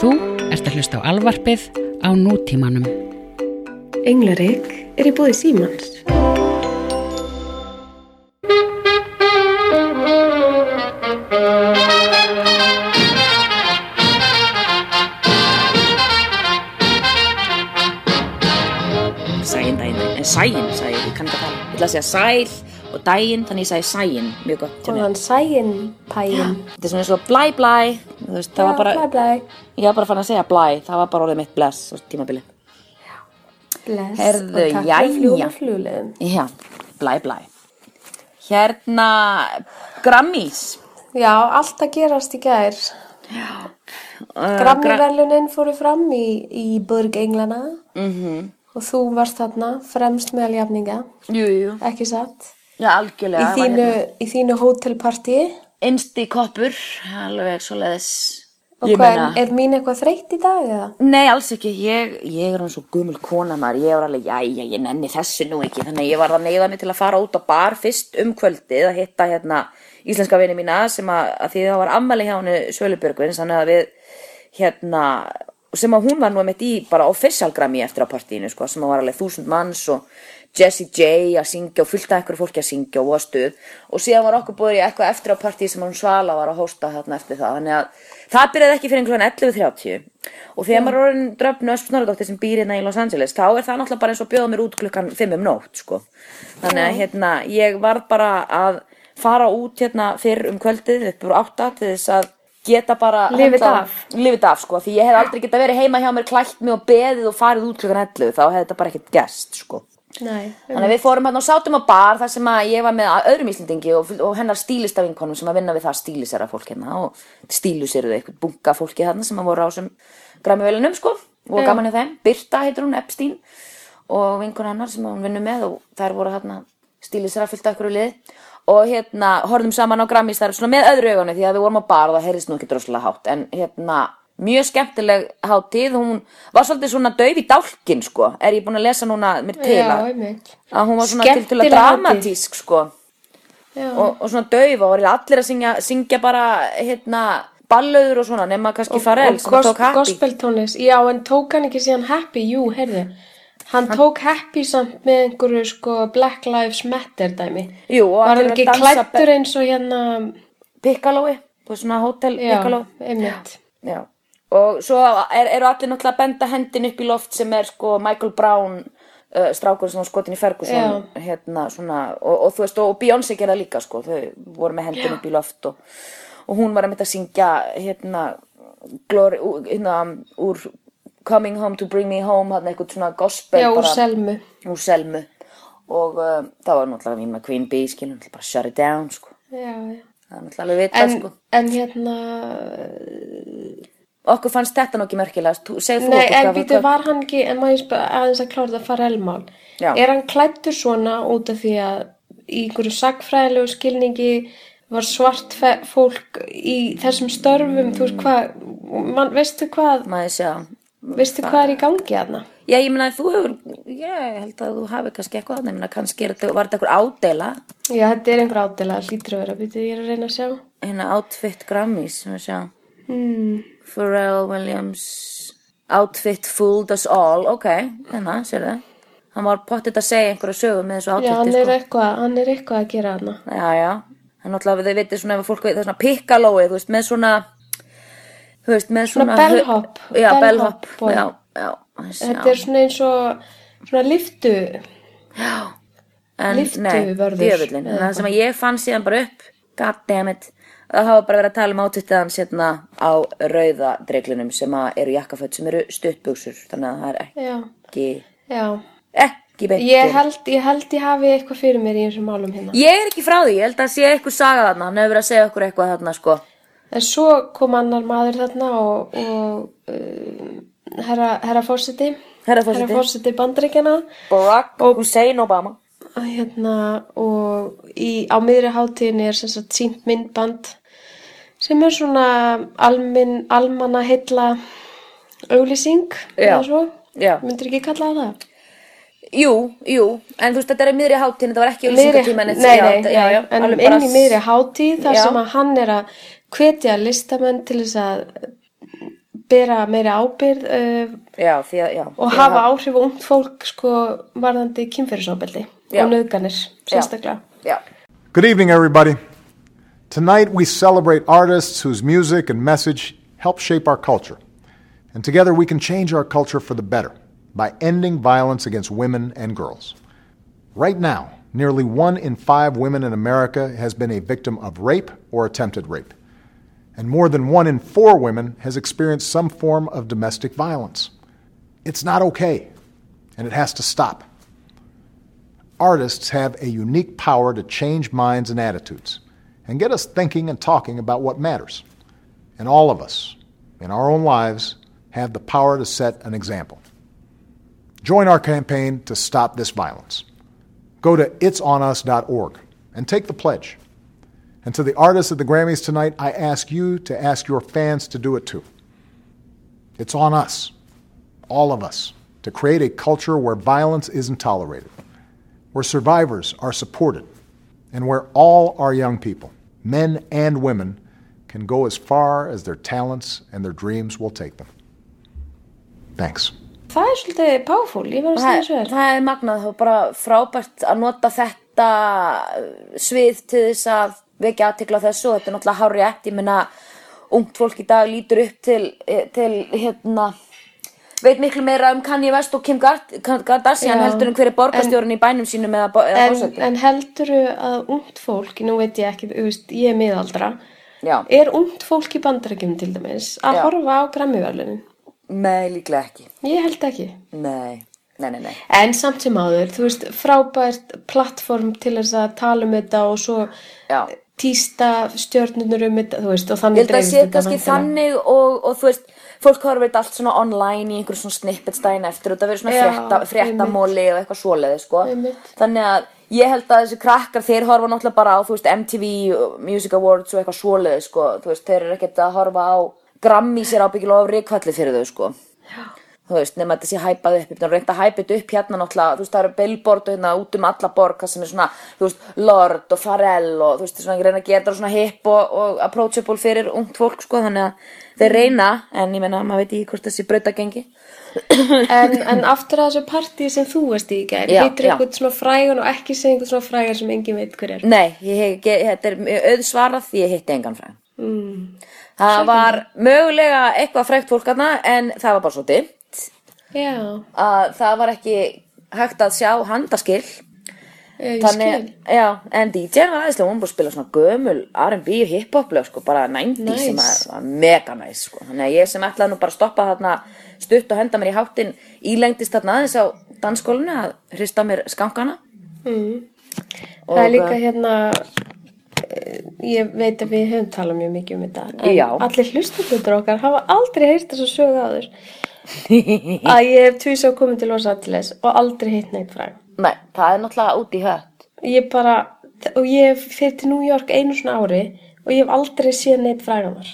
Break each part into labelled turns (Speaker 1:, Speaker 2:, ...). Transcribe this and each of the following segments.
Speaker 1: Þú ert að hlusta á alvarpið á nútímanum.
Speaker 2: Englarik er í bóði Símans.
Speaker 3: Sæin daginn, en sæin sagði ég, ég kann ekki að tala. Ég ætla að segja sæl og daginn, þannig ég sagði sæin, mjög gott. hjá
Speaker 4: Og
Speaker 3: mér.
Speaker 4: hann sæinn pæinn.
Speaker 3: Þetta er svona eins og blæ blæ, þú veist, það var bara,
Speaker 4: Blæ, blæ,
Speaker 3: ég var bara fann að segja blæ, það var bara orðið mitt bless, þú veist, tímabili.
Speaker 4: bless.
Speaker 3: Heyrðu,
Speaker 4: og takk
Speaker 3: jæja.
Speaker 4: fyrir fljúma flugleðum.
Speaker 3: Já, blæ blæ. Hérna, Grammys.
Speaker 4: Já, allt að gerast í gær.
Speaker 3: Uh,
Speaker 4: Grammiverlunin fóru fram í, í Burg Englana
Speaker 3: Mhm.
Speaker 4: og þú varst þarna fremst meðal jafninga,
Speaker 3: Jú, jú.
Speaker 4: ekki satt?
Speaker 3: Já,
Speaker 4: Í
Speaker 3: algjörlega. það var
Speaker 4: þínu, í þínu hótelparti.
Speaker 3: Hérna. Insti koppur, alveg svo leiðis.
Speaker 4: Og hvað, er mín eitthvað þreytt í dag eða?
Speaker 3: Nei, alls ekki, ég, ég er hann svo gumul kona maður, ég var alveg, jæja, ég nenni þessu nú ekki, þannig að ég var að neyða mig til að fara út á bar fyrst um kvöldið að hitta hérna íslenska vini mína sem að, að því það var ammali hjá henni Sölubjörgvins, þannig að við, hérna, sem að hún var nú mitt í bara official grammi eftir á partíinu, sko, sem að var alveg þúsund manns og Jessie J að syngja og fylgta einhverju fólki að syngja og að stuð og síðan var okkur búið í eitthvað eftir á partí sem hún Svala var að hósta þarna eftir það þannig að það byrjaði ekki fyrir einhvern 11.30 og þegar maður er orðin dröfnu Ösp Snorradóttir sem býr hérna í Los Angeles þá er það náttúrulega bara eins og bjóða mér út klukkan 5 um nótt sko. þannig að hérna ég var bara að fara út hérna fyrr um kvöldið upp úr 8 til þess að geta bara
Speaker 4: Lifið
Speaker 3: höndað-
Speaker 4: af.
Speaker 3: lifið af sko, því ég hef aldrei geta verið heima hjá mér klætt mig og beðið og farið út klukkan 11 þá hefði þetta bara ekkert gerst sko.
Speaker 4: Nei.
Speaker 3: Þannig að við fórum hérna og sátum á bar þar sem að ég var með öðrum Íslendingi og, og hennar stílistafinkonum sem að vinna við það stílisera fólk hérna og stíluseruðu eitthvað bunga fólki hérna sem að voru á sem græmivelunum sko og
Speaker 4: Já.
Speaker 3: gaman í þeim. Birta heitur hún, Epstein og vinkun hennar sem hún vinnur með og þær voru hérna stílisera fyllt af ykkur í lið og hérna horfðum saman á Grammys þar svona með öðru augunni því að við vorum á bar og það heyrðist nú ekki droslega hátt en hérna mjög skemmtileg hátíð hún var svolítið svona dauf í dálkin sko er ég búin að lesa núna mér til
Speaker 4: Já,
Speaker 3: að
Speaker 4: einmitt.
Speaker 3: að hún var svona til
Speaker 4: Skemmtileg
Speaker 3: til að
Speaker 4: hátíð.
Speaker 3: dramatísk sko
Speaker 4: Já.
Speaker 3: og, og svona dauf og var allir að syngja, syngja bara hérna ballöður og svona nema kannski Farel sem
Speaker 4: gos-
Speaker 3: tók happy
Speaker 4: gospeltónlist, já en tók hann ekki síðan happy, jú, heyrðu hann tók happy samt með einhverju sko Black Lives Matter dæmi
Speaker 3: Jú, og
Speaker 4: var
Speaker 3: allir
Speaker 4: hann
Speaker 3: að
Speaker 4: ekki
Speaker 3: dansa
Speaker 4: klættur
Speaker 3: be-
Speaker 4: eins og hérna
Speaker 3: Pikkalói, þú veist svona hótel
Speaker 4: já,
Speaker 3: Pikkaló
Speaker 4: einmitt
Speaker 3: já. og svo er, eru allir náttúrulega að benda hendin upp í loft sem er sko Michael Brown uh, strákur sem var skotin í Ferguson hérna svona og, og þú veist og, og Beyoncé gerða líka sko þau voru með hendin upp í loft og, og hún var að mynda að syngja hérna, glory, ú- hérna úr Coming Home to Bring Me Home hann eitthvað svona gospel
Speaker 4: já, úr
Speaker 3: bara-
Speaker 4: Selmu
Speaker 3: úr Selmu og uh, það var náttúrulega mín með Queen Bee skilum bara shut it down sko
Speaker 4: já, já.
Speaker 3: það er náttúrulega alveg
Speaker 4: En,
Speaker 3: vitað sko
Speaker 4: en hérna
Speaker 3: Okkur fannst þetta nú ekki merkilegast, Þú- segðu þú
Speaker 4: nei,
Speaker 3: okkur
Speaker 4: en
Speaker 3: hvað-
Speaker 4: býtu
Speaker 3: hvað-
Speaker 4: var hann ekki en maður spyr, aðeins að klára það farelmál
Speaker 3: Já.
Speaker 4: er hann klættur svona út af því að í einhverju sagfræðilegu skilningi var svart fe- fólk í þessum störfum, þú veist hvað man, veistu hvað
Speaker 3: maður sjá.
Speaker 4: Veistu hvað er í gangi hérna?
Speaker 3: Já, ég meina þú hefur, ég held að þú hafi kannski eitthvað þannig, ég meina kannski er þetta, var þetta eitthvað ádela,
Speaker 4: Já, þetta er einhver ádela, hlýtur að vera, býtu, ég er að reyna að sjá.
Speaker 3: hérna Outfit Grammys, sem við sjá.
Speaker 4: Hmm.
Speaker 3: Mm. Pharrell Williams, Outfit Fooled Us All, ok, hérna, sér það. Hann var pottitt að segja einhverja sögu með þessu
Speaker 4: Já,
Speaker 3: outfiti,
Speaker 4: hann
Speaker 3: sko.
Speaker 4: er, eitthvað, hann er eitthvað að gera hérna.
Speaker 3: Já, já. En náttúrulega þau veitir svona ef að fólk veit, það er svona pikkalói, þú veist, með svona, þú veist, með svona...
Speaker 4: Svona bellhop, bellhop
Speaker 3: Já, bellhop,
Speaker 4: boy.
Speaker 3: já, já. þessi,
Speaker 4: Þetta er svona eins og, svona liftu,
Speaker 3: en,
Speaker 4: lyftuvörður,
Speaker 3: djöfullinn, en
Speaker 4: eða
Speaker 3: það sem að ég fann síðan bara upp goddammit, það hafa bara verið að tala um átvittiðan hérna á rauða dreglinum sem að eru jakkaföld sem eru stuttbugsur, þannig að það er
Speaker 4: já,
Speaker 3: ekki
Speaker 4: já.
Speaker 3: ekki beint
Speaker 4: Ég held, ég held ég hafi eitthvað fyrir mér í eins og málum hérna.
Speaker 3: Ég er ekki frá því, ég held að sé eitthvað saga þarna, hann hefur verið að segja okkur eitthvað þarna sko
Speaker 4: En svo kom annar maður þarna og, og um, herra, herra fórseti,
Speaker 3: Herra forseti.
Speaker 4: herra fórseti bandaríkjana.
Speaker 3: Barack Hussein Obama
Speaker 4: að hérna og í, á miðri hátíðinni er sem sagt sínt myndband sem er svona almin, almanna heilla auglýsing
Speaker 3: Já,
Speaker 4: eða svo,
Speaker 3: já.
Speaker 4: myndir ekki kalla það það?
Speaker 3: Jú, jú, en þú veist þetta er í miðri hátíðin, þetta var ekki
Speaker 4: Miðri-
Speaker 3: auðlýsingatíma
Speaker 4: nei, nei,
Speaker 3: já, já,
Speaker 4: en
Speaker 3: alveg
Speaker 4: inn
Speaker 3: bara-
Speaker 4: í miðri hátíð þar
Speaker 3: Já.
Speaker 4: sem að hann er að hvetja listamenn til þess að bera meira ábyrð uh,
Speaker 3: já, því að, já.
Speaker 4: og
Speaker 3: Því að
Speaker 4: hafa
Speaker 3: það-
Speaker 4: áhrif á umt fólk sko varðandi kynferðisofbeldi
Speaker 3: Já.
Speaker 4: og nöðganir sérstaklega.
Speaker 3: Já,
Speaker 5: Good evening, everybody. Tonight we celebrate artists whose music and message help shape our culture. And together we can change our culture for the better by ending violence against women and girls. Right now, nearly one in five women in America has been a victim of rape or attempted rape. And more than one in four women has experienced some form of domestic violence. It's not okay, and it has to stop artists have a unique power to change minds and attitudes and get us thinking and talking about what matters. And all of us, in our own lives, have the power to set an example. Join our campaign to stop this violence. Go to itsonus.org and take the pledge. And to the artists at the Grammys tonight, I ask you to ask your fans to do it too. It's on us, all of us, to create a culture where violence isn't tolerated where survivors are supported, and where all our young people, men and women, can go as far as their talents and their dreams will take them. Thanks.
Speaker 4: Það er svolítið powerful, ég verður að segja
Speaker 3: það,
Speaker 4: þessu vel.
Speaker 3: það er magnað, það er bara frábært að nota þetta uh, svið til þess að vekja aðtekla þessu og þetta er náttúrulega hár rétt, ég meina ungt fólk í dag lítur upp til, eh, til hérna veit miklu meira um Kanye West og Kim Gard- Kardashian
Speaker 4: Já.
Speaker 3: heldur um hverju borgarstjórun í bænum sínum eða, bo- eða
Speaker 4: En,
Speaker 3: fórseti
Speaker 4: en helduru að ungt fólk, nú veit ég ekki, þú veist, ég er miðaldra,
Speaker 3: Já,
Speaker 4: er ungt fólk í bandarækjum til dæmis að
Speaker 3: Já.
Speaker 4: horfa á grammiverlunin?
Speaker 3: nei líklega ekki
Speaker 4: Ég held ekki.
Speaker 3: Nei, nei, nei, nei
Speaker 4: En samt sem áður, þú veist, frábært plattform til þess að tala um þetta og svo
Speaker 3: Já.
Speaker 4: týsta stjörnunur um þetta, þú veist, og
Speaker 3: Ég
Speaker 4: þannig
Speaker 3: held að það
Speaker 4: dreifist
Speaker 3: sé kannski
Speaker 4: væntanlega.
Speaker 3: þannig og, og þú veist, fólk horfir þetta allt svona online í einhverjum svona snippets daginn eftir og það verður svona
Speaker 4: Já,
Speaker 3: frétta, fréttamóli og eitthvað svoleiði, sko.
Speaker 4: Einmitt.
Speaker 3: Þannig að ég held að þessi krakkar, þeir horfa náttúrulega bara á, þú veist, MTV Music Awards og eitthvað svoleiði, sko. Þú veist, þeir eru ekkert að horfa á Grammy sér ábyggilega á ríkvalli fyrir þau, sko. Þú veist, nema þetta sé hæpað upp, þannig að reynda að hæpa þetta upp hérna náttúrulega, þú veist, það eru billboard og hérna út um alla borg, það sem er svona, þú veist, Lord og Pharrell og þú veist, svona reyna að gera þetta svona hip og, og approachable fyrir ungt fólk, sko, þannig að þeir reyna, en ég menna, maður veit ekki hvort þessi brautagengi.
Speaker 4: En, en aftur að þessu partí sem þú varst í í gær,
Speaker 3: Já,
Speaker 4: hittir
Speaker 3: já.
Speaker 4: einhvern svona frægan og ekki sé einhvern svona frægan sem engin veit hver er.
Speaker 3: Nei, ég, hef- ég, þetta er mjög auðsvarað því ég hitti engan fræðan. Mm. Það var mögulega eitthvað frægt fólk hana, en það var bara svo dimmt
Speaker 4: Já,
Speaker 3: að það var ekki hægt að sjá handaskil.
Speaker 4: eh, ég skil.
Speaker 3: Þannig, já, en DJ var aðeinslega, hún var bara að spila svona gömul R&B og hip-hop lög, sko, bara 90
Speaker 4: Nice.
Speaker 3: sem að- var mega næs, sko. Þannig að ég sem ætlaði nú bara að stoppa þarna stutt og henda mér í háttin ílengdist þarna aðeins á dansskólinu að hrista á mér skankana. Og-
Speaker 4: Það er líka hérna, eh, ég veit að við höfum talað mjög mikið um þetta, en
Speaker 3: Já.
Speaker 4: allir hlustablöður okkar hafa aldrei heyrt þess að sögu áður. að ég hef tvís á komin til Los Angeles og aldrei hitt neitt fræg.
Speaker 3: Nei, það er náttúrulega út í hött.
Speaker 4: Ég bara, og ég fyrir til New York einu svona ári og ég hef aldrei séð neitt fræganar.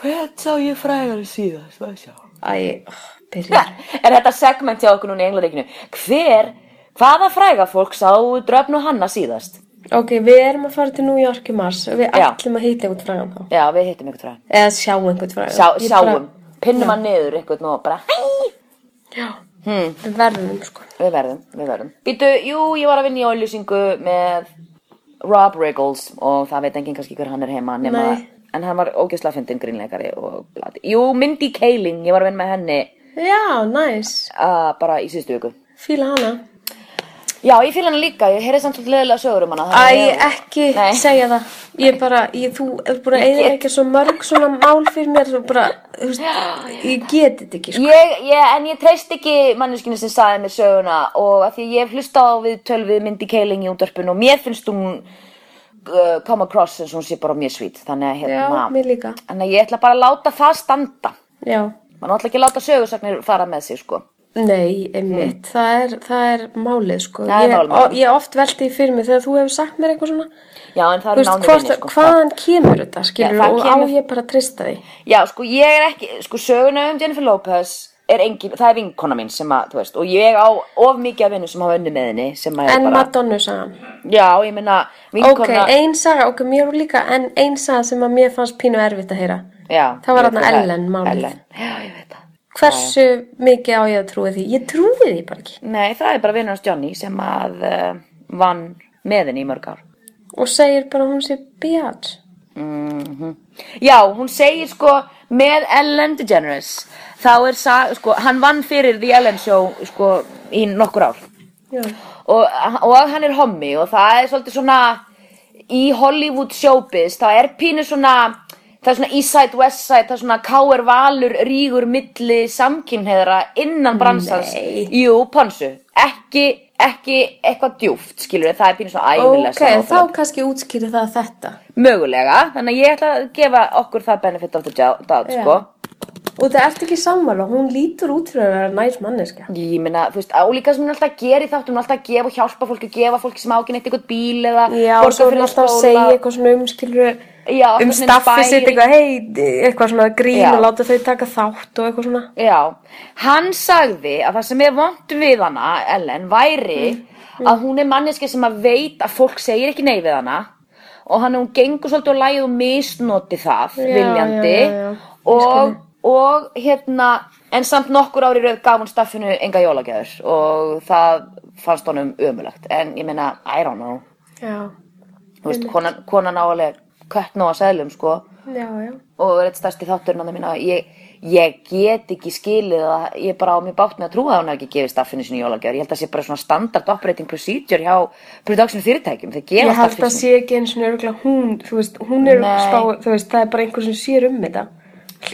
Speaker 3: Hvert sá ég frægari síðast, það sjá.
Speaker 4: Æ, oh, byrja.
Speaker 3: er þetta segment hjá okkur núna í Englaríkinu? Hver, hvaða fræga fólk sá dröfn og hanna síðast?
Speaker 4: ok, við erum að fara til New York í mars og við
Speaker 3: Já.
Speaker 4: ætlum að hitta einhvern frægan þá.
Speaker 3: Já, við hittum ykkur fræga.
Speaker 4: Eða sjá einhvern frægan.
Speaker 3: Sjá,
Speaker 4: Ég
Speaker 3: sjáum,
Speaker 4: bara-
Speaker 3: pinnum hann niður einhvern og bara, hei, Hmm.
Speaker 4: Við verðum, sko.
Speaker 3: við verðum, við verðum. Býtu, jú, ég var að vinna í auðlýsingu með Rob Riggles og það veit enginn kannski hver hann er heima, nema,
Speaker 4: Nei.
Speaker 3: en hann var ógjöslega fyndin grínleikari og blati. Jú, Mindy Kaling, ég var að vinna með henni
Speaker 4: Já, næs.
Speaker 3: uh, bara í síðustu viku.
Speaker 4: Fýla hana.
Speaker 3: Já, ég fíla hann líka, ég heyrði samt svolítið leðilega sögur um hana. þannig að
Speaker 4: Æ,
Speaker 3: ég-
Speaker 4: ekki
Speaker 3: Nei.
Speaker 4: segja það. Ég bara, ég, þú er búin að eða ekki svo mörg svona mál fyrir mér, þú bara, þú veist, ég geti þetta ekki, sko.
Speaker 3: Ég, ég, en ég treyst ekki manneskinu sem saði mér söguna og að því ég hef hlusta á við tölvið myndi keiling í útdarpinu og mér finnst hún uh, come across eins og hún sé bara mjög svít þannig að
Speaker 4: Já,
Speaker 3: hérna
Speaker 4: mér líka.
Speaker 3: þannig að ég ætla bara að láta það standa
Speaker 4: Já.
Speaker 3: mann ætla ekki að láta sögursagnir fara með sig sko
Speaker 4: Nei, einmitt, það, er, það er málið, sko.
Speaker 3: Hmm. Það er
Speaker 4: ég,
Speaker 3: málið.
Speaker 4: o- Ég oft velti því fyrir mig þegar þú hefur sagt mér eitthvað svona.
Speaker 3: já en það
Speaker 4: Þú
Speaker 3: eru
Speaker 4: veist,
Speaker 3: nánir
Speaker 4: hvort,
Speaker 3: vinir, sko.
Speaker 4: hvaðan kemur þetta, skilur,
Speaker 3: það
Speaker 4: og á
Speaker 3: kemur-
Speaker 4: ég bara að trista því.
Speaker 3: já sko ég er ekki sko söguna um Jennifer Lopez er engin það er vinkona mín sem að þú veist og ég á of mikið af vinnu sem hafa unni með henni sem að er
Speaker 4: En
Speaker 3: bara
Speaker 4: Madonna sagan.
Speaker 3: já ég meina
Speaker 4: Ok,
Speaker 3: vinkona
Speaker 4: ein saga, ok, mér líka, en ein saga sem að mér fannst pínu erfitt að heyra.
Speaker 3: Já,
Speaker 4: Það var
Speaker 3: ég veit
Speaker 4: þarna Ellen málið.
Speaker 3: Ellen. Já, ég veit það.
Speaker 4: Hversu mikið á ég að trúi því? Ég trúi því bara ekki.
Speaker 3: Nei, það er bara vinnur hans Johnny sem að uh, vann með henni í mörg ár.
Speaker 4: Og segir bara að hún sé bjátt.
Speaker 3: Mhm. Já, hún segir sko með Ellen DeGeneres þá er sa, sko, hann vann fyrir The Ellen Show sko í nokkur ár
Speaker 4: Já.
Speaker 3: og, og hann er hommi og það er svolítið svona í Hollywood showbiz, það er pínu svona það er svona east side, west side það er svona káir valur, rígur milli samkynheðra innan bransans
Speaker 4: Nei.
Speaker 3: jú, pansu ekki, ekki eitthvað djúft skilur við, það er pínu svona æmilega
Speaker 4: Ok, þá kannski útskýri það þetta.
Speaker 3: mögulega, þannig að ég ætla að gefa okkur það benefit of the doubt,
Speaker 4: Já.
Speaker 3: sko
Speaker 4: Og það ert ekki sammála, hún lítur út fyrir að vera næs manneska.
Speaker 3: Ég meina, þú veist, álíka sem hún er alltaf að gera í þáttum, hún er alltaf að gefa og hjálpa fólki, gefa fólki sem ákynni eitthvað bíl eða
Speaker 4: Já, og
Speaker 3: borga
Speaker 4: svo er
Speaker 3: fyrir
Speaker 4: hún alltaf að
Speaker 3: skóla.
Speaker 4: segja eitthvað svona umskilur
Speaker 3: Já,
Speaker 4: um
Speaker 3: eitthvað svona
Speaker 4: staffið sitt
Speaker 3: inspiring.
Speaker 4: eitthvað, hei, eitthvað svona grín
Speaker 3: Já.
Speaker 4: og láta þau taka þátt og eitthvað svona.
Speaker 3: Já, hann sagði að það sem er vond við hana, Ellen, væri
Speaker 4: Mm.
Speaker 3: að hún er manneski sem að veit að fólk segir ekki nei við hana og hann hún gengur svolítið á lagið og misnoti það
Speaker 4: Já,
Speaker 3: viljandi
Speaker 4: já, já, já. Ég
Speaker 3: Og, og hérna en samt nokkur ári rauð gaf hún staffinu enga jólagjafur og það fannst honum ömulegt en ég meina, I don't know
Speaker 4: Já,
Speaker 3: Þú veist, konan, konan áalega kött nóg að seðlum sko
Speaker 4: já, já.
Speaker 3: og er eitt stærsti þátturinn á það mína ég, ég get ekki skilið að ég bara á mér bátt með að trúa að hún hafi ekki gefið staffinu sinni jólagjör, ég held að það sé bara svona standard operating procedure hjá production fyrirtækjum þeir
Speaker 4: Ég
Speaker 3: gefa
Speaker 4: held að
Speaker 3: staffinu sinni
Speaker 4: sé ekki eins og nörgulega hún, þú veist, hún er
Speaker 3: Nei.
Speaker 4: spá, þú veist, það er bara einhver sem sér um þetta.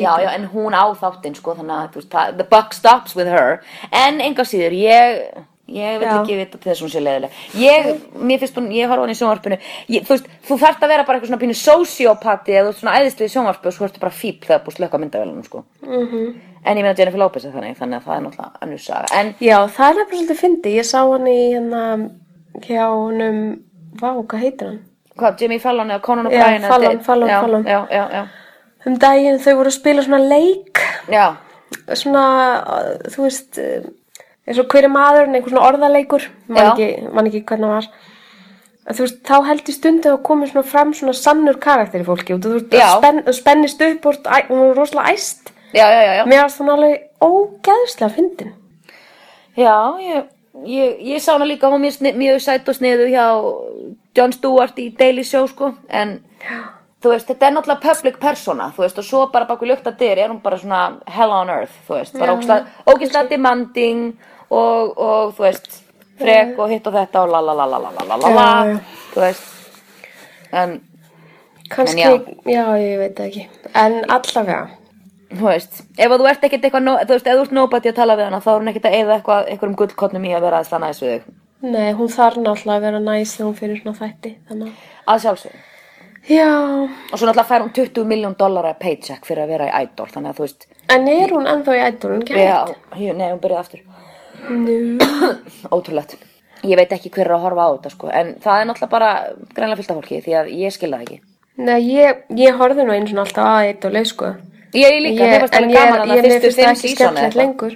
Speaker 3: já, já, en hún á þáttinn sko þannig að þú veist, það- the buck stops with her en enga síður, ég ég vil
Speaker 4: Já.
Speaker 3: ekki vita til þess að hún sé leiðileg ég, mér finnst hún, ég horf hún í sjónvarpinu ég, þú veist, þú þarft að vera bara eitthvað svona pínu sociopati eða þú ert svona æðislega í sjónvarpu og svo ertu bara fíp þegar búið slökka myndavélunum sko
Speaker 4: Mhm.
Speaker 3: en ég meina Jennifer Lopez er þannig þannig að það er náttúrulega annars saga en
Speaker 4: Já, það er nefnilega svolítið fyndi, ég sá hann í hérna, hjá honum, vá, hvað heitir hann?
Speaker 3: hvað, Jimmy Fallon eða Conan
Speaker 4: Já,
Speaker 3: O'Brien eða
Speaker 4: Fallon,
Speaker 3: Dave-
Speaker 4: Fallon,
Speaker 3: já,
Speaker 4: Fallon.
Speaker 3: já, já, já,
Speaker 4: Um daginn þau voru að spila svona leik,
Speaker 3: já,
Speaker 4: svona, uh, þú veist, uh, eins og hverja maðurinn, einhver svona orðaleikur,
Speaker 3: Já.
Speaker 4: man ekki, man ekki hvernig það var. En Þú veist, þá held ég stundu að komið svona fram svona sannur karakter í fólki og þú veist,
Speaker 3: Já.
Speaker 4: spenn, spennist upp og ert æ- hún er rosalega æst.
Speaker 3: já, já, já, já.
Speaker 4: Mér varst hún alveg ógeðslega fyndin.
Speaker 3: já ég, ég, ég sá hana líka hún var mjög, sni- mjög sætt og sniðu hjá Jon Stewart í Daily Show sko, en þú veist, þetta er náttúrulega public persona, þú veist, og svo bara baku lukta dyr er hún bara svona hell on earth þú veist, bara ógeðslega- ógeðslega demanding og, og þú veist frek og hitt og þetta og la la la la la la la la,
Speaker 4: Já, já.
Speaker 3: þú veist en
Speaker 4: Kanski,
Speaker 3: En
Speaker 4: já. ég veit það ekki. En allavega,
Speaker 3: þú veist, ef þú ert ekkert eitthvað, no- þú veist, ef þú ert nobody að tala við hana, þá er hún ekkert að eyða eitthvað, einhverjum gullkotnum í að vera að stanna þessu þig,
Speaker 4: nei, hún þarf náttúrulega að vera næs þegar hún fyrir svona þætti, þannig að,
Speaker 3: að sjálfsögðu.
Speaker 4: já,
Speaker 3: Og svo náttúrulega fær hún 20 miljón dollara paycheck fyrir að vera í Idol, þannig að þú veist,
Speaker 4: en er hún ennþá í ædolun, ekki
Speaker 3: já,
Speaker 4: hægt?
Speaker 3: ég- nei, hún byrjaði aftur,
Speaker 4: Nú.
Speaker 3: ótrúlegt. Ég veit ekki hver er að horfa á þetta, sko, en það er náttúrulega bara greinlega fyllt af fólki, því að ég skil það ekki.
Speaker 4: Nei, ég, ég horfði nú einu svona alltaf að eitt og leið, sko.
Speaker 3: Ég er líka, mér
Speaker 4: Ég-
Speaker 3: fannst alveg
Speaker 4: en ég-
Speaker 3: gaman að
Speaker 4: ég- mér
Speaker 3: það fyrstu
Speaker 4: finnst það
Speaker 3: 5
Speaker 4: ekki
Speaker 3: sísona
Speaker 4: skemmtilegt lengur.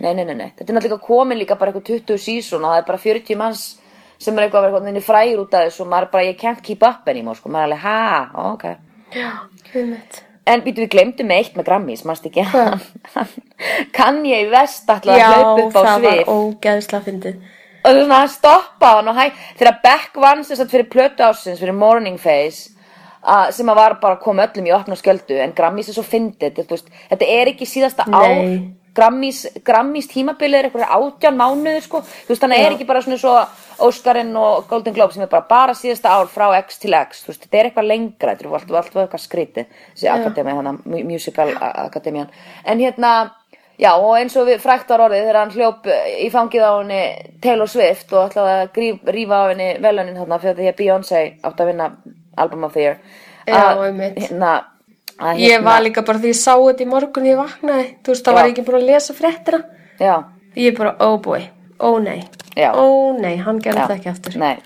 Speaker 3: Nei, nei, nei, nei, þetta er náttúrulega komin líka bara eitthvað 20 sísona, það er bara 40 manns sem er eitthvað að vera eitthvað frægir út af þessu og maður er bara, ég can't keep up anymore, sko, maður er alveg, ha, ok.
Speaker 4: Já, við mitt.
Speaker 3: En býtu, við glemdum eitt með Grammys, mannst ekki?
Speaker 4: Hvað?
Speaker 3: kann ég í vest alltaf
Speaker 4: Já,
Speaker 3: að hlaupa upp á
Speaker 4: það var
Speaker 3: svið
Speaker 4: ógeðslega fyndið.
Speaker 3: og þú svona að stoppa hann og hæ þegar Beck vann sem sagt fyrir plötu ásins fyrir Morning Face uh, sem að var bara að koma öllum í opna skjöldu en Grammys er svo fyndið þú veist, þetta er ekki síðasta ár
Speaker 4: Nei.
Speaker 3: Grammys, Grammys tímabilið er eitthvað átján mánuður sko þú veist þannig að er ekki bara svona svo Óskarinn og Golden Globe sem er bara bara síðasta ár frá X til X þú veist þetta er eitthvað lengra þetta er allt, allt var eitthvað skrítið þessi akademi hana hérna, mu- musical akademian en hérna já og eins og við frækt var orðið þegar hann hljóp eh, í fangið á henni Taylor Swift og ætlaði að gríf, rífa á henni velunin þarna fyrir því að Beyoncé átt að vinna Album of the Year
Speaker 4: Já,
Speaker 3: Að,
Speaker 4: einmitt.
Speaker 3: hérna, að,
Speaker 4: Ég var líka bara því ég sá þetta í morgun þegar ég vaknaði, þú veist, þá var
Speaker 3: hérna. Já.
Speaker 4: ég ekki búin að lesa fréttina.
Speaker 3: já,
Speaker 4: Ég bara, oh boy, oh nei,
Speaker 3: Já.
Speaker 4: oh nei, hann gerði
Speaker 3: já,
Speaker 4: það ekki aftur.
Speaker 3: nei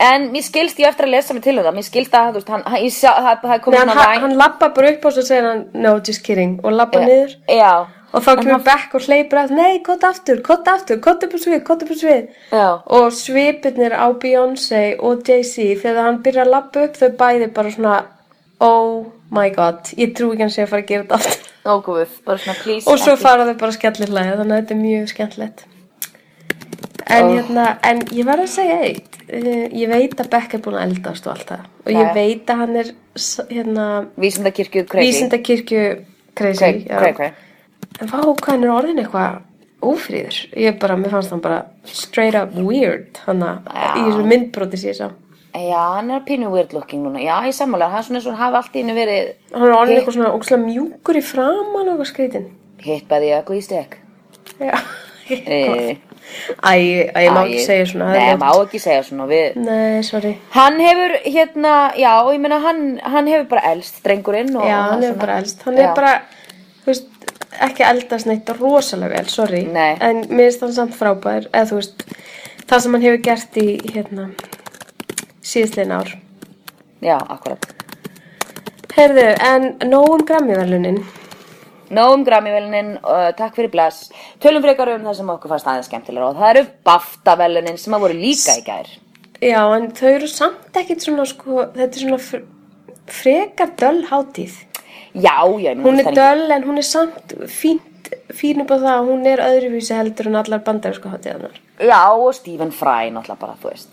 Speaker 3: En mér skilst ég á eftir að lesa mig til um það, mér skilst að þú veist, hann, hann, ég sá, það, það kom
Speaker 4: Nei, hann, hann, hann lappa bara upp og svo segir hann, no, just kidding, og lappa niður.
Speaker 3: Já,
Speaker 4: Og þá kemur Beck og hleypur að, nei, kott aftur, kott aftur, kott upp á svið, kott upp á svið.
Speaker 3: já,
Speaker 4: Og svipirnir á Beyoncé og Jay-Z þegar hann byrjar að lappa upp þau bæði bara svona Oh my god, ég trú ekki hans ég að fara að gera þetta aftur.
Speaker 3: Nóguð, bara svona please
Speaker 4: Og svo
Speaker 3: ekki-
Speaker 4: fara þau bara skellir hlæða, þannig að þetta er mjög skemmtilegt. En, hérna, en ég verð að segja eitt. Eh, Ég veit að Beck er búin að eldast og allt það. Og ég
Speaker 3: Jæja.
Speaker 4: veit að hann er s- hérna,
Speaker 3: Vísindakirkju crazy
Speaker 4: vísindakirkju crazy.
Speaker 3: Crazy,
Speaker 4: já.
Speaker 3: crazy.
Speaker 4: En vá, hvað hann er orðin eitthvað ófríður. Ég bara, mér fannst hann bara straight up weird hann að í þessu myndbróti sér sá.
Speaker 3: Já, hann er pínu weird looking núna Já, ég sammála, hann er svona eins og hann hafi allt í hennu verið
Speaker 4: Hann er orðin
Speaker 3: Hitt-
Speaker 4: eitthvað svona ókslega mjúkur í framan og eitthvað skrítin.
Speaker 3: Hit by the ugly stick
Speaker 4: Já.
Speaker 3: Eh.
Speaker 4: Æ, æ, ég má ekki
Speaker 3: Æ,
Speaker 4: segja svona. það er
Speaker 3: Nei,
Speaker 4: ljótt.
Speaker 3: má ekki segja svona við
Speaker 4: Nei, sorry.
Speaker 3: Hann hefur hérna, já, ég meina hann, hann hefur bara elst drengurinn og,
Speaker 4: Já,
Speaker 3: og
Speaker 4: hann er
Speaker 3: svona-
Speaker 4: bara elst. Hann
Speaker 3: Já.
Speaker 4: er bara, þú veist, ekki eldast neitt rosalega vel, sorry.
Speaker 3: Nei.
Speaker 4: En mér finnst hann samt frábær, eða þú veist, það sem hann hefur gert í, hérna, síðslegin ár.
Speaker 3: Já, akkurat
Speaker 4: Heyrðu, en nóg um Grammy-verlunin.
Speaker 3: Nóum Grammy-velunin, uh, takk fyrir bless Tölum frekar um það sem okkur fannst aðeins skemmtilega og það eru BAFTA-velunin sem að voru líka í gær
Speaker 4: Já, en þau eru samt ekkit svona, sko, þetta er svona fr frekar döll hátíð.
Speaker 3: Já, já, ég meina,
Speaker 4: Hún
Speaker 3: það
Speaker 4: er döll, en hún er samt fínt, fín upp á það að hún er öðruvísi heldur en allar bandarísku hátíðanar.
Speaker 3: Já, og Stephen Fry náttúrulega bara, þú veist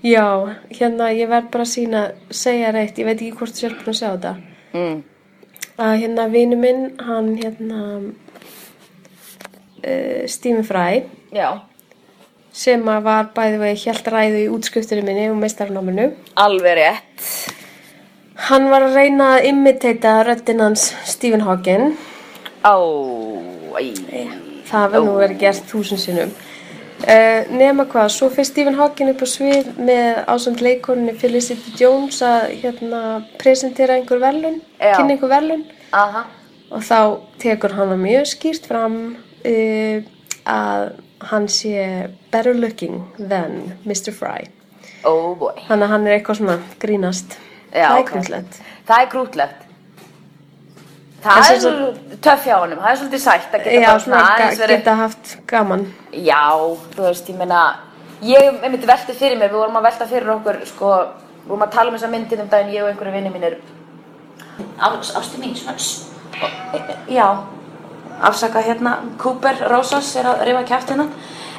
Speaker 4: Já, hérna ég verð bara að sína, segja reitt, ég veit ekki hvort þú sér búin að segja þetta.
Speaker 3: mm.
Speaker 4: Að hérna vinu minn, hann hérna uh, Stephen Fry,
Speaker 3: Já
Speaker 4: sem að var bæði vegi hjælt ræðu í útskriftinu minni og meistarnáminu.
Speaker 3: Alveg rétt
Speaker 4: Hann var að reyna að imitata röddinn hans Stephen Hawking.
Speaker 3: Á, æ
Speaker 4: Það var nú verið gert þúsund sinnum. Uh, nema hvað, svo fyrir Stephen Hawking upp á svið með ásamt leikoninni Felicity Jones að hérna presentera einhver verlun,
Speaker 3: Já.
Speaker 4: kynna einhver verlun.
Speaker 3: Aha
Speaker 4: og þá tekur hann það mjög skýrt fram uh, að hann sé better looking than Mr. Fry
Speaker 3: Oh boy
Speaker 4: þannig að hann er eitthvað svona grínast
Speaker 3: Já,
Speaker 4: það er
Speaker 3: ok.
Speaker 4: krúllett
Speaker 3: Það er krútlegt Það
Speaker 4: En sem
Speaker 3: er svo töff hjá honum, það er svolítið sætt að geta
Speaker 4: Já,
Speaker 3: bara svona
Speaker 4: svona ga-
Speaker 3: aðeins verið
Speaker 4: geta haft gaman
Speaker 3: Já, þú veist, ég meina Ég myndi velti fyrir mér, við vorum að velta fyrir okkur sko, við vorum að tala um þessa myndin um daginn ég og einhverju vinni mínir Á- Ástu mín, svona s- og- e- e- Já, afsaka hérna Cooper Rosas er að rifa kæft hérna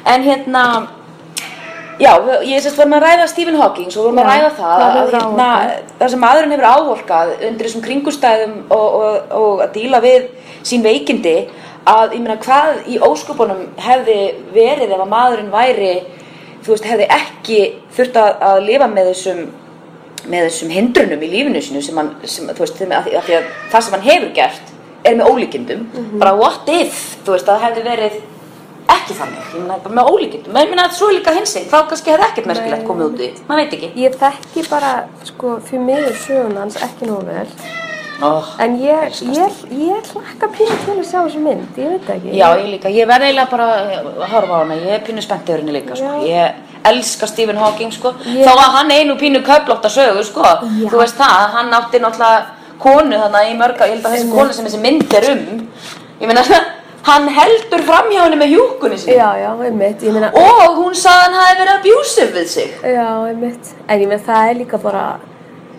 Speaker 3: En hérna Já, við- ég sérst varum að ræða Stephen Hawking svo vorum að
Speaker 4: Já,
Speaker 3: ræða það
Speaker 4: hvað
Speaker 3: að,
Speaker 4: hefur
Speaker 3: hérna,
Speaker 4: áorkað?
Speaker 3: það sem maðurinn hefur ávorkað undir þessum kringustæðum og, og, og að díla við sín veikindi að ég meina hvað í ósköpunum hefði verið ef að maðurinn væri þú veist, hefði ekki þurft að, að lifa með þessum með þessum hindrunum í lífinu sinu sem hann, sem, þú veist, þeim- af því, af því að það sem hann hefur gert er með ólíkindum bara what if, þú veist, að það hefði verið ekki þannig, ég meina bara með ólíkindum en ég meina að svo er líka hinsinn, þá kannski hefði ekkert merkilegt komið út í, maður veit ekki
Speaker 4: Ég þekki bara, sko, fyrir miður sögun hans ekki nóg vel
Speaker 3: oh.
Speaker 4: en ég, ég, ég hlakka pínu til að sjá þessu mynd, ég veit það ekki
Speaker 3: Já, ég líka, ég verð eiginlega bara eh, að horfa á hana, ég er pínu spennt yfir henni líka, sko.
Speaker 4: Já.
Speaker 3: Ég elska Stephen Hawking, sko.
Speaker 4: Ég-
Speaker 3: Þá var hann einu pínu köflótt að sögu, sko.
Speaker 4: Já.
Speaker 3: Þú veist það, hann átti náttúrulega konu þannig í mörga, ég held að þessi konu sem þessi mynd er um, ég meina, hann heldur framhjá henni með hjúkunni sinni.
Speaker 4: já, já, einmitt, ég meina
Speaker 3: Og hún sagði hann hafi verið abusive við sig.
Speaker 4: Já, einmitt. En ég með það er líka bara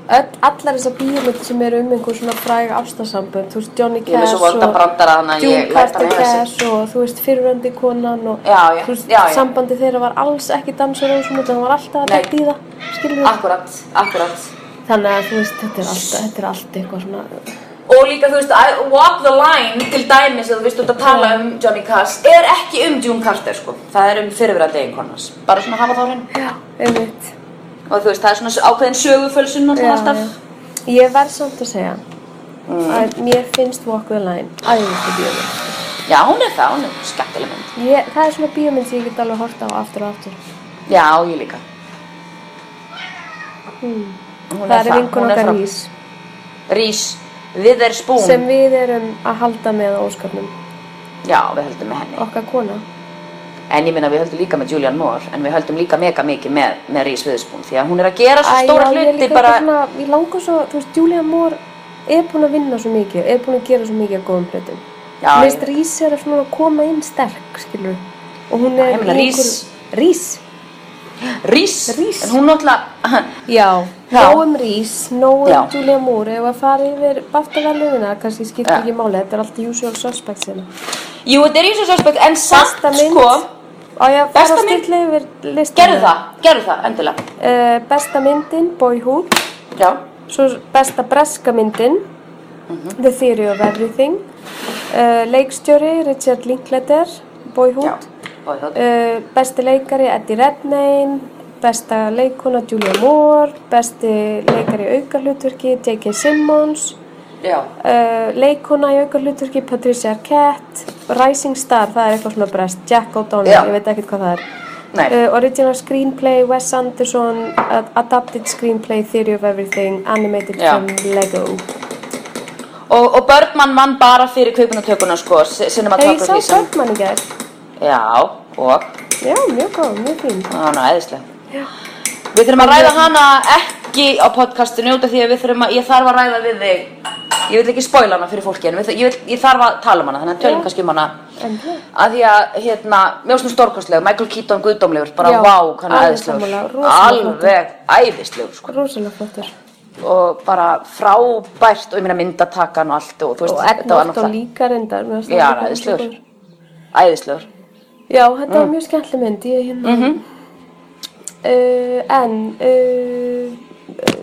Speaker 4: öll, allar þessar bíómyndir sem eru um einhver svona fræg ástasambönd, þú veist Johnny
Speaker 3: Ég er með
Speaker 4: Cash
Speaker 3: svo volda brandara þannig að
Speaker 4: June
Speaker 3: ég læt
Speaker 4: Carter
Speaker 3: bara hefða sig.
Speaker 4: Cash og þú veist fyrrandi konan og
Speaker 3: Já, já,
Speaker 4: þú veist
Speaker 3: já, já.
Speaker 4: sambandi þeirra var alls ekki dansur og svona, það var alltaf að
Speaker 3: Nei. Ah.
Speaker 4: dætt í það, skilur við.
Speaker 3: Akkurat, akkurat.
Speaker 4: Þannig að þú veist, þetta er alltaf, þetta er alltaf eitthvað svona,
Speaker 3: Og líka, þú veist, I walk the line til dæmis að þú veist, þú ert að tala um Johnny Cass er ekki um June Carter, sko. Það er um fyrirverandi einhvernars. Bara svona hafa þá hrein.
Speaker 4: já, einmitt.
Speaker 3: Og þú veist, það er svona ákveðin sögufölsun og
Speaker 4: Já,
Speaker 3: svona alltaf. Mm.
Speaker 4: já. Ég verð samt að segja að mér finnst Walk the Line æðislega bíómynd.
Speaker 3: Já, hún er það, hún er skemmtileg mynd.
Speaker 4: Ég- Það er svona bíómynd sem ég get alveg horta á aftur og aftur.
Speaker 3: Já, ég líka. Hún
Speaker 4: Hmm. Það er
Speaker 3: hún
Speaker 4: vinkun
Speaker 3: er
Speaker 4: okkar
Speaker 3: frá-
Speaker 4: Rís
Speaker 3: Rís, við er spún.
Speaker 4: sem við erum að halda með á óskarnum,
Speaker 3: Já, við höldum með henni.
Speaker 4: okkar kona.
Speaker 3: En ég minna, við höldum líka með Julian Moore, en við höldum líka mega mikið með, með Rís Viðspún, því að hún er að gera svo stóra
Speaker 4: Æ, já, ég er
Speaker 3: hluti
Speaker 4: líka
Speaker 3: bara...
Speaker 4: eitthvað Svona, ég langar svo, þú veist, Julian Moore er búin að vinna svo mikið, er búin að gera svo mikið af góðum hlutum.
Speaker 3: Já,
Speaker 4: Mér
Speaker 3: ég-
Speaker 4: finnst Rís er að svona koma inn sterk, skilur. Og hún
Speaker 3: Já,
Speaker 4: er
Speaker 3: ég meina, Reese-
Speaker 4: Rís?
Speaker 3: Rís,
Speaker 4: Rís.
Speaker 3: en hún náttúrulega
Speaker 4: Já,
Speaker 3: Já.
Speaker 4: nóg um Rís, nóg
Speaker 3: Já.
Speaker 4: um Julia Moore ef að fara yfir baftaverðlunina kannski skiptir
Speaker 3: Já.
Speaker 4: ekki máli, þetta er allt usual suspects hérna.
Speaker 3: Jú, þetta er eins og suspect, en samt
Speaker 4: Besta mynd
Speaker 3: sko
Speaker 4: Á ég að fara
Speaker 3: Besta mynd-
Speaker 4: stilla yfir listina
Speaker 3: Gerðu það, gerðu það, endilega
Speaker 4: Eh, Besta myndin, Boyhood
Speaker 3: Já,
Speaker 4: Svo besta breska myndin The Theory of Everything uh, Leikstjóri, Richard Linklater Boyhood
Speaker 3: já Og það-
Speaker 4: uh, besti leikari Eddie Redmayne besta leikona Julia Moore besti leikari í aukarhlutverki J.K. Simmons
Speaker 3: Já,
Speaker 4: uh, leikona í aukarhlutverki Patricia Arquette Rising Star, það er eitthvað svona brest Jack O'Donnell,
Speaker 3: Já.
Speaker 4: ég veit ekkert hvað það er
Speaker 3: Nei.
Speaker 4: Uh, original screenplay, Wes Anderson ad- adapted screenplay, Theory of Everything animated
Speaker 3: Já.
Speaker 4: from Lego
Speaker 3: og, og Birdman vann bara fyrir kveikunatökuna sko
Speaker 4: Hefur ég sá
Speaker 3: Cinematography
Speaker 4: Birdman í gær?
Speaker 3: Já, og
Speaker 4: Já, mjög góð, mjög fín
Speaker 3: Það er æðislega. Við þurfum að ræða hana ekki á podcastinu út af því að við þurfum að, ég þarf að ræða við þig. Ég vil ekki spoila hana fyrir fólki en við, ég, vil, ég þarf að tala um hana, þannig að tölum kannski um hana.
Speaker 4: Endilega.
Speaker 3: Að því að, hérna, mjög svona stórkostleg, Michael Keaton guðdómlegur, bara
Speaker 4: Já,
Speaker 3: vá, hann er
Speaker 4: alveg
Speaker 3: æðislegur.
Speaker 4: sammála, rosalega
Speaker 3: Alveg æðislegur, sko.
Speaker 4: rosalega flottur
Speaker 3: Og bara frábært, og ég meina myndatakan og allt og þú veist,
Speaker 4: og Ed
Speaker 3: þetta var
Speaker 4: Norton
Speaker 3: náttúrulega
Speaker 4: líka reyndar mér fannst það
Speaker 3: Já,
Speaker 4: líka mjög
Speaker 3: æðislegur.
Speaker 4: góður.
Speaker 3: æðislegur.
Speaker 4: Já, þetta
Speaker 3: Mm.
Speaker 4: var mjög skemmtileg mynd, ég hérna.
Speaker 3: Mhm.
Speaker 4: uh, en, uh, uh,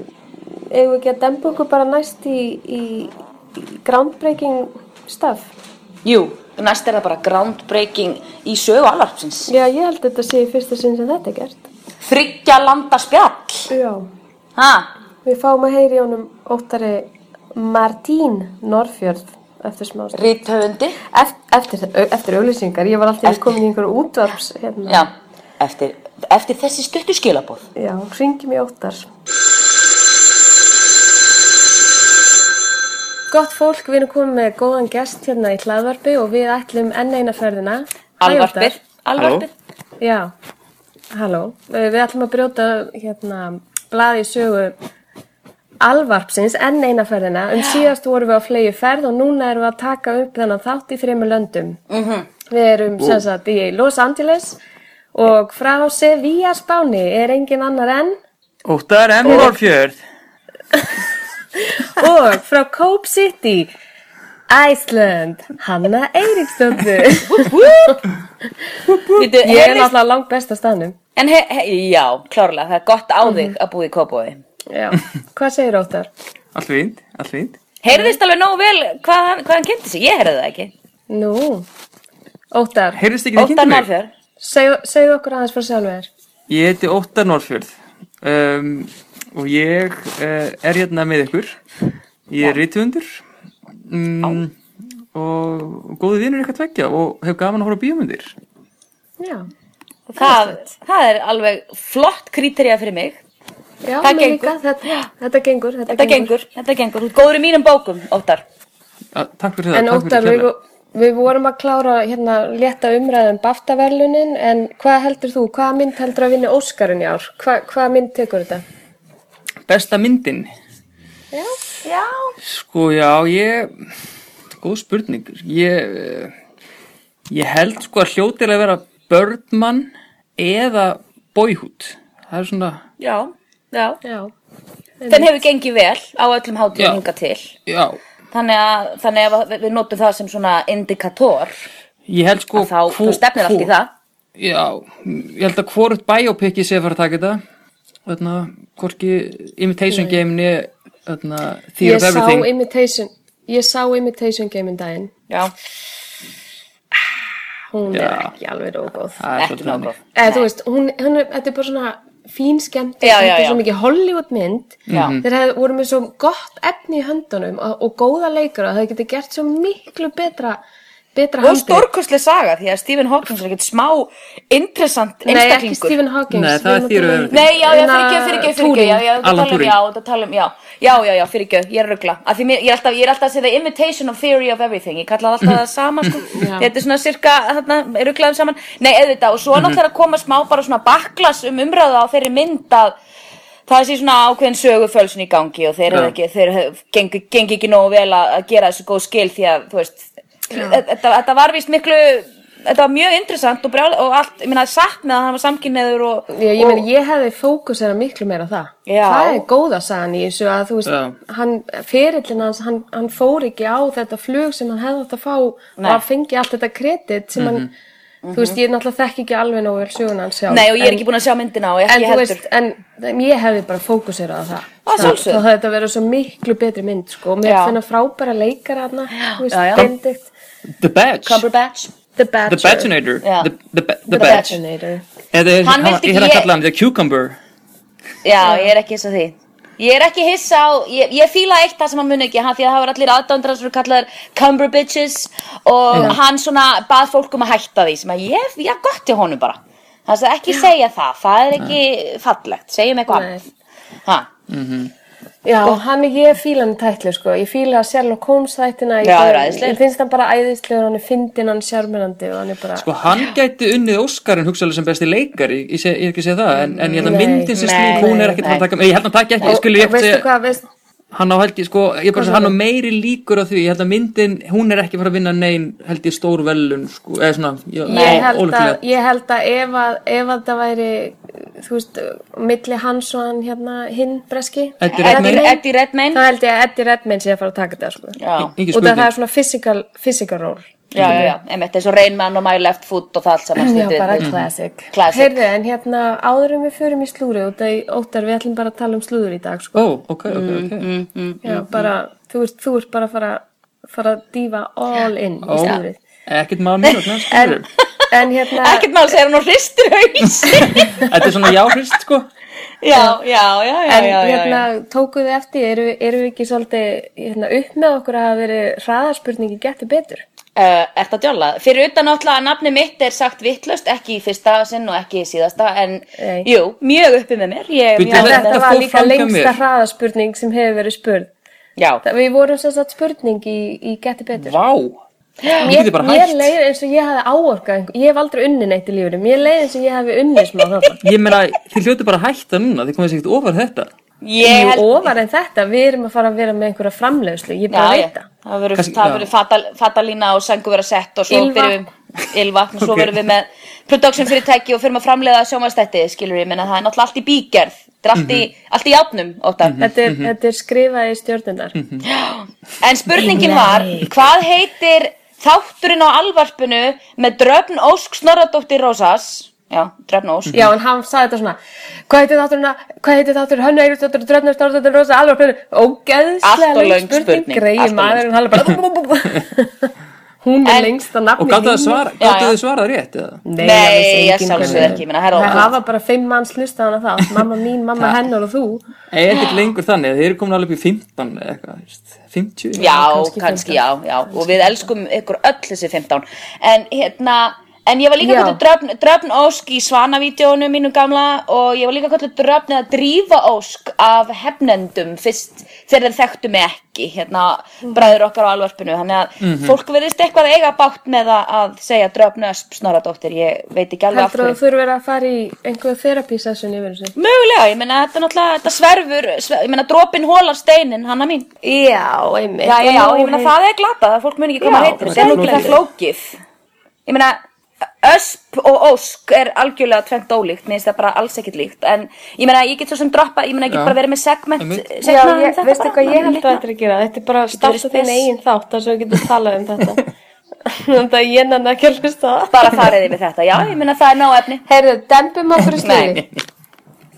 Speaker 4: eigum við ekki að dempa okkur bara næst í, í, í groundbreaking stuff?
Speaker 3: Jú, næst er það bara groundbreaking í sögu alarpsins.
Speaker 4: Já, ég held að þetta sé í fyrsta sinn sem þetta er gert.
Speaker 3: Þryggja landa spjall.
Speaker 4: Já.
Speaker 3: Ha?
Speaker 4: Við fáum að heyri honum óttari Martín Norfjörð eftir smást.
Speaker 3: Ríthöfundi
Speaker 4: Eftir, eftir auglýsingar, ég var alltaf
Speaker 3: Eftir-
Speaker 4: komin í einhverju útvarps hérna.
Speaker 3: Já, eftir, eftir þessi stuttu skilabóð
Speaker 4: Já, hringjum í óttar. Gott fólk, við erum komið með góðan gest hérna í hlaðvarpi og við ætlum enn eina ferðina. Hæ,
Speaker 3: Alvarpir Alvarpir
Speaker 4: Óttar. Já, halló. Eh, Við ætlum að brjóta hérna blaði sögu alvarpsins enn eina ferðina. Um síðast vorum við á flegi ferð og núna erum við að taka upp þennan þátt í þreymur löndum. -hmm. Við erum sem sagt í Los Angeles og frá Sevilla Spáni er engin annar enn
Speaker 6: Óttar M. Norfjörð
Speaker 4: og frá Cope City Iceland, Hanna Eiríksdóttir
Speaker 3: Vítu,
Speaker 4: Ég er náttúrulega langt best á staðnum
Speaker 3: En he, he, já, klárlega, það er gott á þig
Speaker 4: Mhm.
Speaker 3: að búa í Kópói
Speaker 4: Já, hvað segir Óttar?
Speaker 6: Allt fínt, allt fínt
Speaker 4: Mhm.
Speaker 3: Heyrðist alveg nógu vel hvað, hann- hvað hann kynnti sig Ég heyrði það ekki
Speaker 4: Nú, Óttar
Speaker 6: Heyrðist ekki þið kynntu
Speaker 3: Óttar
Speaker 6: mig?
Speaker 3: Norfjör
Speaker 4: segðu, segðu okkur aðeins frá sjálfu þér
Speaker 6: Ég heiti Óttar Norfjörð um, og ég uh, er hérna með ykkur Ég er rítuðundur um, og og góði vinur ykkar tveggja og hef gaman að horfa á bíómyndir
Speaker 4: Já,
Speaker 3: það, það er alveg flott kríterja fyrir mig
Speaker 4: Já
Speaker 3: Það
Speaker 4: mér
Speaker 3: gengur.
Speaker 4: líka, þetta, þetta gengur Þetta,
Speaker 3: Þetta gengur, þetta gengur, þú ert góður í mínum bókum, Óttar
Speaker 6: A, Takk fyrir það
Speaker 4: En
Speaker 6: takk fyrir
Speaker 4: Óttar, við,
Speaker 6: kærlega.
Speaker 4: við vorum að klára hérna létta umræðum baftaverlunin en hvað heldur þú, hvaða mynd heldur að vinna Óskarinn í ár? Hva, hvaða mynd tekur þetta?
Speaker 6: Besta myndin
Speaker 3: Já
Speaker 6: Sko já, ég Góð spurning Ég, eh, ég held sko að hljótir að vera Birdman eða Boyhood Það er svona
Speaker 3: Já, já
Speaker 4: Já,
Speaker 3: Þenn hefur gengið vel á öllum hátíðum
Speaker 6: Já.
Speaker 3: hinga til
Speaker 6: Já,
Speaker 3: Þannig að, þannig að við- við notum það sem svona indikator
Speaker 6: ég held sko
Speaker 3: Að þá-
Speaker 6: hvor-
Speaker 3: þá stefnir allt í
Speaker 6: hvor-
Speaker 3: það.
Speaker 6: Já, ég held að hvort biopiki sé að fara að taka þetta Þarna, hvorki Imitation Game né þarna, Theory
Speaker 4: ég
Speaker 6: of
Speaker 4: sá
Speaker 6: Everything
Speaker 4: Imitation ég sá Imitation Game um daginn
Speaker 3: Já,
Speaker 4: hún er
Speaker 6: Já.
Speaker 4: ekki alveg rógóð
Speaker 6: Það er
Speaker 3: ekki
Speaker 6: svolítið
Speaker 3: nógu
Speaker 6: þannig.
Speaker 3: góð.
Speaker 4: eða þú veist, hún, hún er, þetta er bara svona fín skemmt,
Speaker 3: Já,
Speaker 4: þetta
Speaker 3: já,
Speaker 4: er
Speaker 3: já.
Speaker 4: svo mikið Hollywood mynd
Speaker 3: Já.
Speaker 4: þeir hefði, voru með svo gott efni í höndunum og, og góða leikur og það geti gert svo miklu betra betra
Speaker 3: Og
Speaker 4: handið
Speaker 3: stórkostleg saga því að Stephen Hawking er ekkert smá interessant
Speaker 4: Nei, ekki
Speaker 3: einstaklingur.
Speaker 4: Stephen Hawking
Speaker 6: Nei, það er Theory of Everything.
Speaker 3: Nei, já, já,
Speaker 4: Hérna,
Speaker 3: fyrirgjöf, fyrirgjöf, fyrirgjöf,
Speaker 4: Turing.
Speaker 3: já, já, það
Speaker 6: Alan
Speaker 3: tala um,
Speaker 6: Turing.
Speaker 3: já, það tala um, já, já, já, já, fyrirgjöf, ég er að ruggla, af því mér, ég er alltaf, ég er alltaf að segja the imitation of theory of everything, ég kalla það alltaf það sama, sko, þetta er svona cirka, þarna, rugglaðum saman, nei, auðvitað, og svo er náttúrulega að koma smá bara svona baklas um umræða á þeirri mynd að það sé svona ákveðin sögufölsun í gangi og þeir, ja. ekki, þeir hef- gengu, gengi ekki nógu vel að, að gera þessu góð skil því að, þú veist, þetta, þetta var víst miklu
Speaker 7: þetta var mjög interessant og, brjál, og allt, ég meina, satt með að hann var samkynneður og,
Speaker 4: Ég, ég,
Speaker 7: og
Speaker 4: meni, ég hefði fókusera miklu meira á það.
Speaker 7: Já.
Speaker 4: Það er góða sagan í þessu að þú veist,
Speaker 6: Já.
Speaker 4: hann, ferillin hans, hann, hann fór ekki á þetta flug sem hann hefði átt að fá og
Speaker 7: Nei.
Speaker 4: að fengi allt þetta kredit sem hann, þú veist, ég náttúrulega þekki ekki alveg nógu vel söguna hans sjálf.
Speaker 7: nei, og ég er
Speaker 4: en-
Speaker 7: ekki búin að sjá myndina og ég
Speaker 4: En
Speaker 7: ekki
Speaker 4: þú
Speaker 7: heldur
Speaker 4: veist, en, en ég hefði bara fókusera á það.
Speaker 7: Að sjálfsögðu.
Speaker 4: Þá hefði þetta verið svo miklu betri mynd, sko. Mér
Speaker 7: Já.
Speaker 4: finna frábæra leikara þarna, þú veist,
Speaker 7: já, já.
Speaker 4: Benedict,
Speaker 6: The Badge
Speaker 7: Cumberbatch
Speaker 4: The Badger.
Speaker 6: The Badgenator
Speaker 7: Já.
Speaker 6: The, the, ba- the
Speaker 4: The
Speaker 6: Badge
Speaker 4: Badgenator.
Speaker 6: Eða er-
Speaker 7: Hann
Speaker 6: Hann
Speaker 7: vildi
Speaker 6: Ég er að
Speaker 7: ekki-
Speaker 6: kalla hann The Cucumber
Speaker 7: Já, ég er ekki hissa á því. Ég er ekki hissa á, ég, ég fíla eitt það sem hann muni ekki, hann, því að það var allir aðdándur sem eru kallaðar Cumber Bitches og hann svona bað fólk um að hætta því sem að ég, ég gott til honum bara. Það er ekki segja það, það er ekki fallegt, segjum eitthvað
Speaker 4: Nei.
Speaker 7: annað. Ha,
Speaker 4: Já, hann er ég fíla hann í tætlu sko, ég fíla Sherlock Holmes þættina, ég,
Speaker 7: Já,
Speaker 4: fíla-
Speaker 7: það er æðislegur.
Speaker 4: ég finnst hann bara æðislegur, hann er fyndinn, hann er sjármennandi og hann er bara,
Speaker 6: Sko hann gæti unnið Óskarinn hugsaðlega sem besti leikari Ég, seg, ég er ekki að segja það En, en ég held að
Speaker 4: Nei,
Speaker 6: myndin sem
Speaker 7: nei,
Speaker 6: slík hún er ekkert að
Speaker 7: nei.
Speaker 6: fara að taka Ég held að hann taki ekki
Speaker 4: og,
Speaker 6: Ég skilur
Speaker 4: og
Speaker 6: ég
Speaker 4: veistu
Speaker 6: eftir
Speaker 4: hvað, veist,
Speaker 6: Hann á helgi sko Ég bara segi hann á meiri líkur á því Ég held að myndin Hún er ekki að fara að vinna nein Held ég stór velun sko Eða svona já,
Speaker 4: ég, held
Speaker 6: ólíklega.
Speaker 4: að, ég held að ef að, ef að það væri, þú veist, milli hans og hann hérna, hinn breski,
Speaker 6: Eddie
Speaker 7: Eddie,
Speaker 6: Redmayne.
Speaker 7: Eddie Redmayne.
Speaker 4: það held ég að Eddie Redmayne sé að fara að taka þetta sko,
Speaker 7: Já,
Speaker 6: Í-
Speaker 4: og
Speaker 6: Engin
Speaker 4: það
Speaker 6: spurning
Speaker 4: er svona physical, physical role.
Speaker 7: já, já, já, einmitt, eins og Rain Man og My Left Foot og það allt saman.
Speaker 4: Já,
Speaker 7: sko. stundum við-
Speaker 4: bara classic.
Speaker 7: Classic.
Speaker 4: Heyrðu, en hérna áður en við förum í slúri og það óttar við ætlum bara að tala um slúður í dag, sko.
Speaker 6: Ó, ok, ok, ok
Speaker 4: Mm, Já, bara, þú ert, þú ert bara að fara, fara að dífa all in
Speaker 6: Ó,
Speaker 4: í slúðrið.
Speaker 6: Ekkert mál mjög
Speaker 4: En, en hérna,
Speaker 7: Ekkert mál segir hann og hristir haus.
Speaker 6: Þetta er svona jáhrist sko
Speaker 7: já, já, já, já,
Speaker 4: en
Speaker 7: já, já,
Speaker 4: hérna,
Speaker 7: já.
Speaker 4: tókuð þið eftir, eru, eru við ekki svolítið hérna, upp með okkur að hafa verið hraðarspurningi getur betur?
Speaker 7: Uh, ert að djóla? Fyrir utan náttúrulega að nafni mitt er sagt vittlust, ekki í fyrsta sinn og ekki í síðasta, en
Speaker 4: Nei.
Speaker 7: jú, mjög uppi með mér. Ég, er
Speaker 6: Bíddu,
Speaker 7: mjög
Speaker 6: en
Speaker 4: En
Speaker 6: þetta
Speaker 4: þetta
Speaker 6: fór
Speaker 4: var líka
Speaker 6: fram hjá mér.
Speaker 4: lengsta hraðarspurning sem hefur verið spurð.
Speaker 7: Já,
Speaker 4: Það, við vorum sem sagt spurning í, í getur betur.
Speaker 6: Vá Hún
Speaker 4: Mér,
Speaker 6: getur bara
Speaker 4: mér
Speaker 6: hægt
Speaker 4: leið eins og ég hafi áorkað, einhver- ég hef aldrei unni neitt í lífinu, mér leið eins og ég hafi unni smá þarna.
Speaker 6: Ég meina, þið hljótu bara að hætta núna, þið komið sér ekkert ofar þetta.
Speaker 7: ég
Speaker 4: Jú,
Speaker 7: held...
Speaker 4: ofar en þetta, við erum að fara að vera með einhverja framleiðslu, ég bara
Speaker 7: Já,
Speaker 4: veit
Speaker 7: já,
Speaker 4: það.
Speaker 7: það verður
Speaker 6: Kannski- já.
Speaker 7: það verður fatal, fatalína og sengu vera sett og svo
Speaker 4: Ylva.
Speaker 7: byrjum við Ylva, og svo
Speaker 6: Ok.
Speaker 7: verðum við með production fyrirtæki og fyrir að framleiða sjómaðstætti, skilur ég, menna það er náttúrulega allt í bígerð, þetta er allt í,
Speaker 6: Mhm.
Speaker 7: allt í játnum, óttar.
Speaker 4: Þetta er, þetta er skrifað í stjórnundar.
Speaker 7: Mhm. En spurningin var, hvað heitir þátturinn á alvarpinu með dröfn Ósk Snorradóttir Rósas? Já, dröfn Ósk.
Speaker 4: Já, en hann sagði þetta svona, hvað heitir þátturinn, hvað heitir þátturinn, hönnu Eiríksdóttur, Dröfnur, Stórsdóttur, Rósa, alveg hvernig,
Speaker 7: Allt
Speaker 4: ógeðslega
Speaker 7: og löng
Speaker 4: lengst spurning,
Speaker 7: spurning, allt
Speaker 4: greið
Speaker 7: og
Speaker 4: maðurinn, hann er bara, hún er
Speaker 7: En-
Speaker 4: lengst að nafni
Speaker 6: Og gáttu það svara,
Speaker 7: Já,
Speaker 6: gáttu
Speaker 7: já.
Speaker 6: þið svarað rétt eða?
Speaker 4: Nei,
Speaker 7: Nei,
Speaker 4: það vissi
Speaker 7: ég
Speaker 4: enginn
Speaker 7: sjálfsögðu
Speaker 4: hvernig.
Speaker 7: ekki, ég meina, herra,
Speaker 4: Það
Speaker 7: og-
Speaker 4: hafa bara fimm manns hlusta hana það, mamma mín, mamma hennar og þú.
Speaker 6: Nei, ekkert lengur þannig, þið eru komin alveg upp í 15 eða eitthvað, veist, 50?
Speaker 7: Já, kannski, já, já, og við elskum ykkur öll þessi 15 En hérna, en ég var líka
Speaker 4: Já.
Speaker 7: kvöldu dröfn, dröfn Ósk í Svana-vídeónu mínu gamla og ég var líka kvöldu dröfn eða Drífa Ósk af hefnendum fyrst þegar þeir þekktu mig ekki, hérna, bræður okkar á alvarpinu Þannig að fólk verðist eitthvað að eiga bátt með að, að segja dröfn Ösp Snorradóttir, ég veit ekki alveg af
Speaker 4: Heldur
Speaker 7: hverju
Speaker 4: að þú eru verið að fara í einhverju therapy-sessun yfir þessu?
Speaker 7: Mögulega, ég meina þetta er náttúrulega, þetta sverfur, sver, ég meina dropin hólar steinin, hanna mín.
Speaker 4: Já, einmitt.
Speaker 7: Já, já, já,
Speaker 4: Og nú
Speaker 7: ég meina
Speaker 4: hef-
Speaker 7: það er glata, það fólk mun ekki hvað
Speaker 4: Já,
Speaker 7: maður heitir,
Speaker 4: það
Speaker 7: þetta er
Speaker 4: er
Speaker 7: nú ekki það flókið. Ég meina, ösp og ósk er algjörlega tvent ólíkt, mér finnst það bara alls ekkit líkt, en ég meina, ég get svo sem droppa, ég meina, ég
Speaker 6: Já.
Speaker 7: get bara verið með segment,
Speaker 6: Einmitt.
Speaker 4: Já,
Speaker 7: segment um
Speaker 4: ég, veistu hvað ég held að þetta er að gera? Þetta er bara að starta
Speaker 7: verið
Speaker 4: þinn
Speaker 7: spes.
Speaker 4: eigin þátt að svo getur talað um þetta. Þannig að ég nenni ekki að hlusta á það.
Speaker 7: Bara farið yfir þetta, já, ég meina, það er nóg efni.
Speaker 4: Heyrðu, dempum okkur í
Speaker 7: Nei.
Speaker 4: stuði.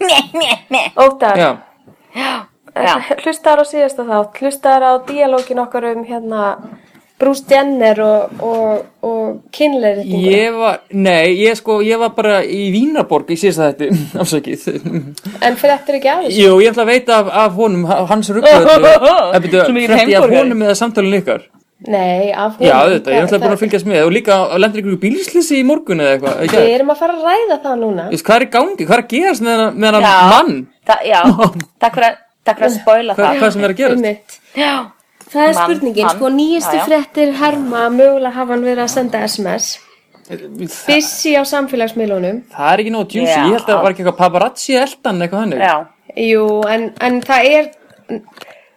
Speaker 7: Né, né, né.
Speaker 4: Óttar, eh,
Speaker 6: Já,
Speaker 7: Já.
Speaker 4: hlustaðar á síðasta þátt, hlustaðar á díalógin okkar um hérna Bruce Jenner og, og, og kynleiritingur.
Speaker 6: ég var, nei, ég sko, ég var bara í Vínaborg í síðasta þetta, afsakið.
Speaker 4: En fyrir þetta er ekki aðeins.
Speaker 6: Jú, ég ætla að veita af, af honum, ha- hans ruggaðu, en byrju,
Speaker 7: Svo mikið
Speaker 6: frétti ég af
Speaker 7: heimborgari.
Speaker 6: honum eða samtalinu ykkar?
Speaker 4: Nei, af hún.
Speaker 6: Já, þetta, ég ætla bara að fylgjast með, og líka, lendur ykkur bílslýsi í morgun eða eitthvað, ekki?
Speaker 4: Við erum að fara að ræða það núna.
Speaker 6: Þú veist, hvað er í gangi, hvað er að gerast með hennar- með
Speaker 7: Já.
Speaker 6: hennar mann,
Speaker 7: Það- Já, takk fyrir að, takk fyrir að spoila
Speaker 6: hvað,
Speaker 7: það.
Speaker 6: hvað sem er að gerast
Speaker 4: Einmitt.
Speaker 7: Já,
Speaker 4: Það er
Speaker 7: Mann,
Speaker 4: spurningin,
Speaker 7: mann,
Speaker 4: sko, nýjustu
Speaker 7: já, já.
Speaker 4: fréttir herma mögulega hafa hann verið að senda SMS.
Speaker 6: það,
Speaker 4: Bissi á samfélagsmiðlunum.
Speaker 6: það er ekki nóg djúsi,
Speaker 7: Já.
Speaker 6: ég held að það var ekki eitthvað paparazzi eldan eitthvað hannig
Speaker 7: já.
Speaker 4: Jú, en, en það er...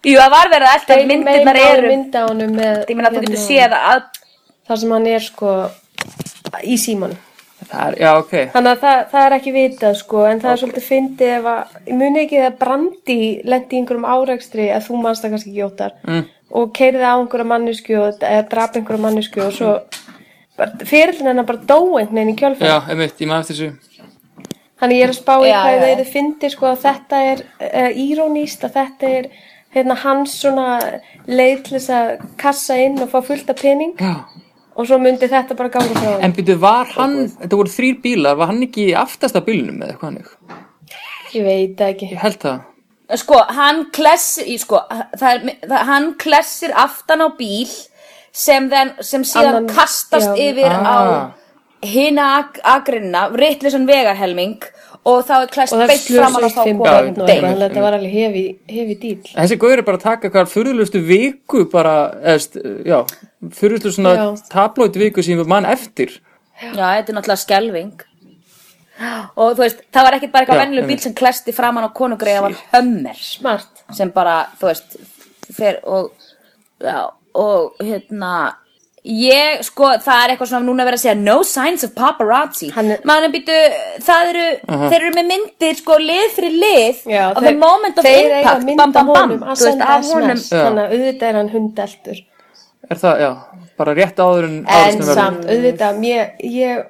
Speaker 7: Jú, það var verið að eftir
Speaker 4: þeir
Speaker 7: myndirnar
Speaker 4: meina á
Speaker 7: eru
Speaker 4: Mynda honum með...
Speaker 7: Ég meina, þú getur
Speaker 4: hérna,
Speaker 7: séð að
Speaker 4: Þar sem hann er, sko, í símanum.
Speaker 6: Það er, já, ok.
Speaker 4: Þannig að það, það er ekki vitað sko, en það er svolítið fyndið ef að, ég muni ekki að brandi lendi í einhverjum árekstri að þú manst það kannski ekki óttar mm. og keiriði á einhverja mannesku og eða drap einhverja mannesku og svo bara- fyrirlin hennar bara dó einhvern veginn í kjálfæð.
Speaker 6: Já, einmitt, ég maður eftir þessu.
Speaker 4: Þannig ég er að spá í
Speaker 7: Já,
Speaker 4: hvað
Speaker 7: já,
Speaker 4: þau
Speaker 7: já.
Speaker 4: þið fyndi sko að þetta er uh, íróníst, að þetta er hérna, hans svona leið til þess að kassa inn og fá fullt af pening
Speaker 6: Já.
Speaker 4: og svo myndi þetta bara ganga frá
Speaker 6: En byrju, var hann, þetta voru þrýr bílar, var hann ekki í aftasta bílnum eða eitthvað hannig?
Speaker 4: Ég veit það ekki.
Speaker 6: Ég held það.
Speaker 7: Sko, hann klessir, í- sko, það er, það, hann klessir aftan á bíl sem, then, sem síðan
Speaker 4: Annan-
Speaker 7: kastast
Speaker 4: já.
Speaker 7: yfir
Speaker 6: Ah.
Speaker 7: á hina ag agrinna, rittlisan vegarhelming og þá er klest
Speaker 4: og það
Speaker 7: beitt
Speaker 4: slösast
Speaker 7: framan á þá
Speaker 4: fimm
Speaker 7: konu.
Speaker 4: börn og
Speaker 7: Deyr.
Speaker 4: eitthvað, þetta var alveg hefi, hefi dýl
Speaker 6: En Þessi gauður er bara að taka hvað fyrirlustu viku bara, eðst, já, fyrirlustu
Speaker 4: Já.
Speaker 6: svona tablóitt viku sem við mann eftir.
Speaker 7: Já, þetta er náttúrulega skelving. Og þú veist, það var ekki bara eitthvað
Speaker 6: Já,
Speaker 7: vennileg bíl
Speaker 6: einmitt.
Speaker 7: sem klesti framan á konugreið, það var hömmer
Speaker 4: smart
Speaker 7: sem bara, þú veist, fer og, já, og hérna, ég, sko, það er eitthvað svona núna verið að segja no signs of paparazzi.
Speaker 4: Hann er-
Speaker 7: Maður er býtu, það eru, þeir eru með myndir, sko, lið fyrir lið
Speaker 4: Já,
Speaker 7: og the moment of
Speaker 4: þeir eiga að
Speaker 7: impact,
Speaker 4: mynda
Speaker 7: bam, bam, bam,
Speaker 4: honum að
Speaker 7: þú veist,
Speaker 4: senda
Speaker 7: af honum.
Speaker 4: SMS þannig að auðvitað er hann hundeltur
Speaker 6: Er það, já, bara rétt áður
Speaker 4: en
Speaker 6: en árásnum verður.
Speaker 4: samt, auðvitað, mér, ég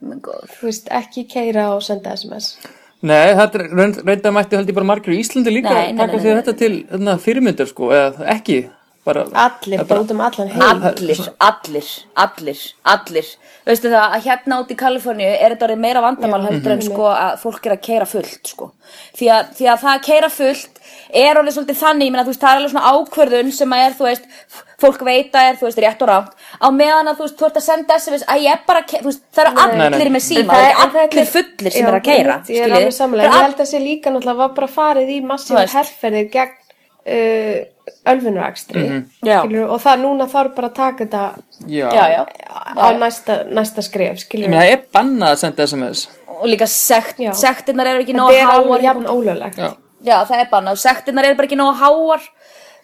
Speaker 7: Minn góður.
Speaker 4: þú veist, ekki keira og senda SMS
Speaker 6: Nei, þetta er reynd- reyndar mætti held ég bara margir í Íslandi líka
Speaker 7: Nei, nei,
Speaker 6: taka
Speaker 7: nei,
Speaker 6: því
Speaker 7: nei.
Speaker 6: þetta til þarna, fyrirmyndar sko, eða ekki bara,
Speaker 4: allir, bara út um allan heim
Speaker 7: Allir, allir, allir, allir Veistu það að hérna út í Kaliforníu er þetta orðið meira vandamál
Speaker 4: Mhm.
Speaker 7: heldur en sko að fólk er að keira fullt sko Því að, því að það að keira fullt er orðið svolítið þannig, ég meina þú veist það er alveg svona ákvörðun sem að er þú veist fólk veit að er þú veist rétt og rátt á meðan að þú veist þú ert að senda SMS að ég er bara að ke- þú veist það eru
Speaker 6: Nei,
Speaker 7: allir
Speaker 6: nei.
Speaker 7: með síma,
Speaker 4: En
Speaker 7: það
Speaker 4: það-
Speaker 7: eru
Speaker 4: en þetta
Speaker 7: allir fullir sem
Speaker 4: Já,
Speaker 7: er að keira
Speaker 4: ég er alveg samlega, ég held að sé líka náttúrulega var bara farið í
Speaker 7: Þú
Speaker 4: massífa
Speaker 7: veist.
Speaker 4: herrferðir gegn uh, ölfunarakstri
Speaker 7: Já.
Speaker 4: skilurðu, og það núna þarf bara að taka þetta
Speaker 6: já,
Speaker 7: Já, já,
Speaker 4: á næsta, næsta skref
Speaker 6: Ég
Speaker 4: skilur
Speaker 6: meina, það er bannað að senda SMS
Speaker 7: og líka sekt,
Speaker 4: Já.
Speaker 7: sektirnar eru ekki
Speaker 4: þetta
Speaker 7: nóg
Speaker 4: er alveg
Speaker 7: háar
Speaker 4: jafn ólöglegt
Speaker 6: Já.
Speaker 7: Já, það er bannað. Sektirnar eru bara ekki nógu háar.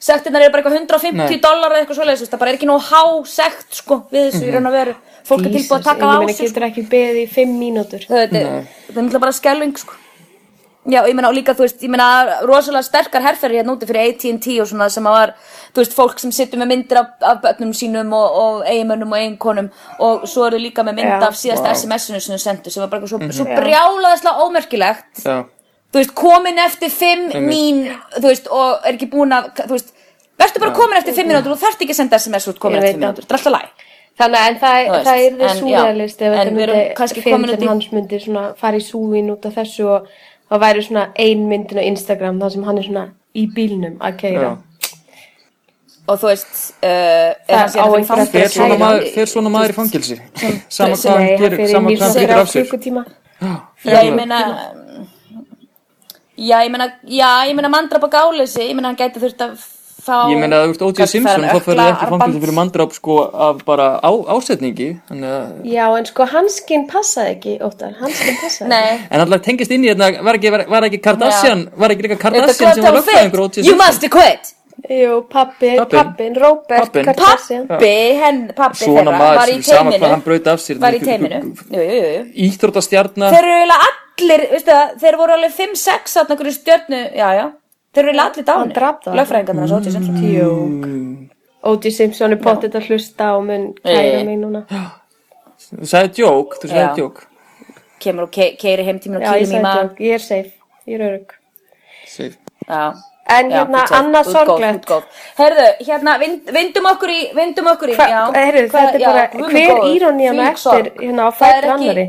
Speaker 7: Sektirnar eru bara eitthvað 150
Speaker 6: Nei.
Speaker 7: dólar eða eitthvað svoleiðis. þú veist, Það bara er ekki nógu há sekt, sko, við þessu í raun og veru. Fólk er tilbúið að
Speaker 4: Mhm.
Speaker 7: taka
Speaker 4: ég
Speaker 7: það á
Speaker 4: meina
Speaker 7: sig, sko.
Speaker 4: getur ekki beðið í fimm mínútur
Speaker 7: Það þetta er náttúrulega bara skelving, sko. Já, og ég meina, og líka, þú veist, ég meina, rosalega sterkar herrferðir hérna úti fyrir AT&T og svona sem að var, þú veist, fólk sem sittur með myndir af, af börnum sínum og, og eiginmönnum og eiginkonum og svo eru líka með mynd
Speaker 4: Já. Mhm.
Speaker 7: af síðasta SMS-inu sem þau sendu sem var bara eitthvað svo, svo brjálaðislega ómerkilegt
Speaker 6: já,
Speaker 7: þú veist, komin eftir fimm
Speaker 6: Einmitt.
Speaker 7: mín, þú veist, og er ekki búin að, þú veist, verður bara komin eftir fimm mínútur, þú þarft ekki að senda sms út
Speaker 4: Ég
Speaker 7: komin
Speaker 4: veit
Speaker 7: eftir fimm
Speaker 4: það.
Speaker 7: mínútur, þetta er alltaf læg.
Speaker 4: þannig að en það,
Speaker 7: Þú veist,
Speaker 4: það er
Speaker 7: en
Speaker 4: þið
Speaker 7: já.
Speaker 4: súrealist ef
Speaker 7: En við erum
Speaker 4: þetta
Speaker 7: kannski
Speaker 4: myndi
Speaker 7: komin út í-
Speaker 4: fyrirtin hans myndi svona fara í súin út af þessu og það væri svona ein myndin á Instagram þar sem hann er svona í bílnum að keira
Speaker 6: Já.
Speaker 7: Og þú veist, uh, er
Speaker 4: Það
Speaker 7: hann síðan
Speaker 4: á
Speaker 7: að fara í
Speaker 4: einhver eftir
Speaker 6: fer
Speaker 4: Fyrir
Speaker 6: svona
Speaker 4: kæra.
Speaker 6: maður, fer svona maður í fangilsi sama hvað
Speaker 4: Nei,
Speaker 6: hann
Speaker 4: hann
Speaker 6: gerir,
Speaker 4: fyrir
Speaker 6: sama hvað hann
Speaker 4: mínútur
Speaker 6: getur
Speaker 4: á
Speaker 6: af sér
Speaker 4: klukkutíma
Speaker 7: Já, ég meina, já, ég meina, já, ég meina mandrap og gáleysi, ég meina hann gæti þurft að fá...
Speaker 6: Ég meina, ef þú ert O.J.
Speaker 7: Gat-
Speaker 6: Simpson,
Speaker 7: það er
Speaker 6: þá ferðu ekki
Speaker 7: ökla
Speaker 6: fangilsi
Speaker 7: armband.
Speaker 6: fyrir mandrap sko af bara á, ásetningi þannig að
Speaker 4: já en sko hans skinn passaði ekki óttar, hans skinn passaði ekki.
Speaker 7: Nei.
Speaker 6: En alltaf tengist inn í hérna, var ekki, var, var ekki Kardashian, var ekki líka Kardashian sem var
Speaker 7: Þetta
Speaker 6: lögfræðingur
Speaker 7: kvöld á
Speaker 6: O.J.
Speaker 7: You must quit!
Speaker 4: Jú, pappi,
Speaker 6: Pabbinn.
Speaker 4: pappin, Robert
Speaker 6: Pabbinn.
Speaker 4: Kardashian
Speaker 7: Pappi, henn, pappi
Speaker 6: Svona
Speaker 7: þeirra,
Speaker 6: maður
Speaker 7: var í
Speaker 6: sem sama hvað hann
Speaker 7: teiminu,
Speaker 6: braut af sér
Speaker 7: var í teiminu, jú, jú, jú, jú.
Speaker 6: Íþróttastjarna
Speaker 4: Ah.
Speaker 7: Þeir eru eiginlega allir, veistu það, þeir voru alveg 5-6 þarna einhverju stjörnu, já, já. Þeir eru eiginlega allir
Speaker 4: Hann drap Mm.
Speaker 7: dánir,
Speaker 4: það.
Speaker 7: lögfræðingarnar hans, Óti Simpson.
Speaker 4: Jók
Speaker 6: Mm.
Speaker 4: O.J. Simpson er pottet að hlusta og mun
Speaker 7: Eh.
Speaker 4: kæra mig núna
Speaker 6: Þú sagði djók, þú
Speaker 7: Já.
Speaker 6: sagði djók
Speaker 7: Kemur og ke keiri heim tíminn og
Speaker 4: Já, ég
Speaker 7: kýri
Speaker 4: sagði
Speaker 7: mýma.
Speaker 4: djók, ég er safe, ég er örug
Speaker 6: Sif.
Speaker 7: Já.
Speaker 4: En
Speaker 7: Já,
Speaker 4: hérna,
Speaker 7: þú sagðir,
Speaker 4: annað
Speaker 7: þú ert góð,
Speaker 4: sorglegt.
Speaker 7: þú ert góð. Heyrðu, hérna, vind, vindum okkur í, vindum okkur í,
Speaker 4: Hva- eh,
Speaker 7: já.
Speaker 4: heyrðu,
Speaker 7: Hvað-
Speaker 4: Þetta er
Speaker 7: já,
Speaker 4: bara,
Speaker 7: guð minn
Speaker 4: hver
Speaker 7: góður,
Speaker 4: írónían
Speaker 7: þvílík
Speaker 4: eftir
Speaker 7: sorg.
Speaker 4: hérna á
Speaker 7: Það er
Speaker 4: fætur
Speaker 7: ekki-
Speaker 4: annari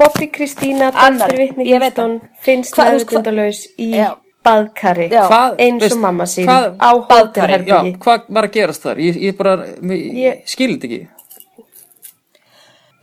Speaker 4: Bobbi Kristína,
Speaker 7: Annarri,
Speaker 4: danstur vitni
Speaker 7: ég veit
Speaker 4: Kristón
Speaker 7: það.
Speaker 4: finnst
Speaker 7: Hvað- þú veist, hvað-
Speaker 4: meðvitundalaus í
Speaker 7: Já.
Speaker 4: baðkari
Speaker 7: Já.
Speaker 6: Hvað-
Speaker 4: eins og
Speaker 6: veist,
Speaker 4: mamma sín
Speaker 6: hvað-
Speaker 4: á
Speaker 6: Já,
Speaker 4: hótelherbyggi
Speaker 6: hvað var að gerast þar? Ég, ég bara, ég,
Speaker 4: Ég-
Speaker 6: ég skildi ekki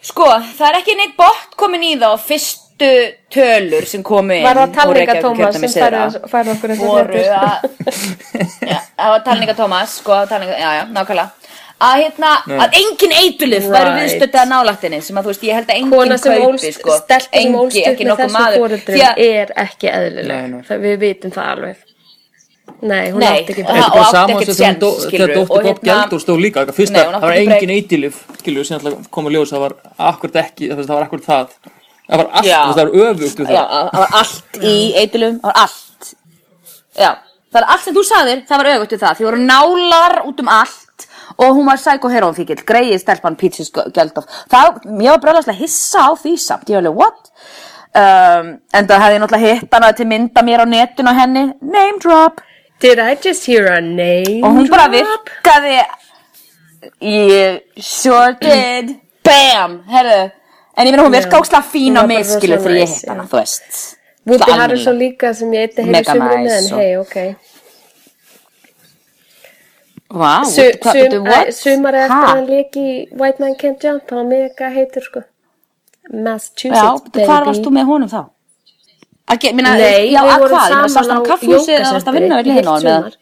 Speaker 7: Sko, það er ekki neitt bótt komin í þá fyrstu tölur sem komu inn.
Speaker 4: Var það
Speaker 7: úr
Speaker 4: talninga
Speaker 7: Reykjavíkurkjördæmi
Speaker 4: Tómas sem
Speaker 7: syðra.
Speaker 4: færði- færði okkur þessar
Speaker 7: voru
Speaker 4: fréttir?
Speaker 7: að Já, það var talninga Tómas sko, það var talninga, já, já, nákvæmlega að hérna, að engin eitulif right. væri
Speaker 4: Right.
Speaker 7: viðstötta nálættinni sem að þú veist, ég held að engin
Speaker 4: Kona sem
Speaker 7: kaupi
Speaker 4: ólst,
Speaker 7: sko,
Speaker 4: stelpa sem
Speaker 7: Engi-
Speaker 4: ólst upp
Speaker 7: ekki
Speaker 4: með
Speaker 7: nokkuð
Speaker 4: þessum
Speaker 7: maður.
Speaker 4: fóreldrum
Speaker 7: Því að-
Speaker 4: er ekki
Speaker 6: Nei, nei.
Speaker 4: eðlileg, Það- við vitum það alveg Nei, hún
Speaker 7: Nei,
Speaker 4: átti ekki
Speaker 7: og-
Speaker 4: breytt.
Speaker 7: og
Speaker 6: Þetta er
Speaker 7: átti
Speaker 6: sama
Speaker 7: ekkert
Speaker 6: sem þegar
Speaker 7: séns,
Speaker 6: dó- þegar
Speaker 7: skilurðu,
Speaker 6: dóttur
Speaker 7: og
Speaker 6: Bob
Speaker 7: hérna-
Speaker 6: Geldur stóð líka eitthvað. fyrst
Speaker 7: Nei,
Speaker 6: að
Speaker 7: hún
Speaker 6: það
Speaker 7: átti
Speaker 6: var
Speaker 7: ekki
Speaker 6: engin eitilif skilur sem alltaf kom að ljósa það var akkurat ekki, það var akkurat það það var allt,
Speaker 7: Já.
Speaker 6: það var öfugt við
Speaker 7: Já,
Speaker 6: það
Speaker 7: það var allt í eitilum, það var allt. Já, það var allt sem þú sagðir, það var auðvitað það. Þið voru nálar út um allt og hún var psycho-heróinfíkil, greið stelpan Pítsis Gjöldóf. Það, ég var brjóðlega hissa á því samt, ég var alveg, what? Um, en það hefði ég náttúrulega hitt hana til mynda mér á netinu og henni, name drop.
Speaker 4: Did I just hear a name
Speaker 7: Og hún bara
Speaker 4: drop?
Speaker 7: virkaði, ég sure did, bam, herðu. En ég meina hún virka ógslag fín
Speaker 4: Hún
Speaker 7: á
Speaker 4: var bara
Speaker 7: mig, skilu,
Speaker 4: rosalega
Speaker 7: þegar ég
Speaker 4: nice,
Speaker 7: hitt
Speaker 4: já.
Speaker 7: hana, þú veist.
Speaker 4: Woody
Speaker 7: Það
Speaker 4: Harrelson
Speaker 7: almennilega.
Speaker 4: líka sem ég eitthvað hefur
Speaker 7: Mega
Speaker 4: sumrinu
Speaker 7: nice Oh,
Speaker 4: en
Speaker 7: og-
Speaker 4: hei, ok
Speaker 7: Vá,
Speaker 4: Su,
Speaker 7: what- hvað-
Speaker 4: sum,
Speaker 7: bíddu,
Speaker 4: æ,
Speaker 7: what?
Speaker 4: Sumari eftir
Speaker 7: Ha?
Speaker 4: að hann leik í White Man Can't Jump hann var mega heitur sko
Speaker 7: Já,
Speaker 4: Massachusetts
Speaker 7: bíddu, hvar varst þú með honum þá? Að ge- Minna,
Speaker 4: Nei,
Speaker 7: já,
Speaker 4: við
Speaker 7: að
Speaker 4: vorum
Speaker 7: hvað? Ég meina,
Speaker 4: saman
Speaker 7: sást hann á
Speaker 4: á
Speaker 7: kaffhúsi eða
Speaker 4: jógasentri
Speaker 7: varst að vinna
Speaker 4: í
Speaker 7: við
Speaker 4: heilt
Speaker 7: hinn á hann eða?
Speaker 4: sumar.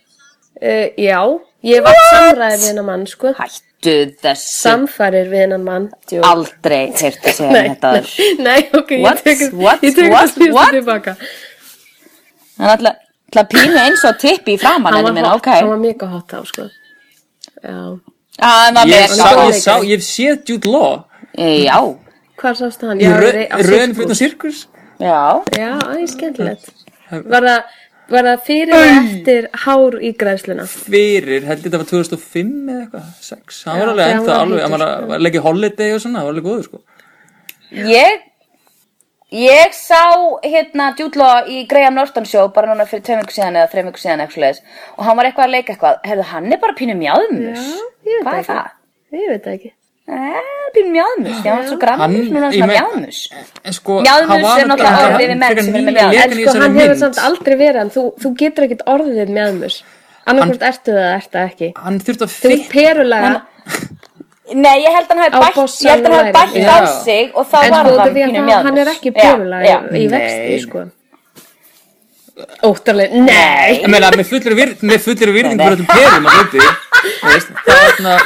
Speaker 4: Uh, Já, ég var samræðir við hennan mann sko
Speaker 7: Hættu þessu
Speaker 4: Samfærir við hennan mann Jú.
Speaker 7: aldrei heyrtu segja
Speaker 4: Nei,
Speaker 7: um þetta
Speaker 4: nei,
Speaker 7: aður.
Speaker 4: Nei, ok,
Speaker 7: What?
Speaker 4: ég tekur
Speaker 7: What?
Speaker 4: Ég tekur
Speaker 7: What?
Speaker 4: það slýstu
Speaker 7: What?
Speaker 4: tilbaka
Speaker 7: Hann ætla ætla að pínu eins og tippi í framann en ég meina,
Speaker 4: hot,
Speaker 7: ok.
Speaker 4: hann var mega hot þá sko Já,
Speaker 7: Ah, Hann var
Speaker 6: ég,
Speaker 7: mega
Speaker 6: sá,
Speaker 4: góð
Speaker 6: ég,
Speaker 4: leikari.
Speaker 6: sá, ég hef séð Jude Law
Speaker 7: Eh, Já,
Speaker 4: hvað sástu hann?
Speaker 6: í
Speaker 4: Já,
Speaker 6: rö-
Speaker 4: á
Speaker 6: röðin
Speaker 4: Sirkus.
Speaker 6: fyrir sirkus
Speaker 7: já.
Speaker 4: Já, það er skemmtilegt. Var það, var það fyrir og eftir hár í græsluna?
Speaker 6: fyrir, held ég þetta var 2005 eða eitthvað, 6, hann var
Speaker 4: Já,
Speaker 6: alveg
Speaker 4: þegar
Speaker 6: ennþá
Speaker 4: hann var
Speaker 6: alveg, hann var
Speaker 4: heitur,
Speaker 6: að- að leggja holiday og svona, hann var alveg góður sko
Speaker 7: Ég Ég sá hérna djúdlóa í Graham Norton show bara núna fyrir tveim viku síðan eða þreim viku síðan eitthvað leis og hann var eitthvað að leika eitthvað Herðu, hann er bara pínu mjáðmus
Speaker 4: ég veit
Speaker 7: Hvað er
Speaker 4: ekki.
Speaker 7: það?
Speaker 4: Ég veit það ekki.
Speaker 7: Eh, pínu mjáðmus, því hann var svo
Speaker 6: Hann-
Speaker 7: grammur núna
Speaker 6: ég
Speaker 7: svona
Speaker 6: meina-
Speaker 7: mjáðmus
Speaker 6: En sko,
Speaker 7: Mjáðmus
Speaker 6: hann var
Speaker 7: er náttúrulega
Speaker 6: hann-
Speaker 7: orðið yfir menn
Speaker 6: frekar
Speaker 7: sem eru með
Speaker 6: nýlega
Speaker 7: mjáðmus.
Speaker 6: lekan
Speaker 4: En
Speaker 6: í
Speaker 4: sko,
Speaker 6: þessari
Speaker 4: hann hefur
Speaker 6: mynd.
Speaker 4: samt aldrei verið hann. Þú, þú getur ekkit orðið meðmur. Annarkvort ertu það, ertu það ekki.
Speaker 6: hann þurfti að
Speaker 4: Þú ert
Speaker 6: fitta
Speaker 4: perulega,
Speaker 7: Nei, ég held hann hafi
Speaker 4: Á
Speaker 7: bætt, ég held hann hafi
Speaker 4: bossanum
Speaker 7: bætt
Speaker 6: væri.
Speaker 7: á
Speaker 6: Já.
Speaker 7: sig og þá
Speaker 4: en
Speaker 7: var
Speaker 4: sko,
Speaker 7: hann
Speaker 4: það því
Speaker 7: pínu
Speaker 4: að
Speaker 7: mjáðmus
Speaker 4: hann, hann er ekki
Speaker 7: Já,
Speaker 4: perulega
Speaker 7: já.
Speaker 4: í, í vexti, sko. Óttalega, nei!
Speaker 6: Ég meina, með fullri vir- með fullri virðing
Speaker 7: Nei,
Speaker 6: fyrir öllum perum að veitu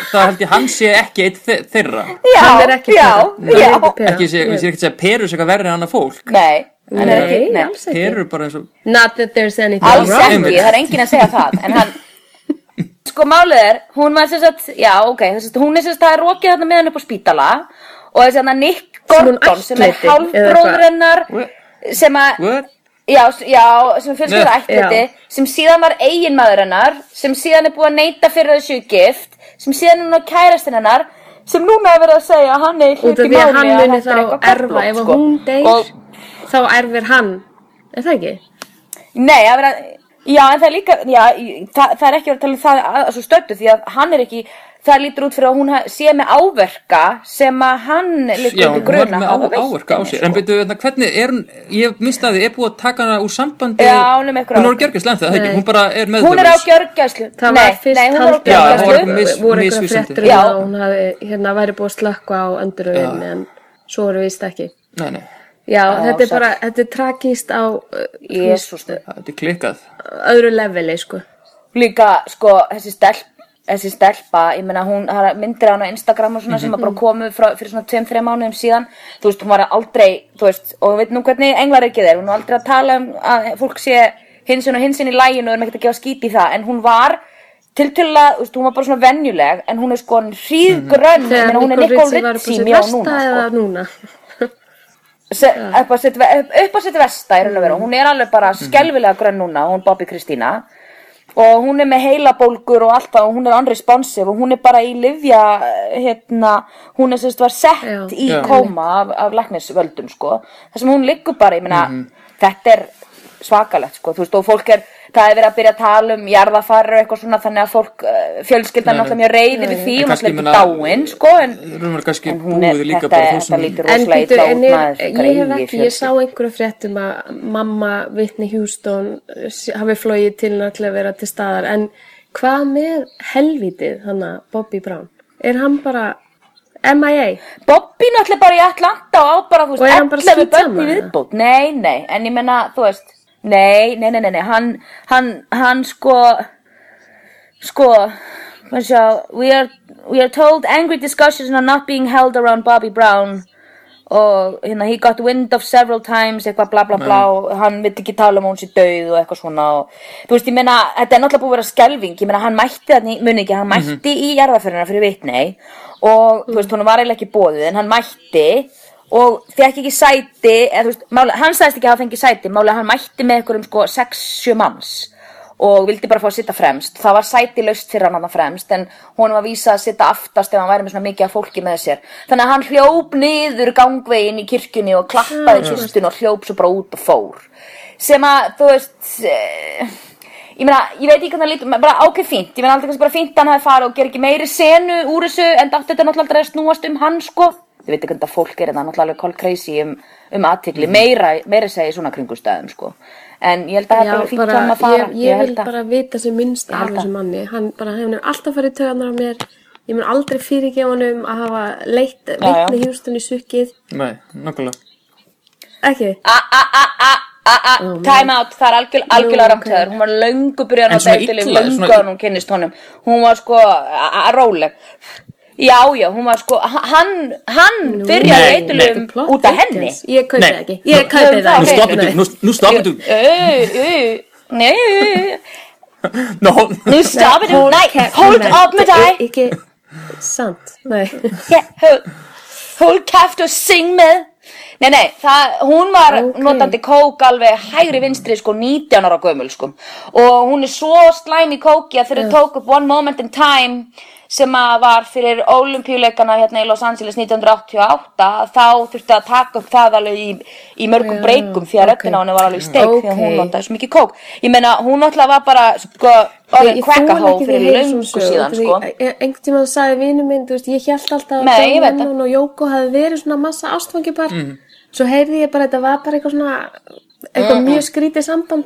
Speaker 6: Það held ég hann sé ekki eitt þe- þeirra
Speaker 7: Já,
Speaker 4: Hann er ekki
Speaker 7: já,
Speaker 4: pera. Hann er
Speaker 7: já.
Speaker 4: ekki pera.
Speaker 6: Ekki sé, ég sé ekki að segja perur sé eitthvað verri en annað fólk
Speaker 7: Nei, hann er ekki
Speaker 4: Nei,
Speaker 7: nei.
Speaker 4: alls ekki.
Speaker 6: Perur bara eins og
Speaker 4: Not that there's anything
Speaker 7: Alls
Speaker 6: Right.
Speaker 7: ekki, það er enginn að segja það En hann Sko málið er, hún var sem sagt Já, ok, sem sagt, hún er sem sagt það er rokið þarna með hann upp á spítala Og þess að Nick
Speaker 4: hún
Speaker 7: Gordon sem er
Speaker 4: ættleiddi, eða
Speaker 7: hálfbróður
Speaker 4: hvað?
Speaker 7: hennar
Speaker 6: What?
Speaker 7: Sem að
Speaker 6: What?
Speaker 7: Já, s- já, sem fyrst fyrir
Speaker 6: Nei.
Speaker 7: ættleiti
Speaker 4: Já.
Speaker 7: Sem síðan var eiginmaður hennar Sem síðan er búið að neita fyrir þessu gift Sem síðan er nú kærastinn hennar Sem núna er verið að segja að hann er hlut
Speaker 4: út af
Speaker 7: í
Speaker 4: því að
Speaker 7: máli
Speaker 4: hann
Speaker 7: að
Speaker 4: muni
Speaker 7: þetta
Speaker 4: þá
Speaker 7: er eitthvað
Speaker 4: erfa
Speaker 7: köflótt,
Speaker 4: ef
Speaker 7: sko.
Speaker 4: hún deyr
Speaker 7: Og-
Speaker 4: þá erfir hann er það ekki?
Speaker 7: Nei, að vera, já, en það er líka, já, í- það, það er ekki verið að tala um það að, að svo stöttu því að hann er ekki, það lítur út fyrir að hún ha- sé með áverka sem að hann lítur
Speaker 6: Já,
Speaker 7: út
Speaker 6: hún
Speaker 7: í
Speaker 6: var
Speaker 7: gruna
Speaker 6: með
Speaker 7: hafa
Speaker 6: á-
Speaker 7: veitt
Speaker 6: áverka á
Speaker 7: henni,
Speaker 6: sér
Speaker 7: sko.
Speaker 6: En byrju, hérna, hvernig er hún Ég minnst að þið er búið að taka hana úr sambandi
Speaker 7: Já, hún er með einhverja
Speaker 6: Hún er
Speaker 7: áverka.
Speaker 6: gergis lenn það, ekki
Speaker 4: Nei.
Speaker 6: Hún bara er með
Speaker 7: Hún er á gjörgæslu.
Speaker 4: það
Speaker 7: nei,
Speaker 4: var fyrst
Speaker 7: nei, hún er á
Speaker 4: haldið
Speaker 6: Já, hún var
Speaker 7: gjörgæslu.
Speaker 6: ekki mis-
Speaker 4: voru eitthvað
Speaker 6: misvísandi.
Speaker 4: fréttur um
Speaker 7: Já.
Speaker 4: að hún hafi, hérna, væri búið að slökka á önduröðin en svo voru vist ekki
Speaker 6: Nei, nei,
Speaker 4: já, þetta er
Speaker 7: sæll.
Speaker 4: bara, þetta er tragist á uh,
Speaker 7: Jésús,
Speaker 6: þetta er klikkað
Speaker 4: öðru leveli sko
Speaker 7: líka, sko, þessi stelp, þessi stelpa, ég meina hún, það er myndir af hann á Instagram og svona sem
Speaker 4: Mhm.
Speaker 7: að bara komu frá, fyrir svona 2-3 mánuðum síðan, þú veist, hún var aldrei, þú veist, og við nú hvernig englaríkið er, hún var aldrei að tala um að fólk sé hinsinn og hinsinn í læginu og er með ekkert að gefa skít í það, en hún var tiltölulega, þú veist, hún var bara svona venjuleg, en hún er sko
Speaker 4: Mhm.
Speaker 7: hríðgrönn, ég
Speaker 4: þegar
Speaker 7: meina hún er Nicole Ritchie mjög
Speaker 4: versta
Speaker 7: núna, sko
Speaker 4: eða núna
Speaker 7: se- upp á sitt upp- upp á sitt vesta í raun og veru hún er alveg bara skelfilega grönn núna hún Bobby Kristína og hún er með heilabólgur og allt það og hún er unresponsive og hún er bara í livja hérna, hún er sérst var
Speaker 4: Já.
Speaker 7: sett í
Speaker 6: Já.
Speaker 7: koma af, af læknisvöldum sko, þar sem hún liggur bara ég meina, þetta er svakalegt sko, þú veist, og fólk er það er verið að byrja að tala um jarðafarir og eitthvað svona þannig að fólk, eh, fjölskyldan er náttúrulega mjög reyði við því,
Speaker 6: En
Speaker 7: hún er
Speaker 6: kannski,
Speaker 7: ekki
Speaker 6: meina,
Speaker 7: dáin sko, en,
Speaker 6: Rúmur kannski
Speaker 7: en hún er,
Speaker 6: búið líka
Speaker 7: þetta,
Speaker 6: bara þú
Speaker 7: þetta
Speaker 6: sem
Speaker 7: lítur
Speaker 4: en
Speaker 7: rosalega
Speaker 4: býtu,
Speaker 7: illa út
Speaker 4: en
Speaker 7: maður
Speaker 4: er,
Speaker 7: sem
Speaker 4: ég hef
Speaker 7: greiði í
Speaker 4: ekki, ég sá
Speaker 7: fjölskyldu.
Speaker 4: einhverju fréttum að mamma Whitney Houston eh, sé- hafi flóið til hennar til að vera til staðar, en hvað með helvítið hana Bobby Brown? Er hann bara MIA?
Speaker 7: Bobby náttúrulega bara í Atlanta og á bara, þú
Speaker 4: Og er hann
Speaker 7: veist,
Speaker 4: bara
Speaker 7: 11 börn í
Speaker 4: skítsamaður?
Speaker 7: viðbót. Nei, nei, en ég menna, þú veist, nei, nei, nei, nei, nei, hann, hann, hann sko, sko, maður sjá, we are, we are told angry discussions are not being held around Bobby Brown og hérna he got wind of several times eitthvað bla bla bla og hann vill ekki tala um að hún sé döið og eitthvað svona og þú veist ég meina þetta er náttúrulega búið að vera skelving ég meina hann mætti þarna í- muni ekki hann mætti í jarðaförina fyrir vitnei og þú veist hún var eiginlega ekki bóðið en hann mætti og fekk ekki sæti eða, þú veist, máli, hann sagðist ekki að hafa fengið sæti máli hann mætti með einhverjum sko 6-7 manns og vildi bara fá að sitta fremst það var sæti laust fyrir hann hann fremst en honum var vísað að sitta aftast ef hann væri með svona mikið af fólki með sér þannig að hann hljóp niður gangvegin í kirkjunni og klappaði
Speaker 4: Hmm.
Speaker 7: kistun og hljóp svo bara út og fór sem að þú veist eh, ég meina, ég veit ekki hvernig það lítur ma- bara ákveð fínt, ég meina aldrei kannski bara fínt að hann hafi farið og gera ekki meiri senu úr þessu en dátti þetta náttúrulega aldrei að snúast um hann sko þið veitir hvernig það fólk er en það er náttúrulega alveg call crazy um, um aðtikli,
Speaker 4: Hmm.
Speaker 7: meira, meira segja í svona kringustæðum sko en ég held að þetta
Speaker 4: Já,
Speaker 7: verður fínt hjá
Speaker 4: bara,
Speaker 7: hann að fara
Speaker 4: ég, ég vil
Speaker 7: held að-
Speaker 4: bara vita sem minnst
Speaker 7: held
Speaker 4: af
Speaker 7: að-
Speaker 4: þessum manni hann, bara, hann er alltaf farið töðanar á mér ég mun aldrei fyrirgefa hann um að hafa leitt
Speaker 7: já.
Speaker 4: vitni hjústun í sukkið
Speaker 6: Nei, nokkulega.
Speaker 4: ekki,
Speaker 7: a a a a a a time out, það er algjör, algjörlega
Speaker 4: Jú,
Speaker 7: rámtæður hún var löngu byrjað
Speaker 6: En
Speaker 7: að
Speaker 6: svona
Speaker 7: beitili
Speaker 6: illa,
Speaker 7: löngu
Speaker 6: svona-
Speaker 7: að hún kynnist honum hún var sko a- a- róleg já, já, hún var sko hann, hann byrjaði
Speaker 6: Nei,
Speaker 7: eitilum
Speaker 4: Plot
Speaker 7: út af
Speaker 4: thickens.
Speaker 7: henni
Speaker 4: ég kaupi
Speaker 6: Nei.
Speaker 4: það ekki, ég kaupi
Speaker 7: Nú
Speaker 4: það
Speaker 6: Nú
Speaker 7: Ok.
Speaker 4: ekki.
Speaker 6: stoppar
Speaker 4: Nei.
Speaker 6: þú, nú- nú stoppar þú.
Speaker 7: Ö, ö, nei
Speaker 6: No,
Speaker 7: nú stoppa þú, nei, hold up
Speaker 4: Nei,
Speaker 7: með dæ
Speaker 4: ekki, sant nei,
Speaker 7: hold kæft og syng með Nei, nei, það, hún var
Speaker 4: Ókei.
Speaker 7: notandi kók alveg
Speaker 4: Mm.
Speaker 7: hægri vinstri sko 19 ára gömul sko og hún er svo slæm í kóki að þegar þau tók upp One Moment in Time sem að var fyrir olimpíuleikana hérna í Los Angeles 1988 þá þurfti að taka upp það alveg í, í mörgum breykum því að
Speaker 4: ok.
Speaker 7: röddina á henni var alveg í steik því að hún
Speaker 4: Ókei.
Speaker 7: notaði svo mikið kók ég meina hún náttúrulega var bara sko orðin
Speaker 4: Ég þoli
Speaker 7: kvekkahó
Speaker 4: ekki þegar
Speaker 7: fyrir
Speaker 4: ég heyri
Speaker 7: löngu
Speaker 4: svona sögur,
Speaker 7: síðan
Speaker 4: því
Speaker 7: sko
Speaker 4: e- einhvern tímann sagði vinur minn, þú veist, ég held alltaf að
Speaker 7: Nei, ég
Speaker 4: John
Speaker 7: veit það. Mm.
Speaker 4: Lennon og Jóko hafi verið svona massa ástfangipar svo heyrði ég bara, að þetta var bara eitthvað svona eitthvað mjög skrítið samband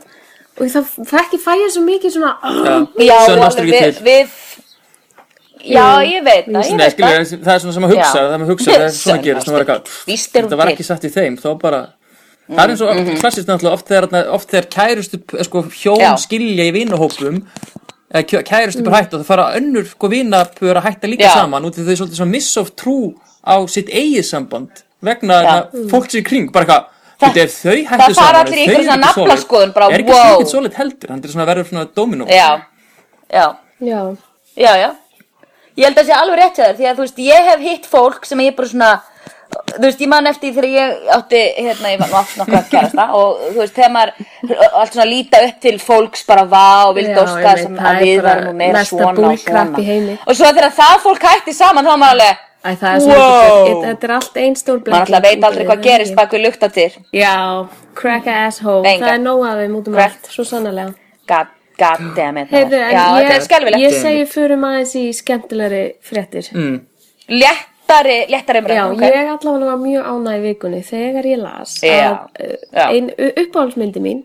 Speaker 4: og það, það ekki fæja svo mikið svona
Speaker 7: Já,
Speaker 6: Sönn
Speaker 7: og
Speaker 6: ástur
Speaker 7: alveg
Speaker 6: ekki
Speaker 7: við,
Speaker 6: til.
Speaker 7: við Já, ég veit það, ég
Speaker 6: Nei,
Speaker 7: veit
Speaker 6: skilja,
Speaker 7: það
Speaker 6: það er svona sem að hugsa,
Speaker 7: Já.
Speaker 6: það er hugsa, það er svona
Speaker 7: Sönn
Speaker 6: að gerast, það var
Speaker 7: ástin.
Speaker 6: eitthvað,
Speaker 7: Víst er hún
Speaker 6: þetta var
Speaker 7: til.
Speaker 6: ekki satt í þeim, þá bara, það er eins og oft klassist náttúrulega, oft þegar, þarna- oft þegar kærustu, eh, sko, hjón
Speaker 7: Já.
Speaker 6: skilja í vinahópum, eða kjö- kærustu bara hætta og það fara önnur, sko, vinapur að hætta líka
Speaker 7: Já.
Speaker 6: saman, út af því þau svolítið svona miss of trú á sitt eigið samband, vegna þarna fólk sér í kring, bara eitthvað,
Speaker 7: Það-
Speaker 6: Þa, ef þau hættu
Speaker 7: það fara
Speaker 6: saman,
Speaker 7: allir í
Speaker 6: ef þau
Speaker 7: einhverja
Speaker 6: eru
Speaker 7: svona
Speaker 6: ekki solid,
Speaker 7: naflaskoðun, bara,
Speaker 6: er ekki
Speaker 7: wow.
Speaker 6: slíkit solid heldur, hann er svona verður svona dominó
Speaker 7: Já, já,
Speaker 4: já,
Speaker 7: já, já Ég held að það sé alveg rétt hjá þér Því að þú veist, ég hef hitt fólk sem ég bara svona Þú veist, ég man eftir því þegar ég átti Hérna, ég var nú átti nokkra kærasta Og þú veist, þegar maður Allt svona líta upp til fólks bara vá Og vildi
Speaker 4: Já,
Speaker 7: óska
Speaker 4: ég
Speaker 7: þess
Speaker 4: veit,
Speaker 7: að-
Speaker 4: það
Speaker 7: að
Speaker 4: er
Speaker 7: við
Speaker 4: bara
Speaker 7: varum nú meira
Speaker 4: mesta
Speaker 7: svona og
Speaker 4: bullcrap í
Speaker 7: svona
Speaker 4: heimi.
Speaker 7: Og svo þegar það fólk hætti saman Þá var maður alveg
Speaker 4: Æ, það er svona
Speaker 7: Wow.
Speaker 4: þetta- þetta er allt einn stór blekking
Speaker 7: Maður alltaf veit aldrei hvað gerist bak við lukta til
Speaker 4: já, crack a asshole,
Speaker 7: Venga.
Speaker 4: það er nóg af þeim út um
Speaker 7: Crack.
Speaker 4: allt, svo sannarlega
Speaker 7: God, god damn it
Speaker 4: Heyrðu,
Speaker 7: maður.
Speaker 4: en
Speaker 7: Já, þetta er
Speaker 4: ég,
Speaker 7: skelfilegt
Speaker 4: ég segi fyrir aðeins í skemmtilegri fréttir
Speaker 7: Léttari, léttari
Speaker 4: Já,
Speaker 7: umræðan, ok?
Speaker 4: ég allavega var mjög ánæg í vikunni þegar ég las
Speaker 7: Já,
Speaker 4: að uh,
Speaker 7: já.
Speaker 4: ein uppáhaldsmyndi mín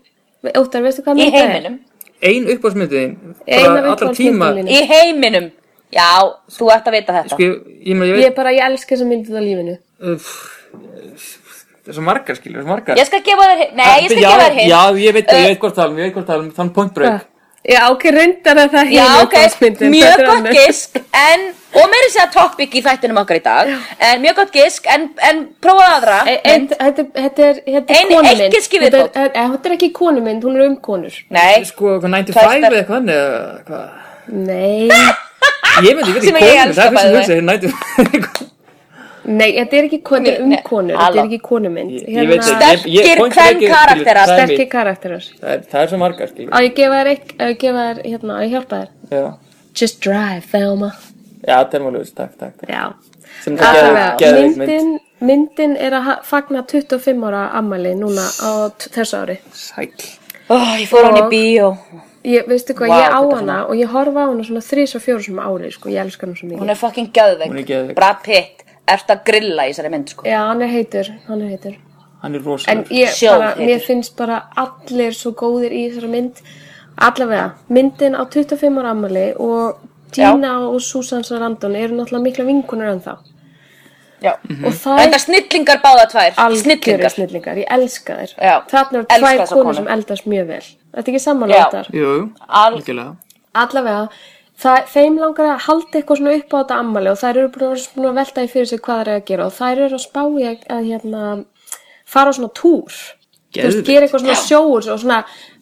Speaker 4: Óttar, veistu hvað
Speaker 7: Í
Speaker 4: myndi
Speaker 7: heiminum
Speaker 6: ein uppáhaldsmyndin
Speaker 4: Eina
Speaker 6: bara allra tíma
Speaker 4: uppáhaldsmyndin mín.
Speaker 7: Í heiminum Já, þú ert að vita þetta
Speaker 6: sko, ég, ég, meina, ég
Speaker 4: Ég
Speaker 6: veit
Speaker 4: bara, ég elska þessa myndið á lífinu
Speaker 6: það er svo margar skilur, það er svo margar
Speaker 7: Ég skal gefa þér hinn Nei, ég skal gefa þér Uh, hinn
Speaker 6: já, ég veit, það, ég veit hvort talum, ég veit hvort talum þann um point break,
Speaker 4: Já, ok, reyndar að það er
Speaker 7: Já,
Speaker 4: hin
Speaker 7: ok,
Speaker 4: uppáhaldsmyndin, þetta
Speaker 7: mjög
Speaker 4: er
Speaker 7: gott
Speaker 4: önnur.
Speaker 7: gisk En, og meiri segja topic í þættinum okkar í dag En mjög gott gisk En, en prófaðu aðra
Speaker 4: Ein- ein- Eh, Þetta þetta er, þetta er
Speaker 7: Ein-
Speaker 4: konu
Speaker 7: eitt
Speaker 4: mynd
Speaker 7: giski
Speaker 4: Þetta er-
Speaker 7: viðbót.
Speaker 4: eh, Þetta er ekki konu mynd, hún er um konur
Speaker 7: Nei,
Speaker 6: sko, eitthvað 9 to
Speaker 7: Tvær
Speaker 6: 5
Speaker 7: stelpur.
Speaker 6: eða eitthvað, eða hvað
Speaker 4: Nei,
Speaker 6: ég veit, ég veit
Speaker 7: Ah, Sem
Speaker 6: ekki
Speaker 7: ég
Speaker 6: konur,
Speaker 7: elska
Speaker 6: það er fyrst
Speaker 7: bæði.
Speaker 6: sem hugsa ég 9 to 5
Speaker 4: nei, þetta er ekki konu, þetta er um
Speaker 7: Nei,
Speaker 4: konur
Speaker 7: halló.
Speaker 4: Þetta er ekki konu mynd
Speaker 6: Ég- ég veit ekki. Ég- ég-
Speaker 7: sterkir
Speaker 6: point
Speaker 7: hvern
Speaker 6: break er-
Speaker 7: karakterar
Speaker 6: það er mitt.
Speaker 4: Sterkir karakterar
Speaker 6: það er, það er svo margar skilur
Speaker 4: Á,
Speaker 7: Ah.
Speaker 4: ég gefa þér eitt, á, ég gefa þér, hérna, á, ég hjálpa þér
Speaker 6: já,
Speaker 4: Just drive, Thelma
Speaker 6: já það er mjög ljus, takk, takk
Speaker 4: Já,
Speaker 6: sem
Speaker 7: Ah,
Speaker 6: það geður,
Speaker 4: Allavega,
Speaker 6: geður mynd
Speaker 4: myndin, myndin er að ha- fagna 25 ára ammæli núna á t- þessu ári.
Speaker 6: sæl,
Speaker 7: Ó, ég fór hann í
Speaker 4: Og-
Speaker 7: bíó
Speaker 4: Ég, veistu hvað,
Speaker 7: Vá,
Speaker 4: ég á
Speaker 7: þetta er
Speaker 4: hana og ég horfa á hana svona þrís og fjóru sem ári, sko, ég elska hana svo mikið.
Speaker 7: Hún er fucking geðveik
Speaker 6: Hún er geðveik.
Speaker 7: Brad Pitt Ertu að grilla í þessari mynd, sko
Speaker 4: Já, hann er heitur, hann er heitur.
Speaker 6: hann er
Speaker 4: En
Speaker 6: rosalur
Speaker 4: ég
Speaker 7: Sjór
Speaker 4: bara,
Speaker 7: heitur.
Speaker 4: mér finnst bara allir svo góðir í þessari mynd. Allavega, myndin á 25 ára ammæli og
Speaker 7: Já.
Speaker 4: Gina og Susan Sarandon eru náttúrulega mikla vinkunur en þá.
Speaker 7: Já
Speaker 4: Og það
Speaker 7: Þetta snillingar báða tvær
Speaker 4: algjöru
Speaker 7: Snillingar
Speaker 4: snillingar, ég elska þér
Speaker 7: Já.
Speaker 4: þarna eru
Speaker 7: Elska
Speaker 4: tvær
Speaker 7: þessa
Speaker 4: konur
Speaker 7: konu.
Speaker 4: sem eldast mjög vel þetta er ekki
Speaker 7: Já.
Speaker 4: samanlóttar
Speaker 6: jú,
Speaker 7: Al-
Speaker 6: algjörlega
Speaker 4: allavega, það, þeim langar að halda eitthvað svona upp á þetta ammali og þær eru búin að vera svona að velta í fyrir sig hvað þær eru að gera og þær eru að spá í að, að hérna, fara á svona túr Þú veist,
Speaker 6: Geðveikt.
Speaker 4: gera eitthvað svona sjóur og svona,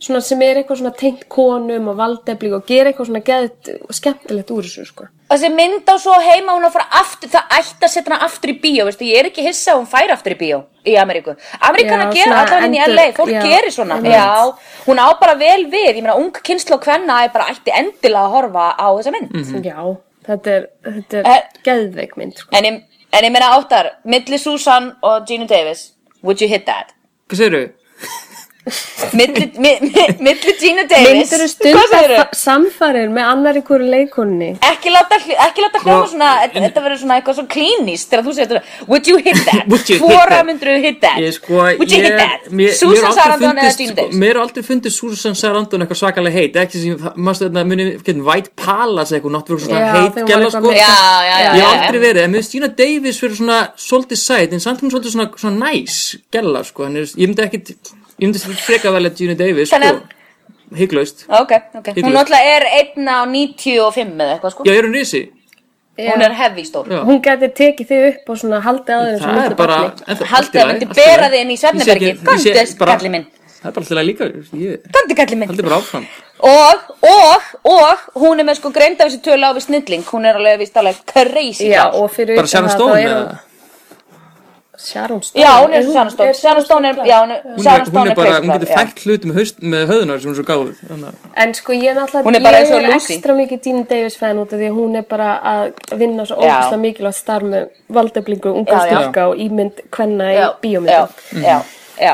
Speaker 4: svona sem er eitthvað svona tengt konum og valdefling og gera eitthvað svona geðt og skemmtilegt úr þessu sko.
Speaker 7: Þessi mynd á svo heima hún að fara aftur, það ætti að setja hana aftur í bíó, veistu, ég er ekki hissa að hún fær aftur í bíó í Ameríku. Ameríkana
Speaker 4: Já,
Speaker 7: gera
Speaker 4: svona
Speaker 7: allan henni í
Speaker 4: endur-
Speaker 7: LA, fólk
Speaker 4: já,
Speaker 7: gerir svona.
Speaker 4: einmitt.
Speaker 7: Já, hún á bara vel við, ég meina ung kynslu og kvenna er bara ætti endilega að horfa á þessa mynd.
Speaker 4: Já, þetta er, þetta er
Speaker 7: Mm. Eh,
Speaker 4: geðveik mynd sko.
Speaker 7: En, ég, en ég meina áttar, milli Susan og Gina Davis, would you hit that?
Speaker 6: Hvað segir þau?
Speaker 7: Milli, mi, mi, milli Gina Davis,
Speaker 4: Myndur þú
Speaker 7: hvað segirðu?
Speaker 4: stundar samfarið með annar einhverju leikonni?
Speaker 7: Ekki láta, hli- ekki láta hljóma
Speaker 6: Sko,
Speaker 7: svona, þetta- þetta verður svona eitthvað svona klínist þegar þú segir þetta, would you hit that?
Speaker 6: Would you hit
Speaker 7: Hvora
Speaker 6: that?
Speaker 7: myndur þú hit that?
Speaker 6: Ég sko,
Speaker 7: would you
Speaker 6: ég,
Speaker 7: hit
Speaker 6: mér-
Speaker 7: that?
Speaker 6: mér
Speaker 7: Susan
Speaker 6: hefur aldrei
Speaker 7: Sarandon eða
Speaker 6: fundist,
Speaker 7: Gina
Speaker 6: sko,
Speaker 7: Davis?
Speaker 6: Mér hefur aldrei fundið Susan Sarandon eitthvað svakalega heit ekki sem, mástu þetta, muni, getum White Palace eitthvað,
Speaker 4: Já,
Speaker 6: náttúrulega svona
Speaker 4: þeim
Speaker 6: heit
Speaker 4: var
Speaker 6: gæla
Speaker 4: eitthvað
Speaker 6: sko
Speaker 4: meira-
Speaker 7: Já, já, já,
Speaker 6: Ég
Speaker 7: já,
Speaker 6: hef
Speaker 7: já.
Speaker 6: aldrei verið, en mér finnst Gina Davis fyrir svona svolítið sæt, en samt hún svolítið svona, svona næs gæla sko, en ég myndi ekkit ég myndi freka velja Gina Davis sko,
Speaker 7: Þannig
Speaker 6: hygglaust
Speaker 7: Ok, ok. Hún
Speaker 6: Hitlaust.
Speaker 7: náttúrulega er einna á 95 eða eitthvað sko.
Speaker 6: Já, ég er hún risi,
Speaker 7: Hún er heavy stór.
Speaker 6: Já.
Speaker 4: Hún gæti tekið þig upp og svona haldið að þeim
Speaker 6: það er bara en það- allt í
Speaker 7: Haldið að
Speaker 6: lagi,
Speaker 7: myndi
Speaker 6: allt í
Speaker 7: bera
Speaker 6: lagi.
Speaker 7: þig inn í
Speaker 6: Ég sé ekki-
Speaker 7: svefnherbergi.
Speaker 6: ég sé
Speaker 7: Komdu,
Speaker 6: bara-
Speaker 7: kallið minn.
Speaker 6: Það er bara alltaf líka, ég
Speaker 7: Komdu, kallið minn.
Speaker 6: haldi bara áfram
Speaker 7: Og, og, og, hún er með sko greinda við sér tölu á við snilling. Hún er alveg vist alveg crazy.
Speaker 4: Já,
Speaker 7: klár.
Speaker 4: og fyrir
Speaker 6: Bara
Speaker 4: utan
Speaker 6: Sharon
Speaker 4: það, þá
Speaker 6: Stone
Speaker 4: er
Speaker 6: eða-
Speaker 4: hún- Sharon Stone
Speaker 7: Já, hún er svo Sharon Stone. Sharon Stone er, já, hún er,
Speaker 6: hún er,
Speaker 7: Sharon
Speaker 6: hún
Speaker 7: Stone
Speaker 6: er
Speaker 7: er
Speaker 6: bara,
Speaker 7: crazy.
Speaker 6: hún getur
Speaker 7: klár, já.
Speaker 6: fært hlut með, haust, með höðunar sem hún er svo gáð þannig að
Speaker 4: En sko ég er náttúrulega
Speaker 7: Hún er bara eins og
Speaker 4: ég
Speaker 7: Lucy.
Speaker 4: ekstra mikið Dean Davis fæðin út af því að hún er bara að vinna svo
Speaker 7: Já.
Speaker 4: ógæslega mikilvægt starf með valdeblingu, unga
Speaker 7: Já, já.
Speaker 4: stúlka og ímynd hvenna í
Speaker 7: Já,
Speaker 4: bíómyndum.
Speaker 7: Já, já, já.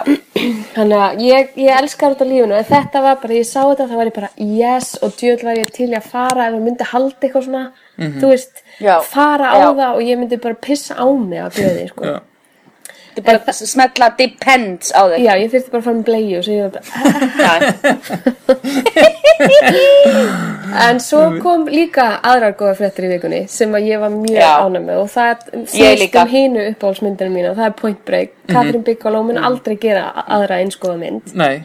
Speaker 4: Þannig að ég, ég elskar þetta á lífinu en þetta var bara, ég sá þetta þá var ég bara yes og djöðl var ég til í að fara ef hún myndi halda eitthvað svona, þú veist
Speaker 7: Mhm. Já.
Speaker 4: fara á
Speaker 7: Já.
Speaker 4: það og ég myndi bara pissa á mig á blöði, sko. Já.
Speaker 7: Þetta er bara að smetla depends á þig.
Speaker 4: ég þurfti bara að fara með blei og segja þetta.
Speaker 7: Já.
Speaker 4: En svo kom líka aðrar góða fréttir í vikunni sem að ég var mjög
Speaker 7: Já.
Speaker 4: ánægð með og það
Speaker 7: Ég
Speaker 4: snýst
Speaker 7: líka.
Speaker 4: um
Speaker 7: Mhm.
Speaker 4: hínu uppáhaldsmyndinu mína og það er Point Break. Katrin Bigaló mun aldrei gera a- aðra einskoða mynd
Speaker 6: Nei,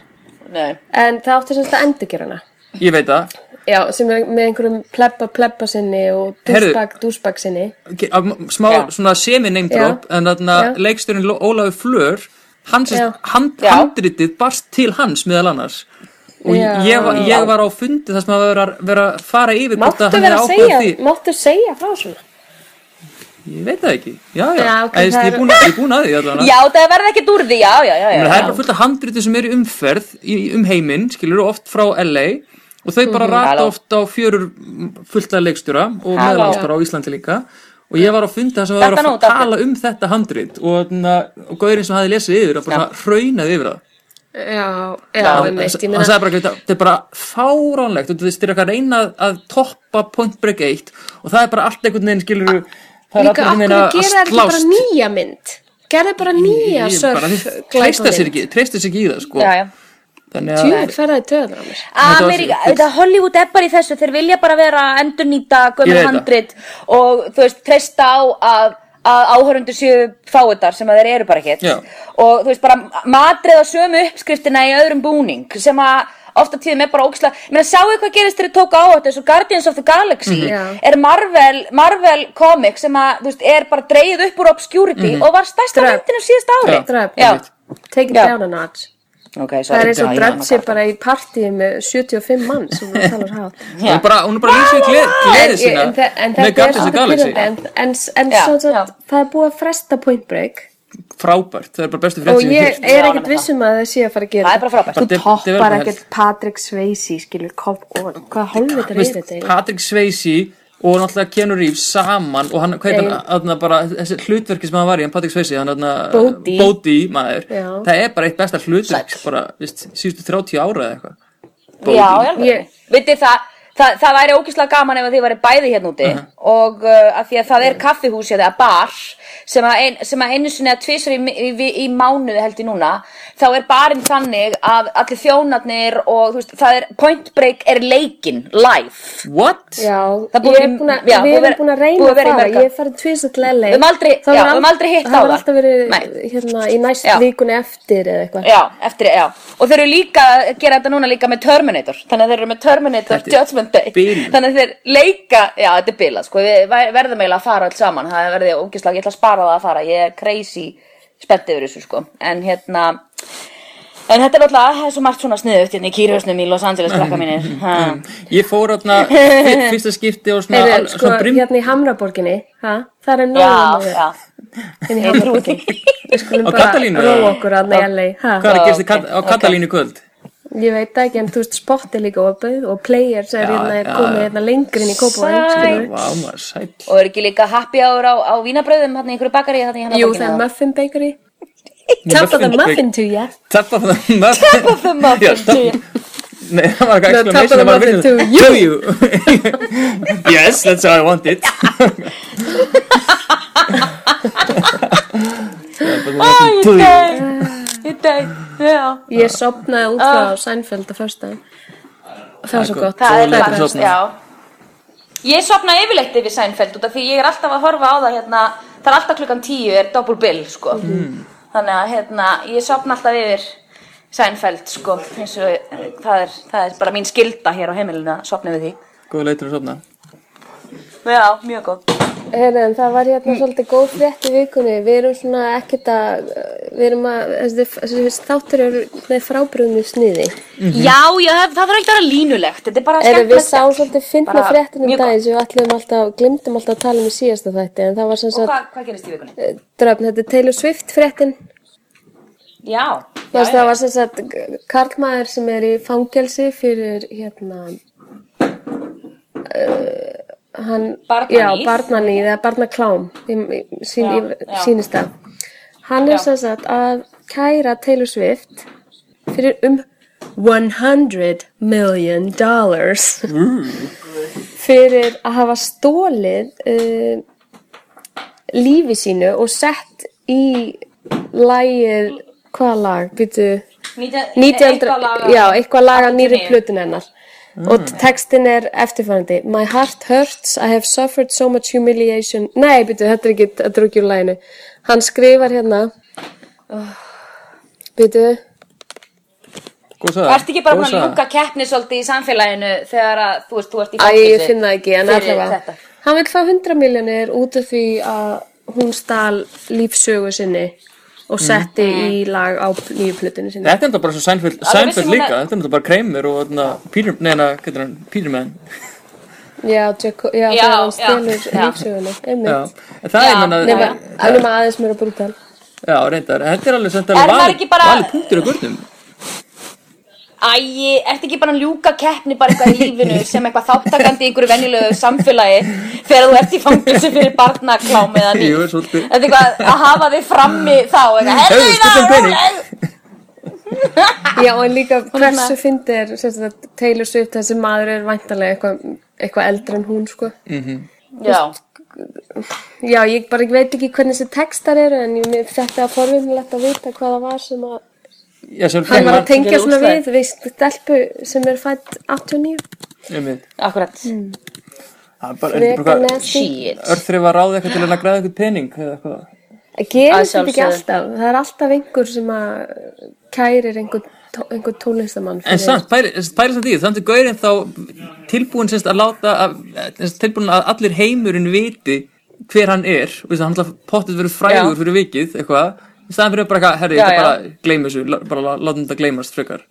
Speaker 7: Nei.
Speaker 4: en það átti semst að endurgera hana.
Speaker 6: ég veit það
Speaker 4: Já, sem er með einhverjum pleppa pleppa sinni og
Speaker 6: Heyrðu.
Speaker 4: dúsbak dúsbak sinni.
Speaker 6: Ok, að m- smá
Speaker 7: Já.
Speaker 6: svona semi-name drop
Speaker 4: Já.
Speaker 6: en þarna
Speaker 4: Já.
Speaker 6: leiksturinn Ólafur Flör hans
Speaker 4: Já.
Speaker 6: er hand,
Speaker 7: Já.
Speaker 6: handritið barst til hans meðal annars og
Speaker 4: Já.
Speaker 6: ég, var- ég var á fundi þar sem að vera, vera að fara yfir hvort
Speaker 4: Máttu
Speaker 6: að hann
Speaker 4: vera að
Speaker 6: hefði áhuga á
Speaker 4: segja, máttu segja frá svona?
Speaker 6: ég veit það ekki, já já,
Speaker 4: Já, ok,
Speaker 6: Æ, ég,
Speaker 4: það
Speaker 6: ég,
Speaker 4: er-
Speaker 6: er búin, ég er búin að því allavega.
Speaker 7: Já, það verði ekkert úr því, já, já, já, já.
Speaker 6: Menn, það er
Speaker 7: já.
Speaker 6: bara fullt af handritu sem eru í umferð í, um heiminn, skilur, oft frá LA og þau
Speaker 4: Mhm.
Speaker 6: bara rata
Speaker 7: Halló.
Speaker 6: oft á fjörur mm, fullt af leikstjóra og
Speaker 7: Halló.
Speaker 6: meðlans bara á Íslandi líka og ég var á fundi það sem var að
Speaker 7: Þetta nú,
Speaker 6: fara að tala um þetta handrit og, na, og gaurinn sem hafi lesið yfir að bara svona hraunað yfir það
Speaker 4: Já, já,
Speaker 6: hann
Speaker 4: einmitt, ég
Speaker 6: hann
Speaker 4: meina-
Speaker 6: sagði bara, "Þetta- þetta er bara fáránlegt og þú veist, þeir eru eitthvað að reyna að toppa point break 1 og það er bara allt einhvern veginn skilur það er
Speaker 4: Líka,
Speaker 6: allir
Speaker 4: okkur
Speaker 6: einhvern
Speaker 4: gera þetta
Speaker 6: veginn að
Speaker 4: ekki bara
Speaker 6: slást
Speaker 4: nýja mynd? Gerðu bara nýja
Speaker 6: Ég
Speaker 4: sörf
Speaker 6: bara- þeir treysta sér ekki, treysta sér ekki í það sko.
Speaker 7: Já, já.
Speaker 6: Þannig að-
Speaker 4: Tjúið ferðaði töður á mér.
Speaker 6: Þetta var-
Speaker 7: Amerika, þetta Hollywood er bara í þessu þeir vilja bara vera að endurnýta
Speaker 6: Ég
Speaker 7: gömur
Speaker 6: veit það.
Speaker 7: handrit og þú veist, treysta á að, að áhörundur séu fáiðar sem að þeir eru bara hér
Speaker 6: Já.
Speaker 7: og þú veist, bara matriða sömu uppskriftina í öðrum búning sem að ofta tíðum er bara ógislega, ég meina sáu hvað gerist þegar þeir tóku á þetta, eins og Guardians of the Galaxy
Speaker 6: Mhm.
Speaker 4: Já.
Speaker 7: er Marvel, Marvel comic sem að, þú veist, er bara dreigð upp úr obscurity
Speaker 6: Mhm.
Speaker 7: og var stærsta
Speaker 4: Dröfn.
Speaker 7: myndin á síðasta ári
Speaker 6: Já.
Speaker 4: Dröfn.
Speaker 7: Já.
Speaker 4: Take it
Speaker 7: Já.
Speaker 4: down a notch.
Speaker 7: Okay,
Speaker 4: Það er eins og
Speaker 7: sorry.
Speaker 4: dröfn sér bara í partíi með 75 mann sem við talar hátt.
Speaker 6: Hún er bara, hún er bara lýsið gleð,
Speaker 4: En,
Speaker 6: gleði
Speaker 4: en,
Speaker 6: sína
Speaker 4: en, þe- en
Speaker 6: með
Speaker 4: þetta er
Speaker 6: Guardians of the
Speaker 4: svolítið
Speaker 6: Galaxy.
Speaker 4: pyrrandi. En, en, en
Speaker 7: Já,
Speaker 4: svo
Speaker 7: já.
Speaker 4: að það er búið að fresta point break
Speaker 6: Frábært, það er bara bestu
Speaker 4: og
Speaker 6: frétt sem ég
Speaker 4: ég
Speaker 6: hýrt.
Speaker 4: er
Speaker 7: Já,
Speaker 4: ekkert
Speaker 7: með
Speaker 4: vissum að það sé að fara að gera
Speaker 7: Það er bara frábært.
Speaker 4: Þú
Speaker 6: Bara de-
Speaker 4: toppar
Speaker 6: development.
Speaker 4: ekkert Patrick Swayze, skilur, kom on. Hvað hálfveitar er þetta? eiginlega?
Speaker 6: Patrick Swayze og náttúrulega Keanu Reeves saman og hann, hvað er hann, aðna bara þessi hlutverki sem hann var í, hann Patrick Swayze hann aðna,
Speaker 4: Bodhi.
Speaker 6: Bodhi, maður
Speaker 4: Já.
Speaker 6: það er bara eitt besta hlutverk, bara, víst, síðustu 30 ára eða eitthvað
Speaker 7: Já, já,
Speaker 4: Ég-
Speaker 7: Vitið það, það, það væri ógislega gaman ef að þið væri bæði hérna úti og uh, að því að það er kaffihús eða bar sem að, ein, sem að einu sinni að tvisar í, í, í, í mánuði held ég núna þá er barinn þannig að allir þjónarnir og þú veist, það er point break er leikin, live
Speaker 6: What?
Speaker 4: Já,
Speaker 7: Það er búið
Speaker 4: ég
Speaker 7: að-
Speaker 4: er búin að,
Speaker 7: já,
Speaker 4: við
Speaker 7: búið að
Speaker 4: erum
Speaker 7: vera-
Speaker 4: búin að
Speaker 7: búið
Speaker 4: reyna
Speaker 7: að
Speaker 4: að
Speaker 7: vera í
Speaker 4: fara,
Speaker 7: mörg
Speaker 4: ég
Speaker 7: ár.
Speaker 4: hef farið tvisat leðleik.
Speaker 7: Við höfum aldrei- já, við höfum aldrei hitt á
Speaker 4: Það
Speaker 7: það.
Speaker 4: var alltaf verið
Speaker 7: Nei.
Speaker 4: hérna, í næst
Speaker 7: Já.
Speaker 4: vikunni eftir eða eitthvað.
Speaker 7: Já, eftir, já. Og þeir eru líka að gera þetta núna líka með Terminator. Þannig að þeir eru með Terminator
Speaker 6: Þetta er-
Speaker 7: Judgment Sunday
Speaker 6: Bilun.
Speaker 7: þannig að þeir leika, já þetta er bila sko, við væ- verðum eiginlega að fara alls saman það verði ógislega, ég ætla að spara það að fara ég er crazy spennt yfir þessu sko en hérna en þetta er náttúrulega, það er svo margt svona sniðugt hérna í kýrhausnum í Los Angeles
Speaker 6: Mm.
Speaker 7: krakka mínir ha.
Speaker 6: Ég fór átna fyrsta skipti og svona,
Speaker 4: Heyrðu,
Speaker 6: al-
Speaker 4: sko,
Speaker 6: svona brim...
Speaker 4: hérna í Hamraborginni, ha? það er
Speaker 7: já,
Speaker 4: nógum hérna
Speaker 7: já,
Speaker 4: í
Speaker 7: ég trúi
Speaker 4: Hamraborginni.
Speaker 7: því
Speaker 4: Við skulum
Speaker 6: Á Katalínu?
Speaker 4: bara róa okkur að nægja
Speaker 6: Hvað
Speaker 4: ha?
Speaker 6: er að gerst í
Speaker 7: ok,
Speaker 6: Kat- á
Speaker 7: ok.
Speaker 6: Katalínu í kvöld?
Speaker 4: Ég veit það ekki, en þú veist, spott er líka opið og players er
Speaker 6: Já,
Speaker 4: hérna
Speaker 6: já,
Speaker 4: komið
Speaker 6: já.
Speaker 4: hérna lengri inn í Kópavæg,
Speaker 7: Sæt.
Speaker 4: skilur við.
Speaker 6: Vá, maður sæll.
Speaker 7: og er ekki líka happy hour á, á vínabröðum hann í einhverju bakari hann í hérna hann
Speaker 4: Jú, það er Muffin Bakery. Top of the Muffin to you.
Speaker 6: Top of the muffin.
Speaker 7: Top of the muffin
Speaker 6: Já, top-
Speaker 7: to you.
Speaker 6: Nei, það var eitthvað
Speaker 4: No,
Speaker 6: exclamation.
Speaker 4: top of the
Speaker 6: það var
Speaker 4: muffin
Speaker 6: virðið-
Speaker 4: to
Speaker 6: To you. yes, that's how I want it.
Speaker 7: Ég deg, ég deg, já
Speaker 4: Ég sopnaði út frá Seinfeld að fyrsta. Ah. Það var svo
Speaker 6: gott.
Speaker 4: gott.
Speaker 7: Það
Speaker 6: Þú
Speaker 7: er
Speaker 6: lætur
Speaker 7: bara,
Speaker 6: sofna.
Speaker 7: já Ég sopna yfirleitt yfir Seinfeld út af því ég er alltaf að horfa á það hérna Það er alltaf klukkan tíu er double bill, sko Þannig að hérna, ég sopna alltaf yfir Seinfeld, sko eins og eh, það er, það er bara mín skilda hér á heimilinu að sopna við því
Speaker 6: Góða leitur að sofna.
Speaker 7: Já, mjög góð
Speaker 4: Herðu, en það var hérna svolítið góð frétt í vikunni. Við erum svona ekkert að, við erum að, þessi, þessi þáttur eru með frábrúinu sniði.
Speaker 7: Já, já, það það þarf ekki að vera línulegt Þetta er bara
Speaker 4: Eru við
Speaker 7: skemmtilegt
Speaker 4: sáum svolítið fyndna
Speaker 7: Bara
Speaker 4: fréttin um
Speaker 7: mjög
Speaker 4: daginn sem við allir alltaf, glimtum alltaf að tala um í síðasta þætti, en það var sem
Speaker 7: Og
Speaker 4: sagt,
Speaker 7: hvað, hvað gerist í vikunni?
Speaker 4: drafn, þetta er Taylor Swift fréttin.
Speaker 7: Já,
Speaker 4: Já,
Speaker 7: já,
Speaker 4: það var sem sagt karlmaður sem er í fangelsi fyrir hérna uh, hann,
Speaker 7: Barnaníð.
Speaker 4: já, barnaníð eða barnaklám í, í, sín,
Speaker 7: Já,
Speaker 4: í,
Speaker 7: já.
Speaker 4: sínist það hann er sem sagt að kæra Taylor Swift fyrir um 100 million dollars
Speaker 7: Mm.
Speaker 4: fyrir að hafa stólið uh, lífi sínu og sett í lægið, hvaða lag, býtu 1900, já, eitthvað laga nýri plötun hennar og textin er eftirfærandi My heart hurts, I have suffered so much humiliation nei, býtu, þetta er ekki, þetta er ekki úr læginu hann skrifar hérna Oh, býtu
Speaker 6: Góð saga.
Speaker 7: Ertu ekki bara
Speaker 6: góð
Speaker 7: búin að
Speaker 6: saga.
Speaker 7: ljúka keppni svolítið í samfélaginu þegar að þú veist, þú ert í
Speaker 4: Æ,
Speaker 7: fangelsi
Speaker 4: ég finn það ekki, en
Speaker 7: fyrir
Speaker 4: allavega
Speaker 7: þetta?
Speaker 4: Hann vil fá 100 miljonir út af því að hún stal lífsögu sinni og setti í lag á nýju plötinu sinni
Speaker 6: Þetta er enda bara svo Seinfeld,
Speaker 7: Alveg vissi
Speaker 6: Seinfeld
Speaker 7: hún
Speaker 6: líka,
Speaker 7: að-
Speaker 6: þetta er enda bara Kramer og þarna Peter, neina, hvað er hann, Peterman
Speaker 4: Já, Jaco, já,
Speaker 7: Já,
Speaker 4: já hann
Speaker 7: já,
Speaker 4: stelur
Speaker 7: já.
Speaker 4: lífsöguna, einmitt
Speaker 6: Já, en það
Speaker 7: Já,
Speaker 6: er manna,
Speaker 4: Nema, nema aðeins mér að brúta
Speaker 6: já, reyndar, en þetta er alveg sent
Speaker 7: Er
Speaker 6: alveg
Speaker 7: maður
Speaker 6: valið,
Speaker 7: ekki bara-
Speaker 6: valið punktur á gurnum
Speaker 7: Æ, ertu ekki bara að ljúka keppni bara eitthvað í lífinu sem eitthvað þáttakandi í einhverju venjulegu samfélagi þegar þú ert í fangelsi fyrir barnaklám eða ný
Speaker 6: Jú, svolítið.
Speaker 7: Þetta er eitthvað að hafa þig frammi þá eitthvað,
Speaker 6: Hefðu,
Speaker 7: "Heyrðu,
Speaker 6: skuldum
Speaker 7: Ívar,
Speaker 6: pening."
Speaker 7: heyrðu."
Speaker 4: Já, og líka hversu fyndi er sem sagt, Taylor Swift, þessi maður er væntanlega eitthvað eitthva eldri en hún, sko
Speaker 7: Já,
Speaker 4: Já, ég bara veit ekki hvernig þessi textar eru en ég mér þetta að forvinnilegt að vita hvað það var sem að
Speaker 6: Já, sem
Speaker 4: hann var að tengja
Speaker 6: gerði
Speaker 4: svona
Speaker 6: útslagið.
Speaker 4: við við stelpu sem er fætt 89
Speaker 6: Einmitt.
Speaker 7: akkurat
Speaker 6: Það er bara, er þetta
Speaker 4: Frekar
Speaker 6: bara hvað,
Speaker 4: nasty.
Speaker 7: Shit
Speaker 6: örþrið var ráðið eitthvað til að græða eitthvað pening eða eitthvað
Speaker 4: gerist þetta ekki
Speaker 7: sjálfsögðu.
Speaker 4: alltaf það er alltaf einhver sem að kærir einhver, tó, einhver tónlistamann
Speaker 6: En
Speaker 4: fyrir-
Speaker 6: samt, pæli pæli samt í því, þannig að gaurinn þá tilbúin semst að láta, að, semst tilbúin að allir heimurinn viti hver hann er, og þess að hann ætla pottið verið frægur
Speaker 7: Já.
Speaker 6: fyrir vikið, eitthvað, í staðan fyrir bara eitthvað, herri,
Speaker 7: Já,
Speaker 6: ég ætla
Speaker 7: já.
Speaker 6: bara að gleyma þessu, lá- bara lá- látum þetta gleymast frekar.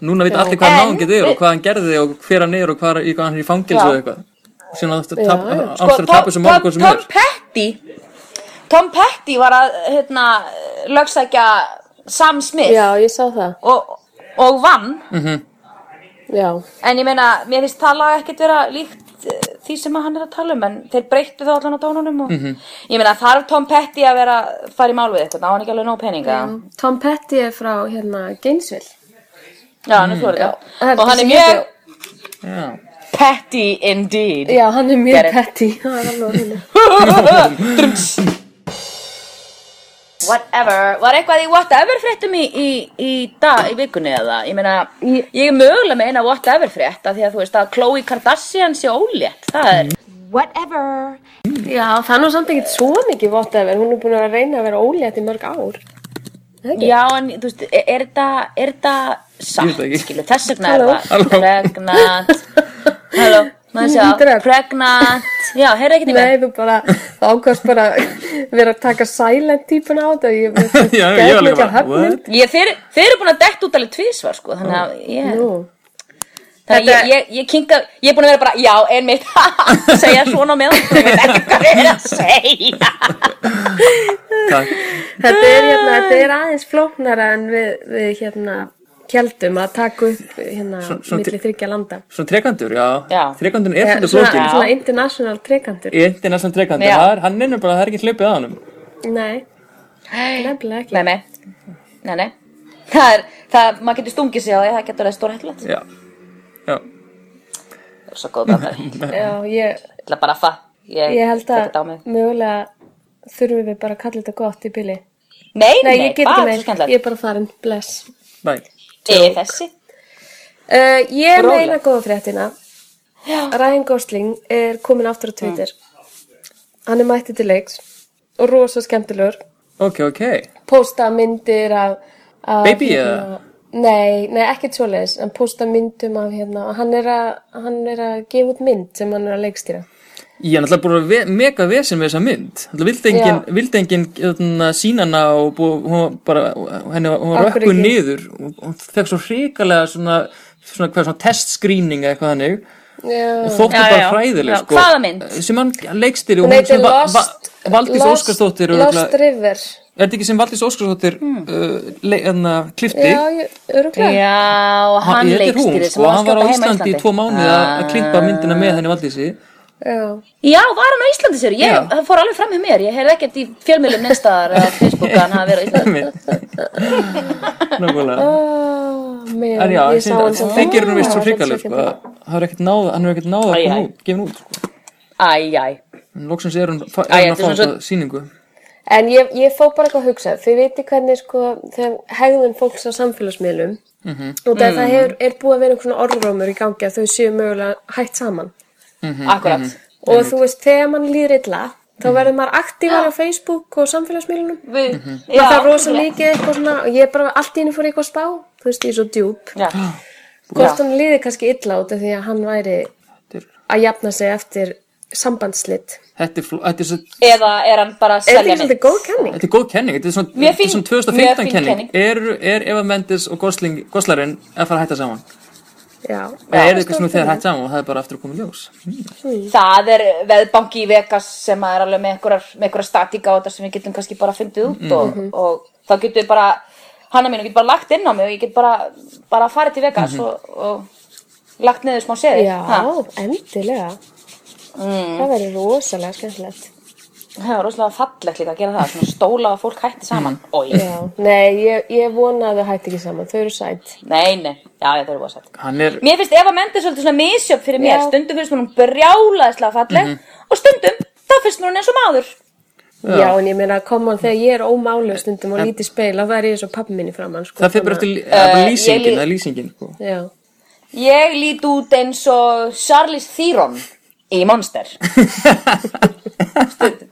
Speaker 6: Núna veit allir hvað
Speaker 7: En-
Speaker 6: náungið er og hvað hann gerði og hver hann er og hvað, hvað hann er í fangelsu
Speaker 7: Já.
Speaker 6: og eitthvað. Og síðan áttu að tapa,
Speaker 7: Sko,
Speaker 6: áttu að tapa þessu málgóð sem
Speaker 7: Tom
Speaker 6: er.
Speaker 7: Petty Tom Petty var að hérna, lögsækja Sam Smith
Speaker 4: Já, ég sá það
Speaker 7: og, og vann
Speaker 4: Já,
Speaker 7: en ég meina, mér finnst það lag ekkert vera líkt eh, því sem að hann er að tala um en þeir breyttu það allan á dónunum og ég meina þarf Tom Petty að vera fara í mál við eitthvað, þá á hann ekki alveg nóg peninga
Speaker 4: Tom Petty er frá hérna Gainesville
Speaker 7: Mm, já, hann er Florida
Speaker 4: Það er
Speaker 7: og hann er
Speaker 4: þessi
Speaker 7: mjög
Speaker 4: heiti-
Speaker 6: Já.
Speaker 7: Petty indeed
Speaker 4: Já, hann er mjög
Speaker 7: Get it.
Speaker 4: Petty Það er alveg á hreinu.
Speaker 7: Drums. Whatever, var eitthvað í whatever fréttum í, í, í dag, í vikunni eða, ég meina,
Speaker 4: Í-
Speaker 7: ég er mögulega með eina whatever frétt af því að þú veist að Khloe Kardashian sé ólétt, það er,
Speaker 4: Já, það er nú samt ekkert svo mikið whatever Hún er búin að reyna að vera ólétt í mörg ár
Speaker 7: já en þú veist, e, er- er þetta, er þetta
Speaker 6: Ég veit
Speaker 7: satt,
Speaker 6: ekki.
Speaker 7: skilu, þess vegna er
Speaker 4: Halló.
Speaker 7: það,
Speaker 6: Halló.
Speaker 7: regnat, Hello, maður
Speaker 4: Lítur
Speaker 7: sjá,
Speaker 4: upp.
Speaker 7: pregnant Já, heyrðu ekkert í mig
Speaker 4: Nei, þú bara, þá ákvæmst bara vera að taka silent típun á þetta ég, ég, ég,
Speaker 6: Já, ég var líka bara, what?
Speaker 7: Ég, þeir, þeir eru búin að detta út alveg tvísvar sko, þannig að ég, þannig
Speaker 4: Þetta-
Speaker 7: að ég, ég, ég kinga, ég er búin að vera bara, já, einmitt, segja svona með, ég veit ekki hvað ég er að segja.
Speaker 6: Takk.
Speaker 4: Þetta er, hérna, þetta er aðeins flóknara en við, við hérna, kjaldum að taka upp hérna,
Speaker 6: svona
Speaker 4: milli þryggja landa.
Speaker 6: Svona trekandur, já.
Speaker 7: Já.
Speaker 6: Trekandurinn er
Speaker 4: Svona,
Speaker 6: svolítið flókin.
Speaker 4: svona international trekantur.
Speaker 6: International trekandur,
Speaker 7: Já.
Speaker 6: það er, hann er nú bara, það er ekki hlipið að honum.
Speaker 4: Nei, nefnilega ekki.
Speaker 7: Nei, nei, nei, nei, það er, það, maður getur stungið sig á því, það getur alveg stóra hættulegt.
Speaker 6: Já. Já.
Speaker 7: Það er svo góð bara, ég
Speaker 4: Já, ég,
Speaker 7: ætla bara að fa, ég,
Speaker 4: ég held
Speaker 7: tek þetta á
Speaker 4: að
Speaker 7: mig.
Speaker 4: mögulega þurfum við bara að kalla þetta gott í bili.
Speaker 7: Nei,
Speaker 4: Nei, ég get ekki
Speaker 7: bara svo
Speaker 4: meir.
Speaker 7: skemmtilegt.
Speaker 4: Ég er bara farin. Bless.
Speaker 6: Bæ.
Speaker 7: Ég er þessi.
Speaker 4: Uh, ég er
Speaker 7: Róleg.
Speaker 4: meina góða fréttina. Ryan Gosling er komin aftur á Twitter.
Speaker 7: Mm.
Speaker 4: Hann er mættið til leiks og rosa skemmtilegur.
Speaker 6: Ok, ok.
Speaker 4: posta myndir af, af
Speaker 6: Baby,
Speaker 4: hérna, nei, nei, ekkert svoleiðis en posta myndum af hérna og hann er, að, hann er að gefa út mynd sem hann er að leikstýra
Speaker 6: Ég er náttúrulega búin að ve mega vesen með þessa mynd. Náttúrulega vildi enginn,
Speaker 4: Já.
Speaker 6: vildi enginn hérna, sína hana og bú, hún var bara, henni, var- hún var
Speaker 4: Af hverju
Speaker 6: rökkuð
Speaker 4: ekki?
Speaker 6: niður og hún fekk svo hrikalega svona, svona, hvað, svona testscreening eða eitthvað þannig.
Speaker 4: Uh, Já.
Speaker 6: og þótti
Speaker 7: Já, já,
Speaker 6: bara
Speaker 7: já.
Speaker 6: hræðileg
Speaker 7: Já,
Speaker 6: sko.
Speaker 7: hvaða mynd?
Speaker 6: sem hann leikstir
Speaker 4: hún heitir Lost
Speaker 6: Valdís
Speaker 4: Lost-
Speaker 6: Óskarsdóttir
Speaker 4: Lost
Speaker 6: örugglega-
Speaker 4: River
Speaker 6: er þetta ekki sem Valdís Óskarsdóttir mm. uh, klifti
Speaker 4: já, ég- örugglega
Speaker 7: Já, og
Speaker 6: þetta
Speaker 7: hann
Speaker 6: er hún
Speaker 7: leikstýrið sem
Speaker 6: sko, hann var á
Speaker 7: skjóta heima
Speaker 6: Íslandi í tvo mánuði að
Speaker 7: Ah.
Speaker 6: að klippa myndina með henni Valdísi
Speaker 4: já.
Speaker 7: Já, var hann á Íslandi sér, ég,
Speaker 6: Já.
Speaker 7: það fór alveg fram með mér, ég heyrði ekkert í fjölmjölum neinstaðar eða Facebook að hann hafi verið á Íslandi.
Speaker 6: nákvæmlega
Speaker 4: Oh, man,
Speaker 6: en já,
Speaker 4: ég sá hann sem Ah,
Speaker 6: það gerir hún vist svo hrikaleg sko.
Speaker 4: Já,
Speaker 6: hann er ekkert náð hann er ekkert náð að
Speaker 7: Æ,
Speaker 6: koma
Speaker 7: æ.
Speaker 6: út gefin út sko.
Speaker 7: Æ, æ,
Speaker 6: en loksins er hann er
Speaker 7: Æ,
Speaker 6: hann
Speaker 7: þetta
Speaker 6: að
Speaker 7: er
Speaker 6: fá
Speaker 7: svona
Speaker 6: þetta síningu
Speaker 4: En ég, ég fó bara eitthvað að hugsa, þið viti hvernig sko, þegar hegðun fólks á samfélagsmiðlum
Speaker 6: Mhm.
Speaker 4: og það, það hefur, er búið að vera einhvern orðrómur í gangi að þau séu mögulega hægt saman
Speaker 7: akkurat.
Speaker 4: og þú veist, þegar mann líður illa þá
Speaker 6: Mhm.
Speaker 4: verður maður aktívar á Facebook og samfélagsmiðlunum
Speaker 7: Við,
Speaker 4: Já, það er rosa mikið eitthvað svona og ég bara allt í henni fór eitthvað að spá þú veist, ég er svo djúp
Speaker 7: Já,
Speaker 6: Ah.
Speaker 4: hvort hann líði kannski illa út af því að hann væri
Speaker 6: Þetta er-
Speaker 4: að jafna sig eftir sambandsslitt
Speaker 6: þetta er fló- þetta er svo-
Speaker 7: eða er hann bara að
Speaker 4: er þetta
Speaker 7: selja
Speaker 4: ekki
Speaker 7: mynd?
Speaker 4: svolítið góð kenning?
Speaker 6: Þetta er góð kenning, þetta er svona,
Speaker 7: Mjög
Speaker 6: þetta er
Speaker 7: fín-
Speaker 6: svona
Speaker 7: mjög fín
Speaker 6: 2015 kenning.
Speaker 7: kenning.
Speaker 6: Er, er Eva Mendes og Gosling, Goslarinn að fara að hætta saman?
Speaker 4: Já,
Speaker 6: Eða er
Speaker 4: Já,
Speaker 6: þetta kannski
Speaker 4: stór
Speaker 6: nú þegar
Speaker 4: kenning.
Speaker 6: hætt saman og það er bara aftur að koma í ljós?
Speaker 7: Það er veðbanki í Vegas sem að er alveg með einhverjar, með einhverjar statíka á þetta sem við getum kannski bara fundið út og, og þá getum við bara, hanna mínu getur bara lagt inn á mig og ég get bara, bara farið til Vegas og, og lagt neður smá seði.
Speaker 4: Já, endilega það verður rosalega skemmtilegt
Speaker 7: Það var rosalega fallegt líka að gera það, svona stóla að fólk hætti saman. Ói,
Speaker 4: Já, nei, ég, ég vona að þau hætti ekki saman, þau eru sætt
Speaker 7: nei, nei, já, já, það er búið að sætt.
Speaker 6: Hann er,
Speaker 7: Mér finnst Eva Mendes svolítið svona misjöf fyrir mér,
Speaker 4: Já.
Speaker 7: stundum finnst mér hún brjálaðislega falleg og stundum, þá finnst mér hún eins og maður.
Speaker 4: Já, en ég meina, come on, þegar ég er ómálu stundum og lítið speil, þá verður ég svo pappi minni framann sko,
Speaker 6: það fyrir bara
Speaker 4: þannig
Speaker 6: eftir lí- það er bara
Speaker 7: Uh, ég
Speaker 6: lýsingin,
Speaker 7: lí-
Speaker 6: það er lýsingin. sko.
Speaker 4: að- Já,
Speaker 7: Ég lít út eins og Charlize Theron í Monster. stundum,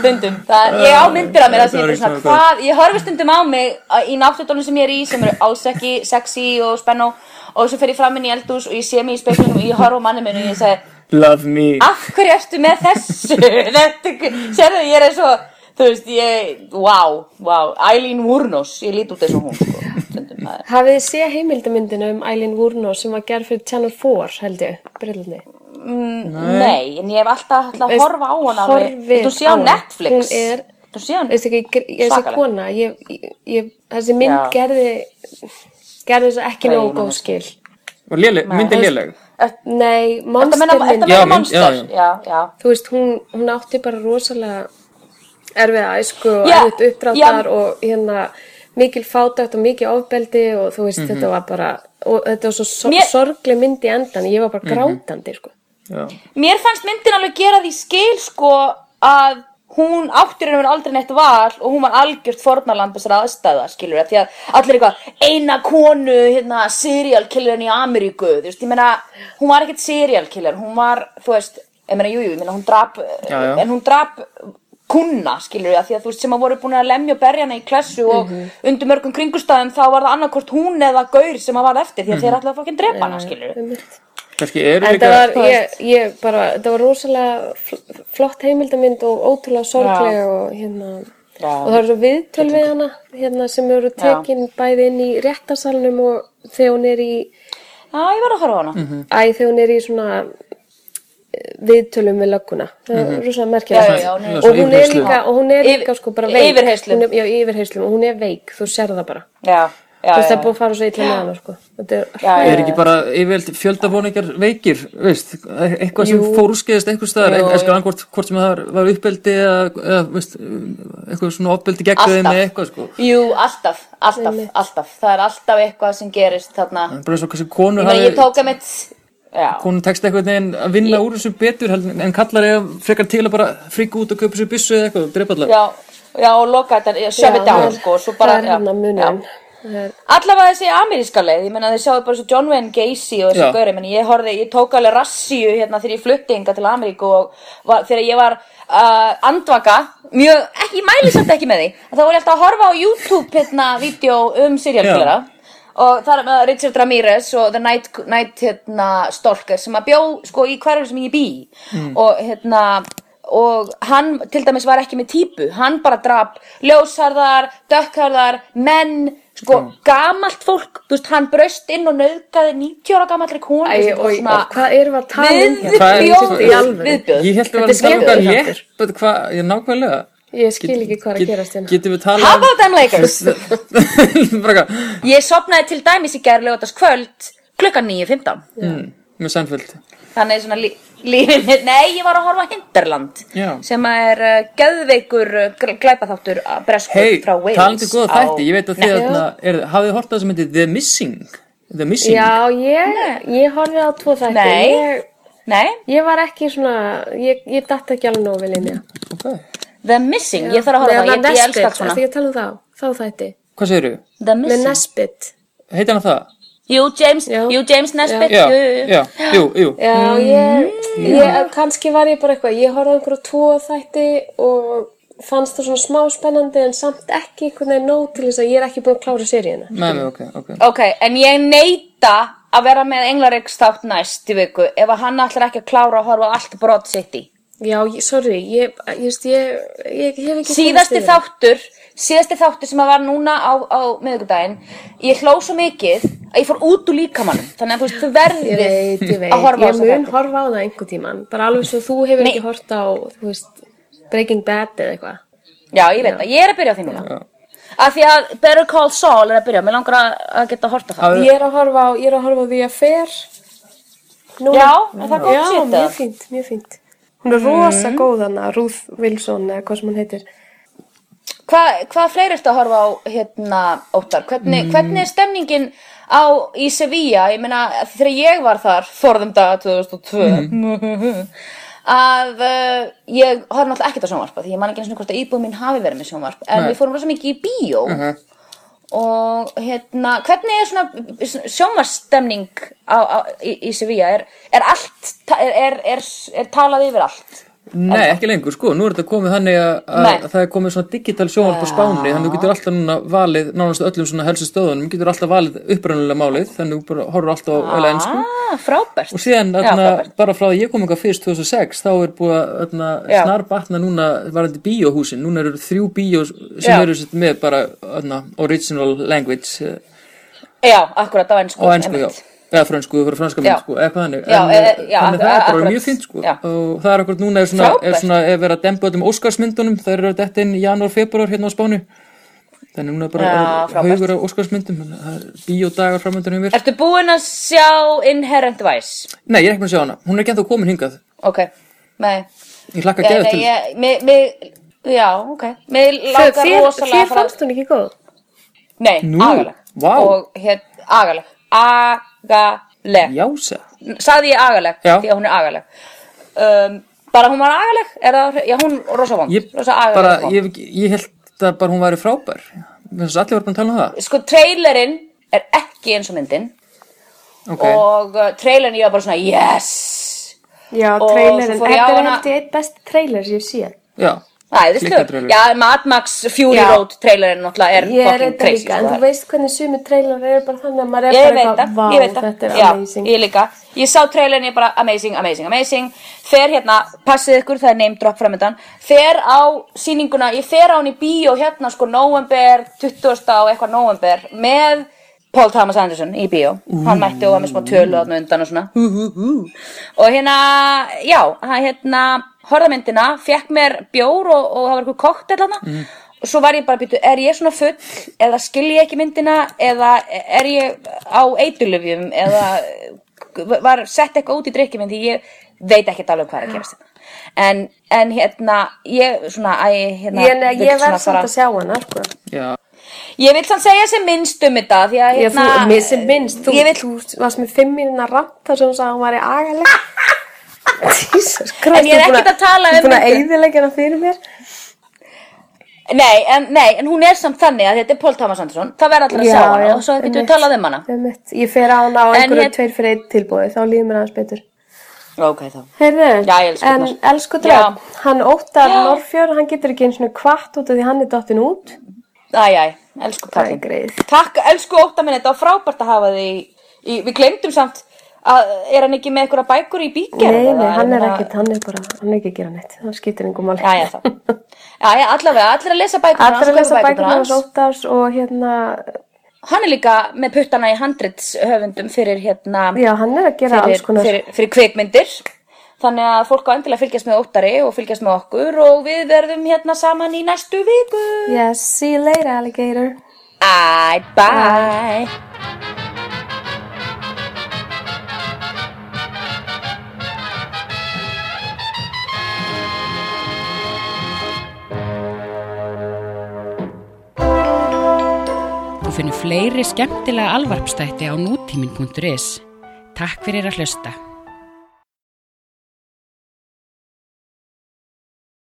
Speaker 7: stundum. Það, ég á myndir af mér að
Speaker 6: Þetta var
Speaker 7: segja
Speaker 6: ekki
Speaker 7: svona,
Speaker 6: svo gott.
Speaker 7: hvað, ég horfi stundum á mig að- í náttúrunum sem ég er í, sem eru alls ekki sexy og spennó og svo fer ég fram inn í eldús og ég sé mig í speiklunum og ég horfi á manni minn og ég segi,
Speaker 6: Love me.
Speaker 7: af hverju ertu með þessu þetta, sérðu, ég er eins og þú veist, ég, wow, wow Eileen Wurnos, ég lít út eins og hún sko. Stundum, það er-
Speaker 4: Hafið þið séð heimildamyndina um Eileen Wurno sem var gerð fyrir Channel 4, held ég, brillunni?
Speaker 7: nei, en ég hef alltaf alltaf að
Speaker 4: Veist,
Speaker 7: horfa á hana alveg.
Speaker 4: horfið
Speaker 7: þú sé á
Speaker 4: á hana.
Speaker 7: Netflix
Speaker 4: Hún er-
Speaker 7: þú sé á
Speaker 4: Veistu ekki, gr- ég er þessi
Speaker 7: Svakaleg.
Speaker 4: kona, ég, ég- ég, þessi mynd
Speaker 7: Já.
Speaker 4: gerði, gerði þessu ekki
Speaker 7: Nei,
Speaker 4: nógu
Speaker 7: ég man
Speaker 4: góð
Speaker 7: ekki.
Speaker 4: skil.
Speaker 6: Og léleg, myndin léleg.
Speaker 4: Nei,
Speaker 7: Þetta meina, þetta
Speaker 4: monstermynd,
Speaker 7: meina
Speaker 6: Já, mynd-
Speaker 7: monster,
Speaker 6: já,
Speaker 7: já, já, já.
Speaker 4: þú veist, hún, hún átti bara rosalega erfiða æsku og
Speaker 7: Já,
Speaker 4: erfitt uppdráttar
Speaker 7: já.
Speaker 4: og hérna mikil fátækt og mikil ofbeldi og þú veist, þetta
Speaker 6: Mhm.
Speaker 4: var bara, og þetta var svo sor
Speaker 7: Mér-
Speaker 4: sorgleg mynd í endan, ég var bara
Speaker 6: Mhm.
Speaker 4: grátandi, sko.
Speaker 6: Já.
Speaker 7: Mér fannst myndin alveg gera því skil sko að hún átti raunum aldrei neitt val og hún var algjört fornalamb þessar aðstæða skilur það því að allir eitthvað eina konu hérna serial killerinn í Ameríku þú veist ég meina hún var ekkert serial killer hún var þú veist ég meina jújú jú, ég meina hún drap
Speaker 6: Já, já.
Speaker 7: en hún drap kunna skilur það því að þú veist sem að voru búin að lemja og berja hana í klessu
Speaker 4: Mhm.
Speaker 7: og undir mörgum
Speaker 4: Mhm.
Speaker 7: kringustæðum þá var það annarkort hún eða gaur sem að var eftir því að þeir ætlaði að fokkin drepa hana skilur
Speaker 4: Einmitt.
Speaker 6: kannski eru
Speaker 4: En
Speaker 6: líka
Speaker 4: það var, ég, ég bara, það var rosalega fl- flott heimildamind og ótrúlega sorglega og hérna,
Speaker 3: Já.
Speaker 4: og það eru svo viðtöl við hana, hérna, sem eru tekin bæði inn í réttarsalnum og þegar hún er í,
Speaker 3: Já, ég var að horfa á hana.
Speaker 7: Mm.
Speaker 4: æ, þegar hún er í svona eh, viðtölum við lögguna, það er rosalega merkilega.
Speaker 7: Mm-hmm. Já, já, já,
Speaker 4: og hún
Speaker 7: hún er-
Speaker 4: er
Speaker 6: Yfirheyrslu.
Speaker 4: líka, og hún er
Speaker 7: Yfir-
Speaker 4: líka sko bara veik.
Speaker 7: yfirheyrslum.
Speaker 4: Hún er- Já, yfirheyslum, og hún er veik, þú sér það bara.
Speaker 3: Já, já,
Speaker 4: Þú veist,
Speaker 3: já.
Speaker 4: það er búið að fara svo illa með hana, sko. Þetta er
Speaker 3: já.
Speaker 6: er ekki bara yfirveld fjöldafóningar veikir veist, eitthvað sem fórskeiðist einhver staðar,
Speaker 7: Jú,
Speaker 6: eitthvað annað hvort, hvort sem það var uppbeldi eða, eða veist, eitthvað svona uppbeldi gegn þeim eða
Speaker 7: Alltaf.
Speaker 6: eitthvað sko
Speaker 7: Jú, alltaf, alltaf, alltaf. Það er alltaf eitthvað sem gerist þarna.
Speaker 6: bara svo kannski konur
Speaker 7: Ég meina, ég tók að mitt, já,
Speaker 6: konur tekst eitthvað neginn að vinna úr þessu betur heldur en- en kallar eða frekar til að bara frika út og kaupa sér byssu eða eitthvað og drepa allar
Speaker 7: já, já, og loka þetta,
Speaker 4: Já,
Speaker 7: sjöfið
Speaker 4: það
Speaker 7: down,
Speaker 4: er-
Speaker 7: sko, og svo bara,
Speaker 4: það er hérna hann að munum. Það er
Speaker 7: Allavega þessi ameríska leið, ég meina þið sjáðu bara svo John Wayne Gacy og þessi
Speaker 6: Já.
Speaker 7: gauri, menn ég horfði, ég tók alveg rassíu hérna þegar ég flutti inga til Ameríku og var, þegar ég var uh, andvaka, mjög, ekki, ég mæli samt ekki með því, en þá var ég alltaf að horfa á YouTube hérna vídeo um serialkjöra og það er með Richard Ramirez og The Night, Night hérna, Stalker sem að bjó sko í hverjum sem ég bý mm. og hérna og hann til dæmis var ekki með típu hann bara drap ljósharðar dökkarðar, menn sko
Speaker 4: Mm.
Speaker 7: gamalt fólk, þú veist hann braust inn og nauðgaði 90 ára gamallri konu
Speaker 4: Æ, og, og hvað erum við að tala um
Speaker 6: Hvað er-
Speaker 7: viðbjóð
Speaker 6: í
Speaker 4: alvöru?
Speaker 7: viðbjóð
Speaker 6: ég held að
Speaker 4: Þetta
Speaker 6: við
Speaker 4: er
Speaker 6: varum að
Speaker 4: skemmtilegur
Speaker 6: tala um eitthvað létt but hvað, ég nákvæmlega
Speaker 4: Ég skil ekki hvað er að gerast hérna.
Speaker 6: getum við talað
Speaker 7: How about them Lakers?
Speaker 6: um bara eitthvað
Speaker 7: Ég sopnaði til dæmis í gær lögatast kvöld klukkan 9.15
Speaker 6: mm, með sænfjöld
Speaker 7: Þannig svona lí, lífið mitt Nei, ég var að horfa á Hinterland
Speaker 6: Já.
Speaker 7: sem að er uh, geðveikur uh, gl- glæpaþáttur að bresku
Speaker 6: hei,
Speaker 7: frá Wales
Speaker 6: talandi um góða
Speaker 7: á-
Speaker 6: þætti ég veit að þið
Speaker 7: Nei.
Speaker 6: hérna, er- hafið hort á þess að myndi The Missing The Missing
Speaker 4: Já, ég, ég horfði á tvo þætti.
Speaker 7: Nei.
Speaker 4: Ég,
Speaker 7: Nei,
Speaker 4: ég var ekki svona, ég, ég datt ekki alveg nóg við linja.
Speaker 6: Ok.
Speaker 7: The Missing, ég þarf að horfa á það, ég, ég elska allt
Speaker 4: svona.
Speaker 7: svona
Speaker 4: Það er ekki að tala um þá, þá þætti.
Speaker 6: hvað segirðu?
Speaker 7: The
Speaker 4: Með
Speaker 7: Missing,
Speaker 4: Nesbit.
Speaker 6: heitir hann það?
Speaker 7: jú James,
Speaker 4: Já.
Speaker 7: jú James Nesbitt
Speaker 6: já,
Speaker 7: jú, jú, jú.
Speaker 6: já, jú, jú
Speaker 4: Já, ég, ég, kannski var ég bara eitthvað, ég horfði á einhverju tvo þætti og fannst það svona smá spennandi en samt ekki einhvern veginn nóg til þess að ég er ekki búin að klára seríuna.
Speaker 6: með mig, ok, ok
Speaker 7: Ok, en ég neyta að vera með Englaregs þátt næst í viku ef að hann ætlar ekki að klára að horfa á allt brot sitt í
Speaker 4: Já, ég, sorry, ég, ég, veist, ég, ég hef ekki
Speaker 7: síðasti þáttur síðasti þáttur sem að var núna á, á miðvikudaginn, ég hló svo mikið að ég fór út úr líkamannum þannig að þú veist, þú
Speaker 4: Ég
Speaker 7: verðir
Speaker 4: veit, ég veit,
Speaker 7: að horfa á
Speaker 4: ég
Speaker 7: þessa
Speaker 4: mun
Speaker 7: þætti.
Speaker 4: horfa á það einhver tíman, bara alveg svo þú hefur
Speaker 7: Nei.
Speaker 4: ekki hort á, þú veist, Breaking Bad eða eitthvað.
Speaker 7: já, ég veit það, ég er að byrja á því núna af því að Better Call Saul er að byrja mér langar að, að geta að horta það
Speaker 6: Hafið-
Speaker 4: Ég er að horfa á, ég er að horfa á The Affair. Nú, Mhm.
Speaker 7: Já, er það gott
Speaker 4: Já,
Speaker 7: shit, eða?
Speaker 4: mjög fínt, mjög fínt. Hún er rosa góð hana, Ruth Wilson eða hvað sem hún heitir.
Speaker 7: Hva, hvað fleiri ertu að horfa á hérna, Óttar? Hvernig,
Speaker 6: Mm.
Speaker 7: hvernig er stemningin á, í Sevilla? Ég meina, þegar ég var þar forðum daga 2002
Speaker 6: Mm.
Speaker 7: að uh, ég horf náttúrulega ekkert á sjónvarp af því ég man ekki eins og hvort að íbúð mín hafi verið með sjónvarp en
Speaker 6: Nei. Mhm.
Speaker 7: við fórum rosa mikið í bíó og hérna, hvernig er svona sjónvarstemning á, á, í, í Sevilla? Er, er allt, er, er, er, er talað yfir allt?
Speaker 6: Nei, ekki lengur, sko, nú er þetta komið þannig að,
Speaker 7: Nei.
Speaker 6: að það er komið svona digital sjónvarp á Spáni þannig að þú getur alltaf núna valið, nánast öllum svona helstu stöðunum, getur alltaf valið upprannulega málið, þannig að þú bara horfur alltaf á öll ennsku
Speaker 7: Ah, frábært
Speaker 6: Mm. og síðan
Speaker 7: Já,
Speaker 6: öfna,
Speaker 7: frábært.
Speaker 6: bara frá því ég kom eitthvað fyrst 2006 þá er búið að öfna,
Speaker 7: Já.
Speaker 6: snarbatna núna varandi bíóhúsin, núna eru þrjú bíó sem
Speaker 7: Já.
Speaker 6: eru sitt með bara öfna, original language eh,
Speaker 7: Já, akkurat á ennsku.
Speaker 6: á ennsku, já
Speaker 7: einmitt.
Speaker 6: eða frönsku, þú fyrir franska
Speaker 7: Já.
Speaker 6: mynd, sko, eða hvað þannig
Speaker 7: Já,
Speaker 6: eh,
Speaker 7: eða- já,
Speaker 6: þannig það er bara
Speaker 7: akkurat.
Speaker 6: mjög fínt, sko
Speaker 7: Já.
Speaker 6: og það er akkurat núna er svona, er
Speaker 7: Frábært.
Speaker 6: svona er verið að dempa öllum Óskarsmyndunum það eru þetta inn í janúar, februar hérna á Spáni þannig núna er bara
Speaker 7: Já,
Speaker 6: er
Speaker 7: frábært.
Speaker 6: haugur á Óskarsmyndum þannig að það er bíódagar framöndan hjá mér
Speaker 7: Ertu búinn að sjá Inherent Vice?
Speaker 6: nei, ég er ekki með að sjá hana, hún er ekki ennþá komin hingað
Speaker 7: Ok, nei.
Speaker 6: ég hlakka að
Speaker 7: Ég,
Speaker 6: geða
Speaker 7: nei,
Speaker 6: til
Speaker 7: ég, mig, mig, já, ok. Mér
Speaker 4: Þau-
Speaker 7: langar
Speaker 4: Þér
Speaker 7: rosalega
Speaker 4: þér
Speaker 7: að fara...
Speaker 4: fannst hún ekki góð?
Speaker 7: Nei,
Speaker 6: Nú,
Speaker 7: agaleg.
Speaker 6: vá.
Speaker 7: Og hér, agaleg. Agaleg.
Speaker 6: Jása
Speaker 7: Sagði ég agaleg,
Speaker 6: Já.
Speaker 7: því að hún er agaleg. Um, bara hún var agaleg? Er það, já, hún er rosa vond.
Speaker 6: ég,
Speaker 7: Rosa agaleg.
Speaker 6: bara,
Speaker 7: vond.
Speaker 6: ég, ég held að bara hún væri frábær þess að allir var búin að tala um það
Speaker 7: Sko, trailerinn er ekki eins og myndin.
Speaker 6: okay.
Speaker 7: Og uh, trailerinn ég var bara svona, yes!
Speaker 4: Já,
Speaker 7: Og
Speaker 4: trailerinn,
Speaker 7: svo fór ég á
Speaker 4: þetta er
Speaker 7: hana-
Speaker 4: eftir eitt best trailer sem ég sé.
Speaker 6: já,
Speaker 3: Æðislegur.
Speaker 6: Klikkatrailer.
Speaker 3: Já, Mad Max Fury
Speaker 7: Já.
Speaker 3: Road trailerinn náttúrulega er
Speaker 4: Ég er
Speaker 3: fucking
Speaker 4: þetta
Speaker 3: crazy.
Speaker 4: líka,
Speaker 3: sko.
Speaker 4: en þú veist hvernig sumi trailer eru bara þannig að maður er
Speaker 7: ég
Speaker 4: bara
Speaker 7: veit það,
Speaker 4: vá,
Speaker 7: ég veit
Speaker 4: þetta
Speaker 7: það
Speaker 4: er
Speaker 7: já,
Speaker 4: amazing.
Speaker 7: ég líka, ég sá trailerin ég bara amazing, amazing, amazing fer hérna, passið ykkur, það er name drop framöndan fer á sýninguna ég fer á hann í bíó hérna sko november, 20. og eitthvað november með Paul Thomas Anderson í bíó hann mætti og var með smá tölu þarna undan og svona hú, hú, hú. og hérna, já, hann hérna horfða myndina, fekk mér bjór og, og það var eitthvað koktel hann og svo var ég bara að býtu, er ég svona full eða skil ég ekki myndina eða er ég á eitulöfjum eða var sett eitthvað út í drikkjum en því ég veit ekki alveg hvað er að gerast hérna en, en hérna, ég svona æ, hérna,
Speaker 4: Ég, nei,
Speaker 7: vill
Speaker 4: ég
Speaker 7: svona
Speaker 4: verð samt að sjá hana, sko.
Speaker 6: Já,
Speaker 7: ég vil þannig segja sem minnst um þetta því að
Speaker 4: Ég, þú,
Speaker 7: hérna
Speaker 4: mér sem minnst, þú,
Speaker 7: ég vil
Speaker 4: þú varst með fimm mínuna ramt þar sem þú sagði að hún var í agaleg. Jesus Christ,
Speaker 7: En ég er
Speaker 4: þú búin
Speaker 7: ekkert að tala
Speaker 4: þú
Speaker 7: um
Speaker 4: búin að
Speaker 7: myndina.
Speaker 4: eyðileggja hana fyrir mér.
Speaker 7: Nei en, nei, en hún er samt þannig að þetta er Paul Thomas Anderson það verður allir að sjá hana og svo getum við
Speaker 4: einmitt,
Speaker 7: talað um hana
Speaker 4: einmitt. Ég fer á hana á einhverju
Speaker 7: hér-
Speaker 4: tveir fyrir einn tilbúið, þá líður mér aðeins betur.
Speaker 7: Ok, þá
Speaker 4: Heyrðu,
Speaker 7: Já, ég elsku
Speaker 4: en
Speaker 7: Dröfn.
Speaker 4: elsku dröfn, hann óttar Norfjörn, hann getur ekki einu svona kvart út af því hann er dottin út.
Speaker 7: Æj, æj, elsku
Speaker 4: Það
Speaker 7: Patrik
Speaker 4: er greið.
Speaker 7: Takk, elsku ótta minn, þetta var frábært að hafa þig í, í, Við glemdum samt að er hann ekki með einhverja bækur í hérna? bíkjara?
Speaker 4: Nei, nei, hann er ekkert, hann er bara, hann er ekki að gera neitt, hann skiptir engum máli.
Speaker 7: Já, já, þá Já, já, allavega, allir að lesa bækur
Speaker 4: Allra lesa bækur hans óttars og hérna,
Speaker 7: Hann er líka með puttana í handrits höfundum fyrir hérna
Speaker 4: já, hann er að gera alls
Speaker 7: fyrir,
Speaker 4: konar.
Speaker 7: fyrir, fyrir kveikmyndir Þannig að fólk á endilega að fylgjast með óttari og fylgjast með okkur og við verðum hérna saman í næstu viku
Speaker 4: Yes, see you later, alligator.
Speaker 7: Æ, bye
Speaker 1: Þú finnir fleiri skemmtilega alvarpstætti á nútímin.is. Takk fyrir að hlusta.